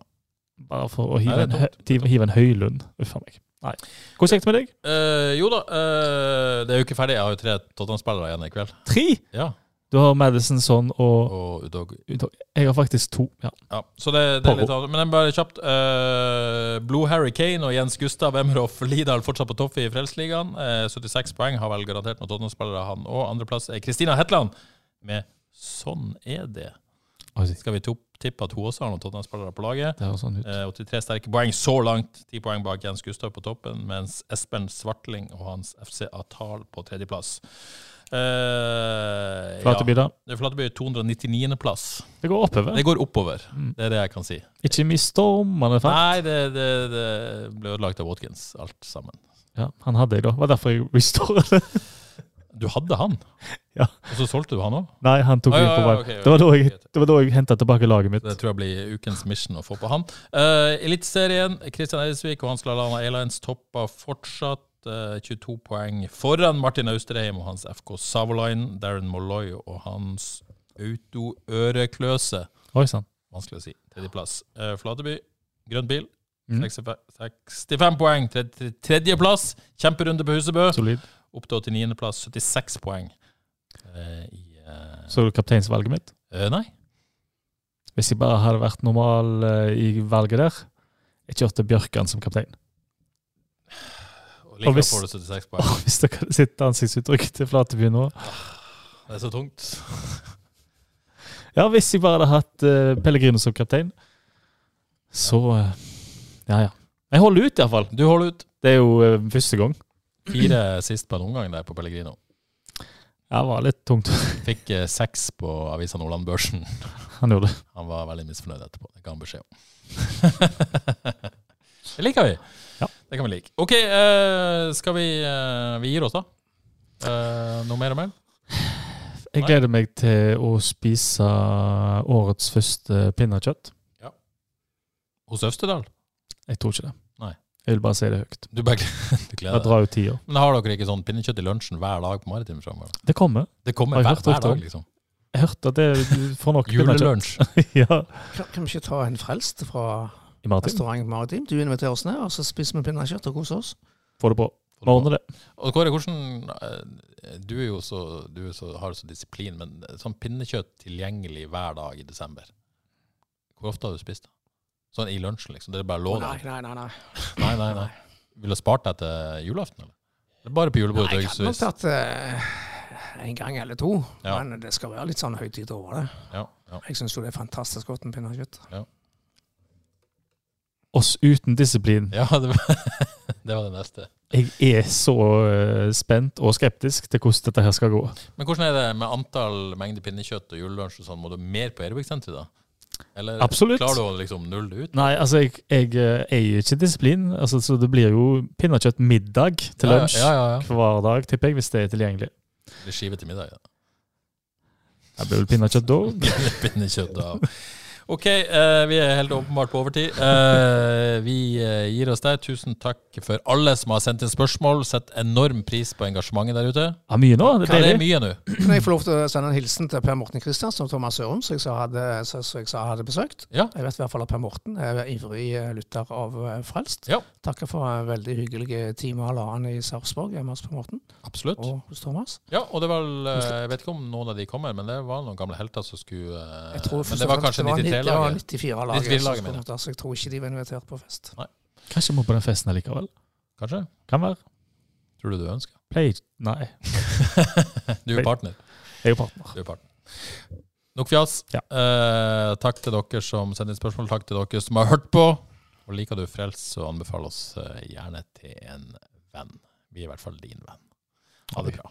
[SPEAKER 3] bare for å
[SPEAKER 1] Nei,
[SPEAKER 3] hive,
[SPEAKER 1] det er
[SPEAKER 3] en,
[SPEAKER 1] dumt.
[SPEAKER 3] hive, hive en Høylund. Uff a meg. Nei. Hvordan gikk det med deg?
[SPEAKER 1] Eh, jo da, eh, det er jo ikke ferdig. Jeg har jo tre Tottenham-spillere igjen i kveld.
[SPEAKER 3] Tre!
[SPEAKER 1] Ja,
[SPEAKER 3] Du har Madison sånn og
[SPEAKER 1] og Udog
[SPEAKER 3] Jeg har faktisk to. Ja.
[SPEAKER 1] Ja, så det, det er
[SPEAKER 3] Pågå.
[SPEAKER 1] litt annet. Men jeg bare kjapt. eh, Blue Harry Kane og Jens Gustav Emroff Lidal fortsatt på topp i Frelsesligaen. Eh, 76 poeng har vel garantert noen Tottenham-spillere, han òg. Andreplass er Kristina Hetland med 'Sånn er det'.
[SPEAKER 3] Det
[SPEAKER 1] Skal vi to- tippe at hun også har noen Tottenham-spillere på laget?
[SPEAKER 3] høres sånn ut.
[SPEAKER 1] Eh, 83 sterke poeng så langt. 10 poeng bak Jens Gustav på toppen, mens Espen Svartling og hans FC Atal på tredjeplass. Eh,
[SPEAKER 3] Flateby, da.
[SPEAKER 1] Ja, Flateby 299.-plass.
[SPEAKER 3] Det går oppover.
[SPEAKER 1] Det går oppover, det er det jeg kan si.
[SPEAKER 3] Ikke mye stormende
[SPEAKER 1] Nei,
[SPEAKER 3] fart.
[SPEAKER 1] det, det, det ble ødelagt av Watkins, alt sammen.
[SPEAKER 3] Ja, han hadde jeg, da. Det var derfor jeg restora det.
[SPEAKER 1] Du hadde han,
[SPEAKER 3] Ja.
[SPEAKER 1] og så solgte du han òg?
[SPEAKER 3] Nei, han tok
[SPEAKER 1] Ah,
[SPEAKER 3] meg
[SPEAKER 1] ja,
[SPEAKER 3] på
[SPEAKER 1] ja,
[SPEAKER 3] vei.
[SPEAKER 1] ok, ok,
[SPEAKER 3] Det var da jeg,
[SPEAKER 1] greit.
[SPEAKER 3] det var da jeg henta tilbake laget mitt.
[SPEAKER 1] Det tror jeg blir ukens mission å få på han. Uh, Eliteserien. Kristian Eidesvik og Hans Lallana Airlines topper fortsatt. eh, 22 poeng foran Martin Austerheim og hans FK Savolainen. Darren Molloy og hans Auto-ørekløse.
[SPEAKER 3] Oi sann.
[SPEAKER 1] Vanskelig å si. Tredjeplass. Eh, Flateby, grønn bil.
[SPEAKER 3] Mm.
[SPEAKER 1] 65, 65 poeng. Tredje- Tredjeplass. Kjemperunde på Husebø.
[SPEAKER 3] Mm. Solid.
[SPEAKER 1] opp til 89. plass, 76 poeng. Eh, i, eh,
[SPEAKER 3] Så du kapteinsvalget mitt?
[SPEAKER 1] eh, nei.
[SPEAKER 3] Hvis jeg bare hadde vært normal eh, i valget der Jeg kjørte Bjørkan som kaptein.
[SPEAKER 1] Og likevel
[SPEAKER 3] Og hvis-
[SPEAKER 1] får du 76
[SPEAKER 3] Åh,
[SPEAKER 1] poeng.
[SPEAKER 3] hvis dere hadde sett ansiktsuttrykket til Flateby nå
[SPEAKER 1] Det er så tungt.
[SPEAKER 3] Ja, hvis jeg bare hadde hatt eh, Pellegrino som kaptein, så eh, Ja, ja. Jeg holder ut, iallfall.
[SPEAKER 1] Du holder ut.
[SPEAKER 3] Det er jo eh, første gang.
[SPEAKER 1] Fire sist på en omgang der på Pellegrino.
[SPEAKER 3] Ja, det var litt tungt.
[SPEAKER 1] Fikk eh, seks på Avisa Nordland-børsen.
[SPEAKER 3] Han gjorde det.
[SPEAKER 1] Han var veldig misfornøyd etterpå. Det ga han beskjed om. det liker vi.
[SPEAKER 3] Ja.
[SPEAKER 1] Det kan vi like. OK, eh, skal vi eh, Vi gir oss, da. Eh, noe mer å melde?
[SPEAKER 3] Jeg
[SPEAKER 1] Nei.
[SPEAKER 3] gleder meg til å spise årets første pinnekjøtt.
[SPEAKER 1] Hos Øvstedal?
[SPEAKER 3] Jeg tror ikke det.
[SPEAKER 1] Nei.
[SPEAKER 3] Jeg vil bare si det høyt.
[SPEAKER 1] Du, bare, du
[SPEAKER 3] Det
[SPEAKER 1] gleder deg.
[SPEAKER 3] drar jo tida.
[SPEAKER 1] Men har dere ikke sånn pinnekjøtt i lunsjen hver dag på Maritim framover?
[SPEAKER 3] Det kommer.
[SPEAKER 1] Det kommer
[SPEAKER 3] Har
[SPEAKER 1] hver,
[SPEAKER 3] jeg hørt
[SPEAKER 1] hver
[SPEAKER 3] rykter om.
[SPEAKER 1] dag, liksom.
[SPEAKER 3] Jeg hørte at det, du får nok pinnekjøtt.
[SPEAKER 1] Julelunsj.
[SPEAKER 3] ja.
[SPEAKER 2] Kan, kan vi ikke ta en frelst fra
[SPEAKER 3] I Martin.
[SPEAKER 2] restaurant Maritim? Du inviterer oss ned, og så spiser vi pinnekjøtt og koser oss.
[SPEAKER 3] Få det på. Vi ordner det.
[SPEAKER 1] Og Kåre, hvordan eh, Du er jo så, du er så, har så disiplin, men sånn pinnekjøtt tilgjengelig hver dag i desember. Hvor ofte har du spist det? Sånn i lunsjen, liksom? Det er bare lov?
[SPEAKER 2] Nei, nei, nei. nei.
[SPEAKER 1] nei, nei, nei. Ville du spart deg til julaften, eller? Det er bare på julebordet
[SPEAKER 2] Nei,
[SPEAKER 1] til
[SPEAKER 2] jeg hadde
[SPEAKER 1] øyeblikksvis.
[SPEAKER 2] nok tatt eh, en gang eller to,
[SPEAKER 1] Ja.
[SPEAKER 2] men det skal være litt sånn høytid over det.
[SPEAKER 1] Ja, ja.
[SPEAKER 2] Jeg syns jo det er fantastisk godt med pinnekjøtt.
[SPEAKER 3] Oss uten disiplin.
[SPEAKER 1] ja det, var, det var det neste.
[SPEAKER 3] Jeg er så eh, spent og skeptisk til hvordan dette her skal gå.
[SPEAKER 1] Men hvordan er det med antall mengder pinnekjøtt og julelunsj og sånn? Må du mer på Erikssenteret da? Eller
[SPEAKER 3] Absolutt.
[SPEAKER 1] klarer du å liksom nulle det ut?
[SPEAKER 3] Nei, altså, jeg, jeg eh, eier ikke disiplin, altså, så det blir jo pinnekjøtt middag til
[SPEAKER 1] Ja,
[SPEAKER 3] lunsj
[SPEAKER 1] Ja, ja, ja.
[SPEAKER 3] hver dag, tipper jeg, hvis det er tilgjengelig.
[SPEAKER 1] Eller skive til middag, ja.
[SPEAKER 3] Det blir vel pinnekjøtt da.
[SPEAKER 1] Pinnekjøtt av. Ok, eh, vi er helt åpenbart på overtid. Eh, vi eh, gir oss der. Tusen takk for alle som har sendt inn spørsmål. Sett enorm pris på engasjementet der ute.
[SPEAKER 3] Ja, mye nå. Det
[SPEAKER 1] Ja,
[SPEAKER 3] er
[SPEAKER 1] det er
[SPEAKER 3] deilig.
[SPEAKER 1] mye nå.
[SPEAKER 2] Kan jeg få lov til å sende en hilsen til Per Morten Kristiansen og Thomas Sørum, som jeg sa hadde, så, så jeg sa hadde besøkt?
[SPEAKER 1] Ja.
[SPEAKER 2] Jeg vet i hvert fall at Per Morten er ivrig eh, lytter av eh, Frelst.
[SPEAKER 1] Ja.
[SPEAKER 2] Takker for en veldig hyggelig time og halvannen i Sarpsborg hjemme hos Per Morten
[SPEAKER 1] Absolutt.
[SPEAKER 2] og hos Thomas.
[SPEAKER 1] Ja, og det var vel eh, Jeg vet ikke om noen av de kommer, men det var noen gamle helter som skulle eh,
[SPEAKER 2] Jeg tror
[SPEAKER 1] Men
[SPEAKER 2] først
[SPEAKER 1] det
[SPEAKER 2] og
[SPEAKER 1] var
[SPEAKER 2] fremst
[SPEAKER 1] kanskje
[SPEAKER 2] Det var
[SPEAKER 1] 93-laget. 94-laget,
[SPEAKER 2] 94-laget. som skulle
[SPEAKER 1] mener jeg.
[SPEAKER 2] komme, Så jeg tror ikke de var invitert på fest.
[SPEAKER 3] Kanskje vi må på den festen allikevel.
[SPEAKER 1] Kanskje?
[SPEAKER 3] Kan være.
[SPEAKER 1] Tror du du ønsker?
[SPEAKER 3] Play. Nei,
[SPEAKER 1] Du er partner.
[SPEAKER 3] jeg er jo partner.
[SPEAKER 1] Du er partner. Nok fjas.
[SPEAKER 3] Ja.
[SPEAKER 1] Eh, takk til dere som sender inn spørsmål. Takk til dere som har hørt på. Og liker du Frelst, så anbefal oss eh, gjerne til en venn. Vi er i hvert fall din venn. Ha det bra.